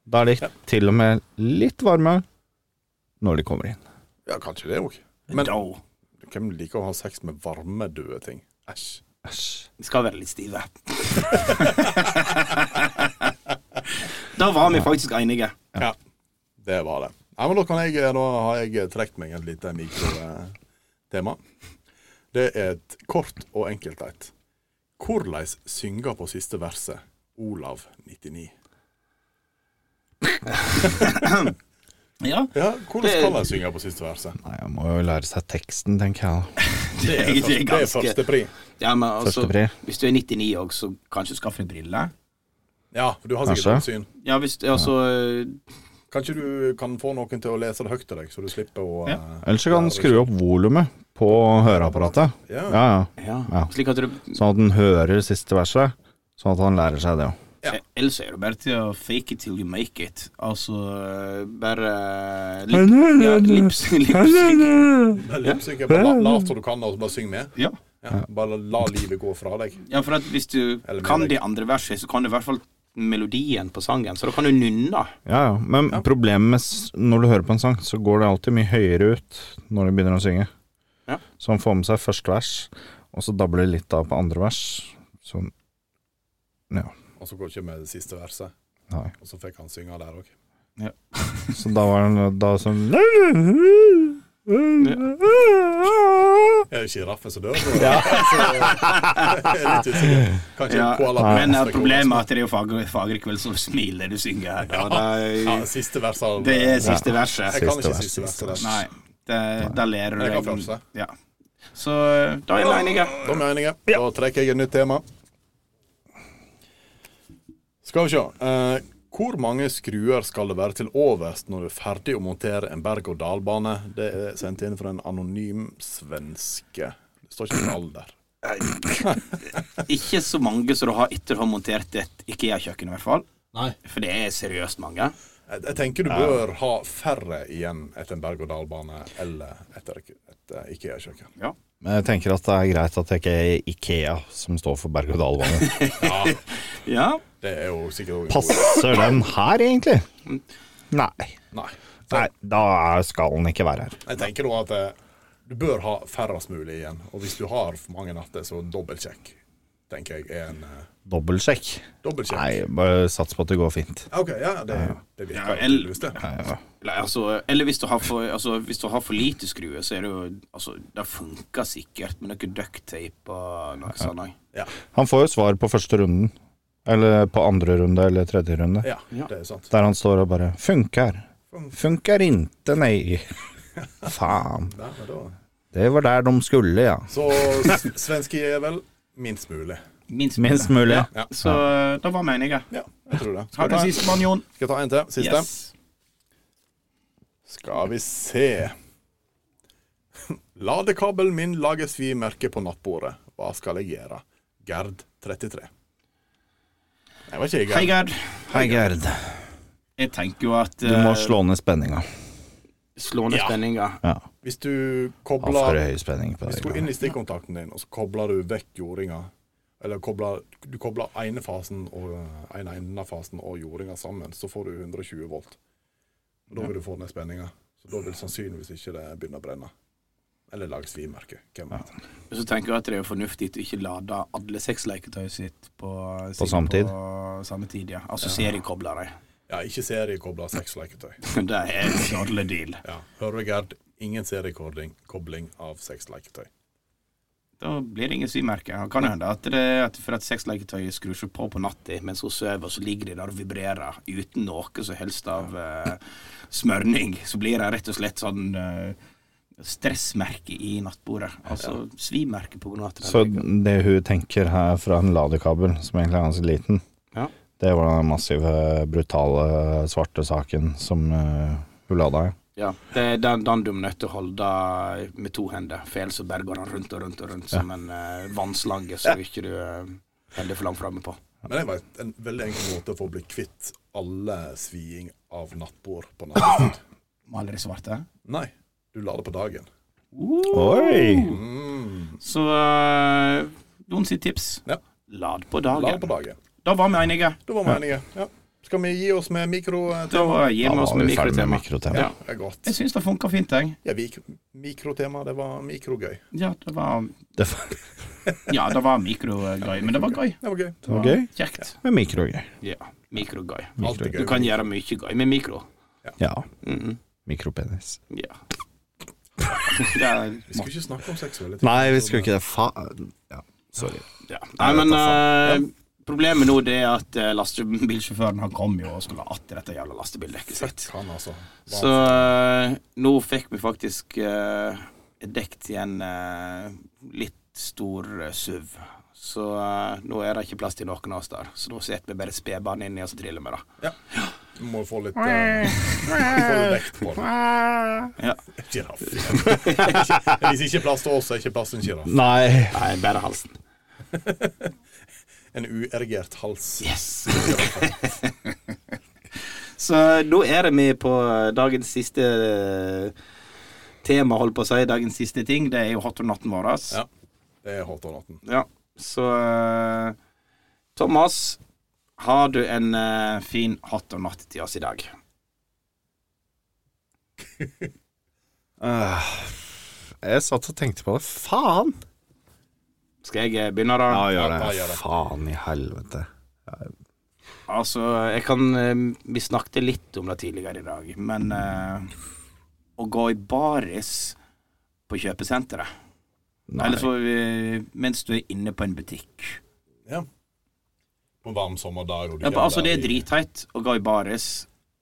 [SPEAKER 5] Da er de
[SPEAKER 3] Ja.
[SPEAKER 5] til og med litt varme når de kommer inn.
[SPEAKER 3] Ja, kanskje det òg. Men
[SPEAKER 4] da
[SPEAKER 3] hvem liker å ha sex med varme, døde ting? Æsj.
[SPEAKER 4] de skal være litt stive. da var vi faktisk enige.
[SPEAKER 3] Ja. Det var det. Nei, men da, kan jeg, da har jeg trukket meg et lite mikrotema. Det er et kort og enkelt et. Hvordan synger på siste verset Olav 99?
[SPEAKER 4] Ja.
[SPEAKER 3] Ja, hvordan
[SPEAKER 4] Det-
[SPEAKER 3] skal en synge på siste verset?
[SPEAKER 5] Nei, jeg må jo lære seg teksten, tenker jeg. da.
[SPEAKER 4] Det er, det er
[SPEAKER 3] Det er
[SPEAKER 4] ganske
[SPEAKER 3] første pri.
[SPEAKER 4] ja, men altså,
[SPEAKER 5] Førstepri.
[SPEAKER 4] Hvis du er 99 òg, så kanskje du skaffer deg briller?
[SPEAKER 3] Ja, for du har sikkert
[SPEAKER 5] Kanskje.
[SPEAKER 3] godt syn.
[SPEAKER 4] Ja, hvis altså
[SPEAKER 3] Kanskje du kan få noen til å lese det høyt til deg, så du slipper å
[SPEAKER 4] Ja.
[SPEAKER 3] eh,
[SPEAKER 5] Ellers så kan den
[SPEAKER 3] lære
[SPEAKER 5] skru opp volumet på høreapparatet.
[SPEAKER 3] Ja.
[SPEAKER 5] Ja, ja.
[SPEAKER 4] ja, Slik at du
[SPEAKER 5] Sånn at den hører siste verset, sånn at han lærer seg det òg.
[SPEAKER 3] Ja.
[SPEAKER 4] Ellers er det bare til å fake it till you make it. Altså bare eh, lip, ja, lips, lips.
[SPEAKER 3] Lipsyke, Bare la- lat som du kan, og så bare syng med.
[SPEAKER 4] Ja.
[SPEAKER 3] Ja, bare la livet gå fra deg.
[SPEAKER 4] Ja, for at hvis du
[SPEAKER 3] Eller
[SPEAKER 4] kan
[SPEAKER 3] melodi.
[SPEAKER 4] de andre versene, så kan du i hvert fall melodien på sangen. Så da kan du nynne.
[SPEAKER 5] Ja, ja. Men problemet med s- når du hører på en sang, så går det alltid mye høyere ut når du begynner å synge.
[SPEAKER 4] Ja.
[SPEAKER 5] Så han får med seg første vers, og så dabler det litt av på andre vers. Sånn
[SPEAKER 3] Og så går ikke med det siste verset.
[SPEAKER 5] Nei.
[SPEAKER 3] Og så fikk han synge der òg.
[SPEAKER 5] Så da var han da sånn
[SPEAKER 3] Er det sjiraffen som dør? Ja. jeg er litt usikker. Kanskje
[SPEAKER 4] Ja,
[SPEAKER 3] koala
[SPEAKER 4] men
[SPEAKER 3] nesten
[SPEAKER 4] eh,
[SPEAKER 3] går
[SPEAKER 4] problemet er
[SPEAKER 3] også.
[SPEAKER 4] at det er jo Fagre, Fagrekveld som smiler du synger her. da.
[SPEAKER 3] Ja,
[SPEAKER 4] det, er,
[SPEAKER 3] siste verset. av-
[SPEAKER 4] det er siste verset.
[SPEAKER 3] Jeg kan ikke
[SPEAKER 5] vers,
[SPEAKER 3] siste
[SPEAKER 5] siste
[SPEAKER 3] verset der.
[SPEAKER 4] Nei, det, da ler du.
[SPEAKER 3] Jeg kan
[SPEAKER 4] deg.
[SPEAKER 3] første.
[SPEAKER 4] Ja. Så da er vi enige.
[SPEAKER 3] Da er vi enige. Da trekker jeg et nytt tema. Skal vi se. Eh, hvor mange skruer skal det være til overs når du er ferdig å montere en berg-og-dal-bane? Det er sendt inn fra en anonym svenske. Det står ikke noen alder.
[SPEAKER 4] Ikke så mange som du har etter å ha montert et IKEA-kjøkken, i hvert fall.
[SPEAKER 3] Nei.
[SPEAKER 4] For det er seriøst mange.
[SPEAKER 3] Jeg, jeg tenker du bør ha færre igjen etter en berg-og-dal-bane eller etter et et eh, IKEA-kjøkken.
[SPEAKER 5] Men jeg tenker at det er greit at det ikke er Ikea som står for berg-og-dal-bane.
[SPEAKER 4] Ja.
[SPEAKER 3] Det er jo sikkert også en god
[SPEAKER 5] Passer den her, egentlig? Nei.
[SPEAKER 3] Nei.
[SPEAKER 5] Nei, da er- skal den ikke være her.
[SPEAKER 3] Jeg tenker da at eh, du bør ha færrest mulig igjen. Og hvis du har for mange natter, så dobbeltsjekk. Tenker jeg er en eh,
[SPEAKER 5] Dobbeltsjekk.
[SPEAKER 3] dobbeltsjekk.
[SPEAKER 5] Nei, bare sats på at det går fint.
[SPEAKER 3] OK, ja, det, det virker
[SPEAKER 4] Ja,
[SPEAKER 3] jo
[SPEAKER 4] el-
[SPEAKER 3] tydeligvis, det.
[SPEAKER 4] Eller, altså, eller hvis, du har for, altså, hvis du har for lite skruer, så er det jo altså, Det funker sikkert med noe ducktape og noe sånt. nei.
[SPEAKER 3] Ja,
[SPEAKER 5] Han får jo svar på første runden. Eller på andre runde, eller tredje runde.
[SPEAKER 3] ja, det er sant.
[SPEAKER 5] Der han står og bare 'Funkar'. 'Funkar inte, nei'. Faen.
[SPEAKER 3] Nei, men da.
[SPEAKER 5] Det var der de skulle, ja.
[SPEAKER 3] Så s- svenske er vel minst mulig.
[SPEAKER 4] Minst,
[SPEAKER 5] Minst mulig.
[SPEAKER 4] Ja. Så da var vi enige.
[SPEAKER 3] Ja, jeg tror det.
[SPEAKER 4] Ha
[SPEAKER 3] Skal jeg
[SPEAKER 4] det
[SPEAKER 3] ta,
[SPEAKER 4] siste, mann, Jon.
[SPEAKER 3] skal jeg ta en til? Siste?
[SPEAKER 4] Yes.
[SPEAKER 3] Skal vi se Ladekabelen min lager svimerke på nattbordet. Hva skal jeg gjøre? Gerd 33. Jeg vet ikke,
[SPEAKER 4] Hei,
[SPEAKER 3] Gerd.
[SPEAKER 4] Gerd.
[SPEAKER 5] Hei, Gerd.
[SPEAKER 4] Jeg tenker jo at
[SPEAKER 5] Du må
[SPEAKER 4] eh,
[SPEAKER 5] slå ned spenninga.
[SPEAKER 4] slå ned
[SPEAKER 3] Ja.
[SPEAKER 4] spenninga.
[SPEAKER 5] Ja.
[SPEAKER 3] Hvis du
[SPEAKER 5] Ha for
[SPEAKER 3] kobler
[SPEAKER 5] høy spenning på
[SPEAKER 3] Hvis du går
[SPEAKER 5] det.
[SPEAKER 3] inn i stikkontakten din, og så kobler du vekk jordinga Eller kobler, du kobler ene fasen og eh, ene enden av fasen og jordinga sammen, så får du 120 volt. Og da vil du få ned spenninga. Så da vil sannsynligvis ikke det begynne å brenne. Eller lage svimerke. Hvem vet.
[SPEAKER 4] Og Så tenker jeg at det er jo fornuftig å ikke lade alle seks leketøyet sitt på, sitt
[SPEAKER 5] samme tid.
[SPEAKER 4] på samme tid, ja. Altså seriekoblere.
[SPEAKER 3] Ja, ikke seriekobla seks leketøy.
[SPEAKER 4] det er en dårlig deal.
[SPEAKER 3] Ja. Hører du, Gerd? Ingen seriekobling kobling av seks leketøy.
[SPEAKER 4] Da blir det ingen symerke. Det kan jo hende at det at for at sexleketøy skrur seg på på natta mens hun sover, så ligger de der og vibrerer uten noe som helst av eh, smørning. Så blir det rett og slett sånn eh, stressmerke i nattbordet. Altså svimerke på grunn av at det
[SPEAKER 5] Så det hun tenker her fra en ladekabel, som egentlig er ganske liten,
[SPEAKER 4] Ja.
[SPEAKER 5] det var den massive, brutale, svarte saken som eh, hun lada i.
[SPEAKER 4] Ja, det er den, den du er nødt til å holde med to hender, for ellers så bare går den rundt og rundt og rundt som en eh, vannslange så ikke du eh, holder for langt framme på.
[SPEAKER 3] Men det var et- en veldig enkel måte for å bli kvitt alle sviing av nattbord på nattestid.
[SPEAKER 4] Maler i svarte.
[SPEAKER 3] Nei, du lader på dagen.
[SPEAKER 5] Oi!
[SPEAKER 4] Så eh, noen sitt tips.
[SPEAKER 3] Ja.
[SPEAKER 4] Lad på dagen.
[SPEAKER 3] Lader på dagen.
[SPEAKER 4] Da var vi enige.
[SPEAKER 3] Da var vi enige. Ja. Skal vi gi oss med mikro... eh,
[SPEAKER 4] Da gir
[SPEAKER 5] Da
[SPEAKER 4] vi oss
[SPEAKER 5] var
[SPEAKER 4] med
[SPEAKER 5] vi ferdig med
[SPEAKER 4] mikrotema.
[SPEAKER 5] mikrotema.
[SPEAKER 4] Ja.
[SPEAKER 3] Ja, det er godt.
[SPEAKER 4] Jeg syns det funka fint, jeg.
[SPEAKER 3] Ja, vi, mikrotema, det var mikrogøy.
[SPEAKER 4] Ja, det var,
[SPEAKER 5] Det var
[SPEAKER 4] ja, det var mikrogøy, men det var gøy.
[SPEAKER 3] Det var gøy.
[SPEAKER 5] det var gøy
[SPEAKER 4] Kjekt.
[SPEAKER 5] med mikrogreier.
[SPEAKER 4] Ja, mikrogøy.
[SPEAKER 3] Alt er
[SPEAKER 4] Mm. Du
[SPEAKER 3] gøy.
[SPEAKER 4] kan gjøre mye gøy med mikro.
[SPEAKER 5] Ja. Mm-hmm.
[SPEAKER 4] Mhm.
[SPEAKER 5] Mikropenis.
[SPEAKER 4] Ja. Det er
[SPEAKER 3] Vi skulle ikke snakke om seksualitet.
[SPEAKER 5] Nei, vi skulle ikke det. Faen. Ja, sorry.
[SPEAKER 4] Ja. Nei, men eh, problemet nå det er at eh, lastebilsjåføren han kom jo og skulle att i dette jævla lastebildekket sitt.
[SPEAKER 3] Fuck han, altså. Hva-
[SPEAKER 4] Så eh, nå fikk vi faktisk uh, dekt i en eh, litt stor eh, SUV. Så eh, nå er det ikke plass til noen av oss der. Så nå setter vi bare spedbarn inni og så triller vi, da.
[SPEAKER 3] Du må få litt, eh, få litt vekt på det.
[SPEAKER 4] Ja.
[SPEAKER 3] Sjiraff. Hvis ikke plass til oss, er ikke plass til en sjiraff.
[SPEAKER 5] Nei.
[SPEAKER 4] Nei, bare halsen.
[SPEAKER 3] En uerigert hals.
[SPEAKER 4] Yes! Så nå er det vi på dagens siste eh, tema, holdt på å si. Dagens siste ting. Det er jo Hot or Not-en vår.
[SPEAKER 3] Ja. Det er hot om natten.
[SPEAKER 4] Ja. Så eh, Thomas, har du en eh, fin Hot or Not til oss i dag?
[SPEAKER 5] Øh, Jeg satt og tenkte på det. Faen!
[SPEAKER 4] Skal jeg eh, begynne, da?
[SPEAKER 5] Ja, gjør
[SPEAKER 3] Ja, gjør
[SPEAKER 5] det.
[SPEAKER 3] det.
[SPEAKER 5] Faen i helvete.
[SPEAKER 4] Altså, jeg kan eh, Vi snakket litt om det tidligere i dag, men eh, Å gå i baris på kjøpesenteret
[SPEAKER 5] Nei.
[SPEAKER 4] Eller så eh, mens du er inne på en butikk
[SPEAKER 3] Ja. På en varm sommerdag. og du
[SPEAKER 4] ja,
[SPEAKER 3] gjør
[SPEAKER 4] Altså, det er
[SPEAKER 3] i-
[SPEAKER 4] dritheit å gå i baris,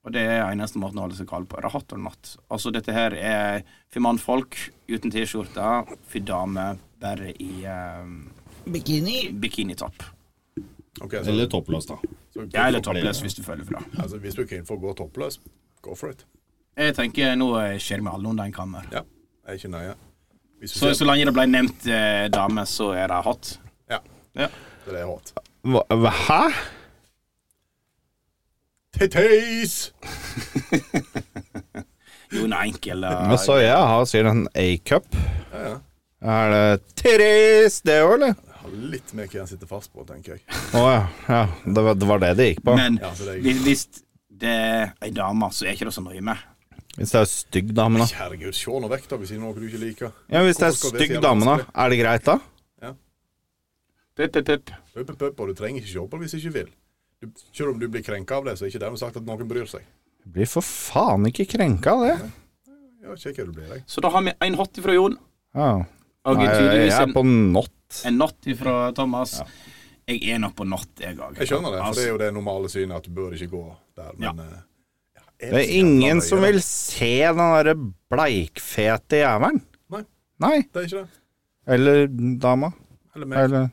[SPEAKER 4] og det er eneste måten å holde seg kald på. Det er hatt og natt. Altså, dette her er for mannfolk uten T-skjorte, for damer bare i eh,
[SPEAKER 7] Bikini.
[SPEAKER 4] bikinitopp.
[SPEAKER 3] Ok, så,
[SPEAKER 5] Eller toppløs, da.
[SPEAKER 3] så,
[SPEAKER 4] Ja, eller toppløs, hvis du føler for det.
[SPEAKER 3] Altså, hvis du ikke er innenfor å gå toppløs, go for it.
[SPEAKER 4] Jeg tenker nå skjer det med alle under en kammer.
[SPEAKER 3] Ja, jeg er ikke nøye. Hvis du
[SPEAKER 4] Så,
[SPEAKER 3] ser-
[SPEAKER 4] så lenge det ble nevnt eh, dame, så er det hot.
[SPEAKER 3] Ja,
[SPEAKER 4] Ja.
[SPEAKER 3] det er hot.
[SPEAKER 5] Hva, hva- hæ?
[SPEAKER 3] Titties!
[SPEAKER 4] Jo, en enkel eh,
[SPEAKER 5] Men så jeg har sikkert en A-cup.
[SPEAKER 3] Ja, ja.
[SPEAKER 5] Er det Therese, det òg, eller?
[SPEAKER 3] Jeg har litt mer hva jeg sitter fast på, tenker jeg.
[SPEAKER 5] Å ja. ja. Det, var, det var det det gikk på.
[SPEAKER 4] Men
[SPEAKER 3] Ja, så det er-
[SPEAKER 4] hvis, hvis det er ei dame, så er ikke det så nøye med.
[SPEAKER 5] Hvis det er stygg dame, da.
[SPEAKER 3] Herregud, se nå vekk, da, hvis det er noe du ikke liker.
[SPEAKER 5] Ja, Hvis det er
[SPEAKER 3] Hvorfor skal det
[SPEAKER 5] stygg
[SPEAKER 3] si
[SPEAKER 5] dame, da,
[SPEAKER 3] vanskelig?
[SPEAKER 5] er det greit da?
[SPEAKER 4] Pup, pup, pup.
[SPEAKER 3] Pup, pup, pup, og du trenger ikke se på det hvis du ikke vil. Du, selv om du blir krenka av det, så er ikke dermed sagt at noen bryr seg.
[SPEAKER 5] Jeg blir for faen ikke krenka av det.
[SPEAKER 3] Ja, se hva du blir, jeg.
[SPEAKER 4] Så da har vi en hot ifra Jon,
[SPEAKER 5] Ja.
[SPEAKER 4] og
[SPEAKER 5] Nei, jeg
[SPEAKER 4] tydeligvis
[SPEAKER 5] er
[SPEAKER 4] en,
[SPEAKER 5] på not.
[SPEAKER 4] en not ifra Thomas. Jeg er nok på not, jeg òg.
[SPEAKER 3] Jeg skjønner det,
[SPEAKER 4] Altså-
[SPEAKER 3] for det er jo det normale synet at du bør ikke gå der, men eh, ja,
[SPEAKER 5] Det er
[SPEAKER 3] så
[SPEAKER 5] ingen
[SPEAKER 3] jævla
[SPEAKER 5] som
[SPEAKER 3] nøye, da?
[SPEAKER 5] vil se den derre bleikfete jævelen.
[SPEAKER 3] Nei.
[SPEAKER 5] Nei.
[SPEAKER 3] Det er ikke det.
[SPEAKER 5] Eller dama.
[SPEAKER 3] Eller meg.
[SPEAKER 5] Eller,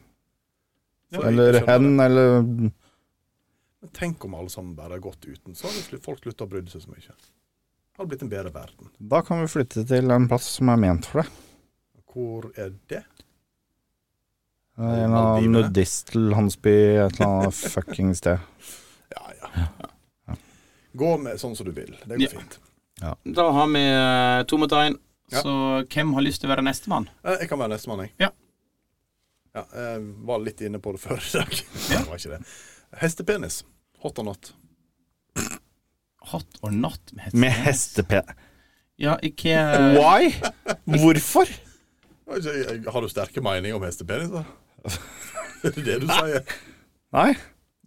[SPEAKER 3] Ja, jeg
[SPEAKER 5] eller
[SPEAKER 3] skjønner
[SPEAKER 5] hen,
[SPEAKER 3] det.
[SPEAKER 5] eller
[SPEAKER 3] Men tenk om alle sammen bare har gått uten, så hadde slu- folk slutta å bry seg så mye. Det hadde blitt en bedre verden.
[SPEAKER 5] Da kan vi flytte til en plass som er ment for det.
[SPEAKER 3] Hvor er det?
[SPEAKER 5] En eller annen
[SPEAKER 3] Maldiver.
[SPEAKER 5] nudistlandsby et eller annet fucking sted.
[SPEAKER 3] Ja, ja. Gå med sånn som du vil. Det går
[SPEAKER 4] Ja.
[SPEAKER 3] fint.
[SPEAKER 4] Altså, Da har vi eh, to mot én,
[SPEAKER 3] Ja.
[SPEAKER 4] så hvem har lyst til å være nestemann?
[SPEAKER 3] Eh, Jeg kan være nestemann, jeg.
[SPEAKER 4] Ja.
[SPEAKER 3] Ja, jeg var litt inne på det før i dag. Nei, det var ikke det. Hestepenis. Hot or not.
[SPEAKER 4] Hot or not med hest?
[SPEAKER 5] Med hestepen...
[SPEAKER 4] Ja, ikke
[SPEAKER 5] Why? Hvorfor?
[SPEAKER 3] Altså, jeg- jeg- Har du sterke meninger om hestepenis, da? Er det det du sier?
[SPEAKER 5] Nei.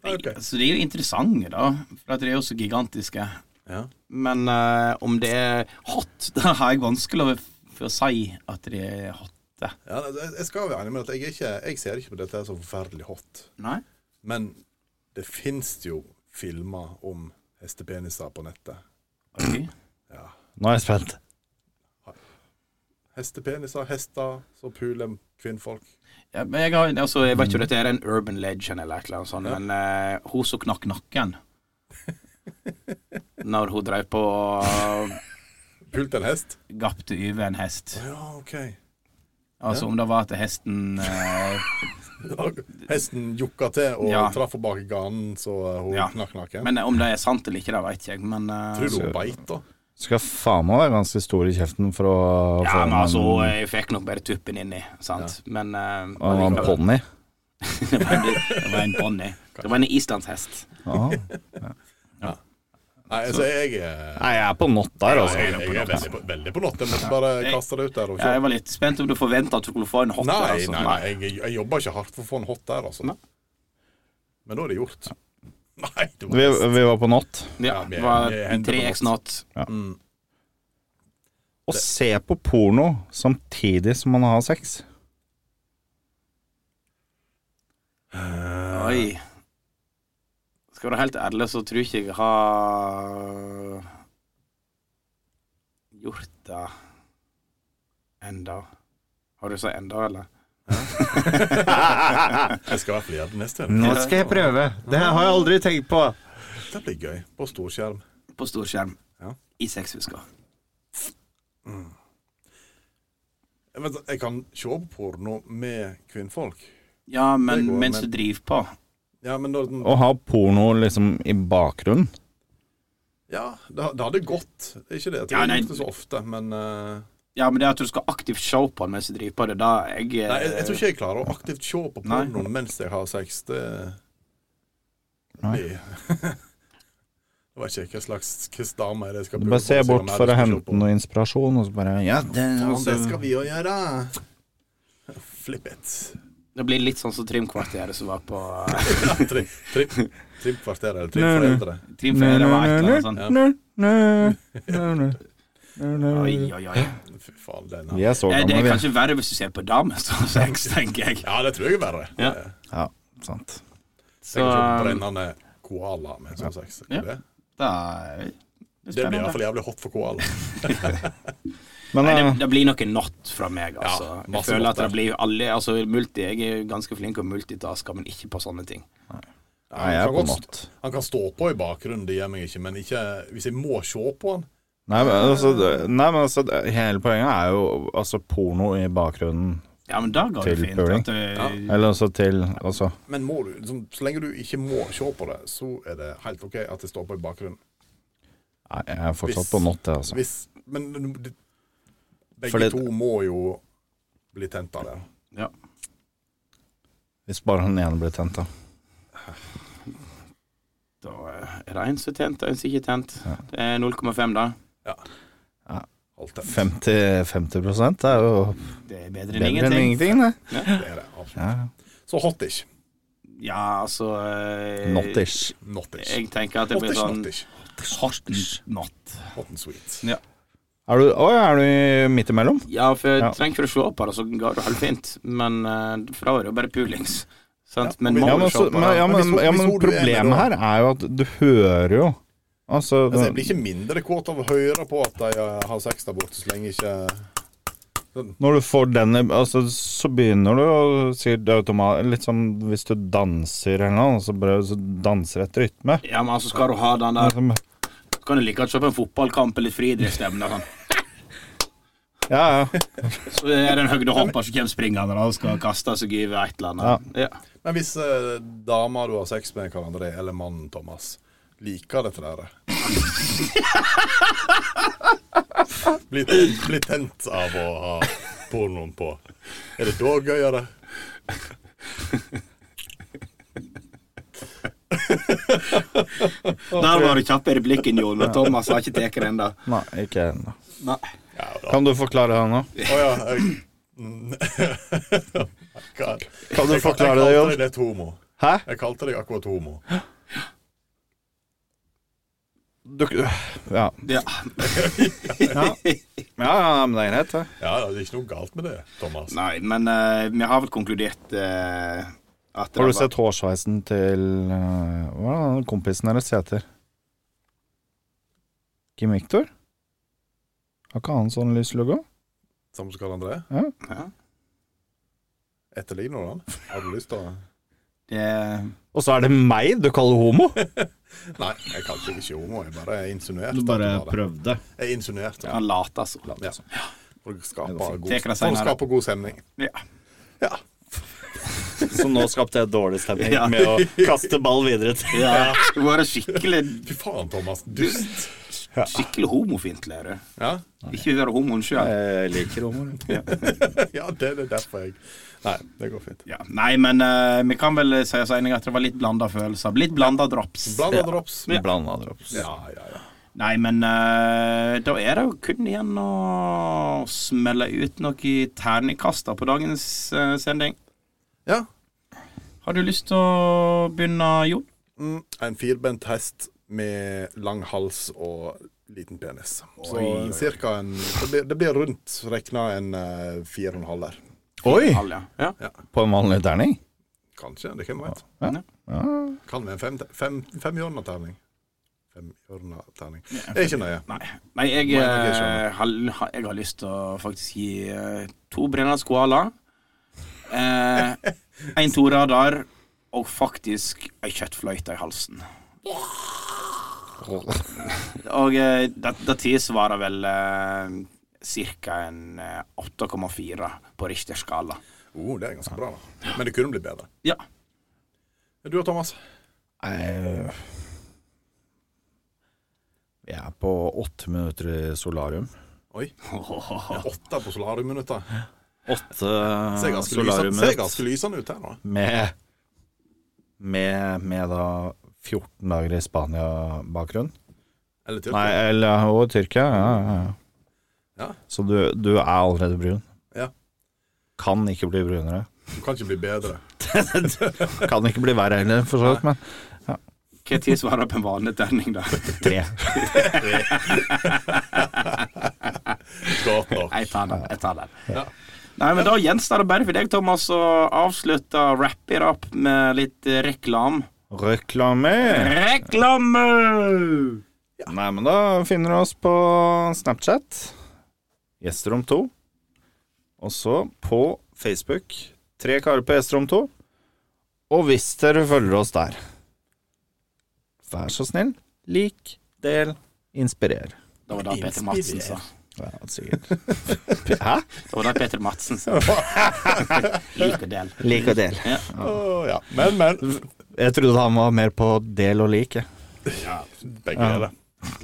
[SPEAKER 3] Nei, ok.
[SPEAKER 4] Så de er jo interessante, da. For at de er jo så gigantiske.
[SPEAKER 3] Ja.
[SPEAKER 4] Men eh, om det er hot, da har jeg vanskelig for å si at de er eh. hotte.
[SPEAKER 3] Ja, altså, jeg- jeg skal være enig med at jeg, er ikke, jeg ser ikke på dette her som forferdelig hot.
[SPEAKER 4] Nei?
[SPEAKER 3] Men det fins jo filmer om hestepeniser på nettet.
[SPEAKER 4] Ok.
[SPEAKER 5] Nå er jeg spent.
[SPEAKER 3] Hestepeniser, hester som puler kvinnfolk.
[SPEAKER 4] Ja, men jeg, har, altså, jeg vet ikke om dette er en urban legend eller et eller annet sånt, men eh, hun som knakk nakken når hun drev på og
[SPEAKER 3] Pult en hest?
[SPEAKER 4] gapte over en hest.
[SPEAKER 3] Ja, OK.
[SPEAKER 4] Altså om det var at hesten eh,
[SPEAKER 3] Ja, Hesten jukka til og
[SPEAKER 4] Ja.
[SPEAKER 3] traff henne bak i ganen, så hun
[SPEAKER 4] Ja.
[SPEAKER 3] knakk nakken.
[SPEAKER 4] Men om det er sant eller ikke, det vet jeg, men eh,
[SPEAKER 3] Tror du hun beit, da?
[SPEAKER 5] Skal faen meg være ganske stor i kjeften for å
[SPEAKER 4] Ja, men altså, hun,
[SPEAKER 5] en,
[SPEAKER 4] eh, fikk nok bare tuppen inni, sant. Men eh,
[SPEAKER 5] en, en
[SPEAKER 4] allikevel.
[SPEAKER 5] ponni.
[SPEAKER 4] det var en, det var en ponni. Det var en islandshest.
[SPEAKER 5] Ah.
[SPEAKER 3] Nei, altså, jeg er,
[SPEAKER 5] Nei, jeg er på not der, altså.
[SPEAKER 3] jeg, jeg er veldig, på, veldig på natt. Jeg måtte bare kaste det ut der. Og
[SPEAKER 4] Ja, jeg
[SPEAKER 3] kjøre.
[SPEAKER 4] var litt spent om du forventa at du skulle få en altså. hot.
[SPEAKER 3] Nei,
[SPEAKER 4] der,
[SPEAKER 3] nei, nei, jeg, jeg jobba ikke hardt for å få en hot der, altså.
[SPEAKER 4] Nei.
[SPEAKER 3] Men nå er det gjort. Nei, det var
[SPEAKER 5] Vi,
[SPEAKER 3] hest.
[SPEAKER 5] vi var på not.
[SPEAKER 4] Ja,
[SPEAKER 3] Ja, vi
[SPEAKER 4] det
[SPEAKER 3] er-
[SPEAKER 4] var
[SPEAKER 3] vi er hentet på
[SPEAKER 4] 3X not.
[SPEAKER 5] Å se på porno samtidig som man har sex.
[SPEAKER 3] Eh.
[SPEAKER 4] Oi. Skal du være helt ærlig, så tror ikke jeg har gjort det enda. Har du sagt enda, eller?
[SPEAKER 3] Jeg skal i hvert fall gjøre det neste gang.
[SPEAKER 5] Nå skal jeg prøve. Det har jeg aldri tenkt på.
[SPEAKER 3] Det blir gøy. På storskjerm.
[SPEAKER 4] På stor skjerm.
[SPEAKER 3] Ja.
[SPEAKER 4] I sexhusker.
[SPEAKER 3] Jeg, vet, jeg kan se på porno med kvinnfolk.
[SPEAKER 4] Ja,
[SPEAKER 3] Det
[SPEAKER 4] men
[SPEAKER 3] går,
[SPEAKER 4] mens
[SPEAKER 3] men-
[SPEAKER 4] du driver på.
[SPEAKER 3] Ja, men da,
[SPEAKER 5] Å ha porno liksom i bakgrunnen.
[SPEAKER 3] ja, det, det hadde gått. Det er ikke det at
[SPEAKER 4] Ja,
[SPEAKER 3] jeg
[SPEAKER 4] nei.
[SPEAKER 3] gjør det så ofte, men eh,
[SPEAKER 4] Ja, men det at du skal aktivt se på den mens du driver på, det er da jeg eh,
[SPEAKER 3] Nei, jeg, jeg tror ikke jeg klarer å aktivt se på
[SPEAKER 4] Nei.
[SPEAKER 3] porno mens jeg har sex. Det
[SPEAKER 5] Nei.
[SPEAKER 3] Det Det var ikke hva slags hvilken dame er det jeg skal
[SPEAKER 5] Du bare ser
[SPEAKER 3] på, så jeg
[SPEAKER 5] bort
[SPEAKER 3] kan
[SPEAKER 5] for å
[SPEAKER 3] heller se
[SPEAKER 5] hente
[SPEAKER 3] på.
[SPEAKER 5] noe inspirasjon, og så bare Ja, det,
[SPEAKER 3] Faen,
[SPEAKER 5] altså.
[SPEAKER 3] det skal vi jo gjøre. Flip it.
[SPEAKER 4] Det blir litt sånn som Trimkvarteret som var på eh,
[SPEAKER 3] Trim, trim, Trimkvarteret eller Trimforeldre.
[SPEAKER 4] Trimferie og et eller annet sånt. Oi, oi, oi.
[SPEAKER 3] Fy faen, den
[SPEAKER 5] Vi
[SPEAKER 3] her.
[SPEAKER 5] er så
[SPEAKER 4] Eh, Det
[SPEAKER 5] gamle,
[SPEAKER 4] er
[SPEAKER 5] vi.
[SPEAKER 4] kanskje verre hvis du ser på damer som sex, tenker jeg.
[SPEAKER 3] Ja, det tror jeg er verre.
[SPEAKER 4] Ja.
[SPEAKER 3] Eh,
[SPEAKER 5] Ja, sant.
[SPEAKER 3] Tenk å se på
[SPEAKER 4] Så-
[SPEAKER 3] brennende koala med sånn sex.
[SPEAKER 4] Ja.
[SPEAKER 3] Det,
[SPEAKER 4] Da er
[SPEAKER 3] det
[SPEAKER 4] det
[SPEAKER 3] blir i hvert
[SPEAKER 4] spennende.
[SPEAKER 3] fall jævlig hot for koala.
[SPEAKER 5] Men
[SPEAKER 4] Nei, det,
[SPEAKER 5] eh,
[SPEAKER 4] det blir noe not fra meg, altså. jeg
[SPEAKER 3] masse
[SPEAKER 4] føler
[SPEAKER 3] not
[SPEAKER 4] at det
[SPEAKER 3] der.
[SPEAKER 4] blir alle Altså, multi, jeg er jo ganske flink til å multitaske, men ikke på sånne ting.
[SPEAKER 5] Nei, jeg
[SPEAKER 3] han,
[SPEAKER 5] er
[SPEAKER 3] kan
[SPEAKER 5] på
[SPEAKER 3] godt,
[SPEAKER 5] natt.
[SPEAKER 3] han kan stå på i bakgrunnen, det gjør meg ikke, men ikke hvis jeg må se på han.
[SPEAKER 5] Nei, men altså, det- nei, men altså det- Hele poenget er jo altså porno i bakgrunnen.
[SPEAKER 4] Ja, men da går
[SPEAKER 5] Til
[SPEAKER 4] det fint.
[SPEAKER 5] puling.
[SPEAKER 4] At, eh,
[SPEAKER 5] Eller altså til altså.
[SPEAKER 3] Men må du, liksom, så lenge du ikke må se på det, så er det helt OK at det står på i bakgrunnen.
[SPEAKER 5] Nei, jeg er fortsatt
[SPEAKER 3] Hvis-
[SPEAKER 5] på natt, jeg, altså.
[SPEAKER 3] Hvis, men de, begge
[SPEAKER 5] Fordi-
[SPEAKER 3] to må jo bli tent av det.
[SPEAKER 4] ja.
[SPEAKER 5] Hvis bare den ene blir tent, da.
[SPEAKER 4] Da eh, er det en som er tent, og en som ikke er tent. Det er 0,5, da.
[SPEAKER 3] Alt det.
[SPEAKER 5] 50, 50 er jo
[SPEAKER 4] Det er
[SPEAKER 5] bedre
[SPEAKER 4] bedre enn
[SPEAKER 5] enn
[SPEAKER 4] ingenting.
[SPEAKER 5] ingenting, det.
[SPEAKER 3] det er det. absolutt.
[SPEAKER 5] Ja.
[SPEAKER 3] Så hot-ish.
[SPEAKER 4] Ja, altså eh,
[SPEAKER 5] Nottish.
[SPEAKER 3] Not-ish.
[SPEAKER 4] Jeg tenker at det blir
[SPEAKER 3] Hot-ish,
[SPEAKER 4] sånn
[SPEAKER 3] not-ish.
[SPEAKER 4] hot not.
[SPEAKER 3] Hot and sweet.
[SPEAKER 5] Eh, Er du, å, ja, er du midt imellom?
[SPEAKER 4] Ja, for jeg
[SPEAKER 5] Ja.
[SPEAKER 4] trenger ikke å se på det, så ga det halvfint. Men eh, for da var det jo bare pulings. Sant?
[SPEAKER 3] Ja,
[SPEAKER 4] men
[SPEAKER 3] og vi-
[SPEAKER 4] må
[SPEAKER 5] Ja, men,
[SPEAKER 4] du se
[SPEAKER 5] så,
[SPEAKER 4] på
[SPEAKER 5] men,
[SPEAKER 4] det.
[SPEAKER 5] ja, men,
[SPEAKER 3] Men hvis-
[SPEAKER 5] ja,
[SPEAKER 3] hvis
[SPEAKER 5] men
[SPEAKER 3] hvor du er med
[SPEAKER 5] problemet
[SPEAKER 3] da?
[SPEAKER 5] her er jo at du hører jo Altså,
[SPEAKER 3] Altså, jeg blir ikke mindre kåt av å høre på at de eh, har sex der borte, så lenge ikke
[SPEAKER 5] når du får den i- altså, Så begynner du å si det automat Litt som hvis du danser eller noe, så, bare, så danser etter rytme.
[SPEAKER 4] Ja, men altså skal du ha den der
[SPEAKER 5] Altså,
[SPEAKER 4] Kan du like godt se på en fotballkamp eller friidrettsstevne. Sånn.
[SPEAKER 5] Ja, ja.
[SPEAKER 4] Så er det en høydehopper som kommer springende da, og skal kaste seg over et eller annet. Ja.
[SPEAKER 3] Men hvis eh, dama du har sex med, Karl André, eller mannen Thomas, liker dette der blir, tent, blir tent av å ha pornoen på. Er det da gøyere?
[SPEAKER 4] Der var du kjapp i replikken, Jon. Men Thomas har ikke tatt den ennå.
[SPEAKER 5] Nei, ikke ennå.
[SPEAKER 4] Nei.
[SPEAKER 5] Kan du forklare det nå?
[SPEAKER 3] Å ja. jeg- Mm. God.
[SPEAKER 5] Kan du
[SPEAKER 3] Jeg-
[SPEAKER 5] forklare det,
[SPEAKER 3] Jeg
[SPEAKER 5] Jon?
[SPEAKER 3] kalte deg nett homo.
[SPEAKER 5] Hæ?
[SPEAKER 3] Jeg kalte deg akkurat homo.
[SPEAKER 5] Du, ja.
[SPEAKER 4] Ja.
[SPEAKER 5] Ja, ja, men det er greit, det.
[SPEAKER 3] Ja, det er ikke noe galt med det, Thomas.
[SPEAKER 4] Nei, men eh, vi har vel konkludert eh, at det
[SPEAKER 5] Har du
[SPEAKER 4] var-
[SPEAKER 5] sett hårsveisen til eh, Hva er den kompisen deres heter? Kim Victor? Har ikke han sånn lys logo?
[SPEAKER 3] Samme som Karl André?
[SPEAKER 4] Ja.
[SPEAKER 3] Etterligner du han? Har du lyst til å
[SPEAKER 4] Det-
[SPEAKER 5] Og så er det meg du kaller homo?
[SPEAKER 3] Nei, jeg kalte deg ikke homo. Jeg bare insinuerte.
[SPEAKER 5] Du
[SPEAKER 3] at
[SPEAKER 5] bare
[SPEAKER 3] var det.
[SPEAKER 5] prøvde.
[SPEAKER 3] Jeg insinuerte.
[SPEAKER 4] Han later så.
[SPEAKER 3] Ja. For å skape god,
[SPEAKER 4] Tek det
[SPEAKER 3] for å
[SPEAKER 4] senere.
[SPEAKER 3] skape god stemning.
[SPEAKER 4] Ja.
[SPEAKER 3] Ja.
[SPEAKER 5] Så nå skapte jeg dårlig stemning
[SPEAKER 4] Ja.
[SPEAKER 5] med å kaste ball videre til
[SPEAKER 4] Ja. Du har vært skikkelig,
[SPEAKER 3] Fy faen, Thomas. Dust.
[SPEAKER 4] skikkelig homofiendtlig. er du.
[SPEAKER 3] Ja,
[SPEAKER 4] Ikke være homoen sjøl.
[SPEAKER 5] Jeg liker homo.
[SPEAKER 3] ja det er derfor jeg Nei, det går fint.
[SPEAKER 4] Ja, nei, men eh, vi kan vel si oss enige at det var litt blanda følelser. Litt blanda drops.
[SPEAKER 3] Blanda drops. Ja,
[SPEAKER 5] Blanda drops.
[SPEAKER 3] ja, ja.
[SPEAKER 4] Nei, men eh, da er det jo kun igjen å smelle ut noe terningkaster på dagens eh, sending.
[SPEAKER 3] ja.
[SPEAKER 4] Har du lyst til å begynne, Jon?
[SPEAKER 3] Mm, en firbent hest med lang hals og liten penis. Så cirka en Det blir, det blir rundt regna en eh, fire og en halv der.
[SPEAKER 5] Oi!
[SPEAKER 4] Alja. Ja.
[SPEAKER 5] På en vanlig terning?
[SPEAKER 3] Kanskje. Det hvem vet.
[SPEAKER 5] Ja. Ja.
[SPEAKER 3] Kan være en fem, fem, femhjørnaterning. Femhjørnaterning. Det er ikke nøye.
[SPEAKER 4] Nei, nei jeg,
[SPEAKER 3] Nei, jeg
[SPEAKER 4] eh,
[SPEAKER 3] skjønner.
[SPEAKER 4] har, har- jeg har lyst til å faktisk gi eh, to brennende koala, eh, en to radar og faktisk ei kjøttfløyte i halsen. Og eh, det, det tilsvarer vel eh, ca. en eh, 8,4 på Richter-skala.
[SPEAKER 3] Oh, det er ganske bra, da. Men det kunne bli bedre.
[SPEAKER 4] Ja.
[SPEAKER 3] Du og Thomas?
[SPEAKER 5] Nei, Vi er på åtte minutter i solarium.
[SPEAKER 3] Oi. Åtte på solariumminutter.
[SPEAKER 5] Åtte
[SPEAKER 3] Ser ganske, lysende, ser
[SPEAKER 5] solarium
[SPEAKER 3] ganske lysende ut her nå.
[SPEAKER 5] med, med, med da 14 dager i Spania-bakgrunn.
[SPEAKER 3] Eller til.
[SPEAKER 5] Nei, eller og Tyrkia. Ja, ja, ja.
[SPEAKER 3] Ja.
[SPEAKER 5] Så du, du er allerede brun.
[SPEAKER 3] Ja.
[SPEAKER 5] Kan ikke bli brunere.
[SPEAKER 3] Du kan ikke bli bedre.
[SPEAKER 5] Kan ikke bli verre heller, for så vidt, men
[SPEAKER 4] Hva tid svarer på en vanlig terning, da?
[SPEAKER 5] tre.
[SPEAKER 3] Skater.
[SPEAKER 4] Jeg tar den. Jeg tar den.
[SPEAKER 3] Ja.
[SPEAKER 4] Nei, men Da gjenstår det bare for deg, Thomas, å avslutte Wrap It Up med litt eh, reklam.
[SPEAKER 5] Reklame!
[SPEAKER 4] Reklame!
[SPEAKER 5] Nei, men da finner du oss på Snapchat, Gjesterom 2, og så på Facebook, Tre karer på Gjesterom 2, og hvis dere følger oss der, vær så snill, lik, del, inspirer.
[SPEAKER 4] Det var da Peter Madsen sa.
[SPEAKER 5] Ja, sikkert. Hæ?
[SPEAKER 4] Det var da Peter Madsen sa. Lik og del.
[SPEAKER 5] Lik og del.
[SPEAKER 3] Å, ja. Men, men.
[SPEAKER 5] Jeg trodde han var mer på del og like.
[SPEAKER 3] Begge er det.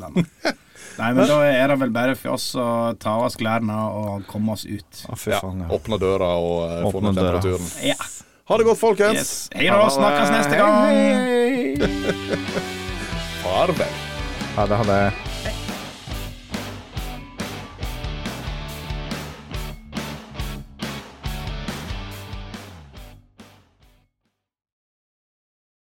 [SPEAKER 4] Nei, men da er det vel bare for oss å ta av oss klærne og komme oss ut.
[SPEAKER 5] Å, fy
[SPEAKER 3] Ja.
[SPEAKER 5] faen, ja.
[SPEAKER 3] Åpne døra og eh, få
[SPEAKER 5] Åpne
[SPEAKER 3] ned
[SPEAKER 5] døra.
[SPEAKER 3] temperaturen.
[SPEAKER 4] Ja.
[SPEAKER 3] Ha det godt, folkens.
[SPEAKER 4] Yes. Hei da, snakkes neste gang.
[SPEAKER 5] Hei, hei.
[SPEAKER 3] Farvel.
[SPEAKER 5] Ha det, ha det.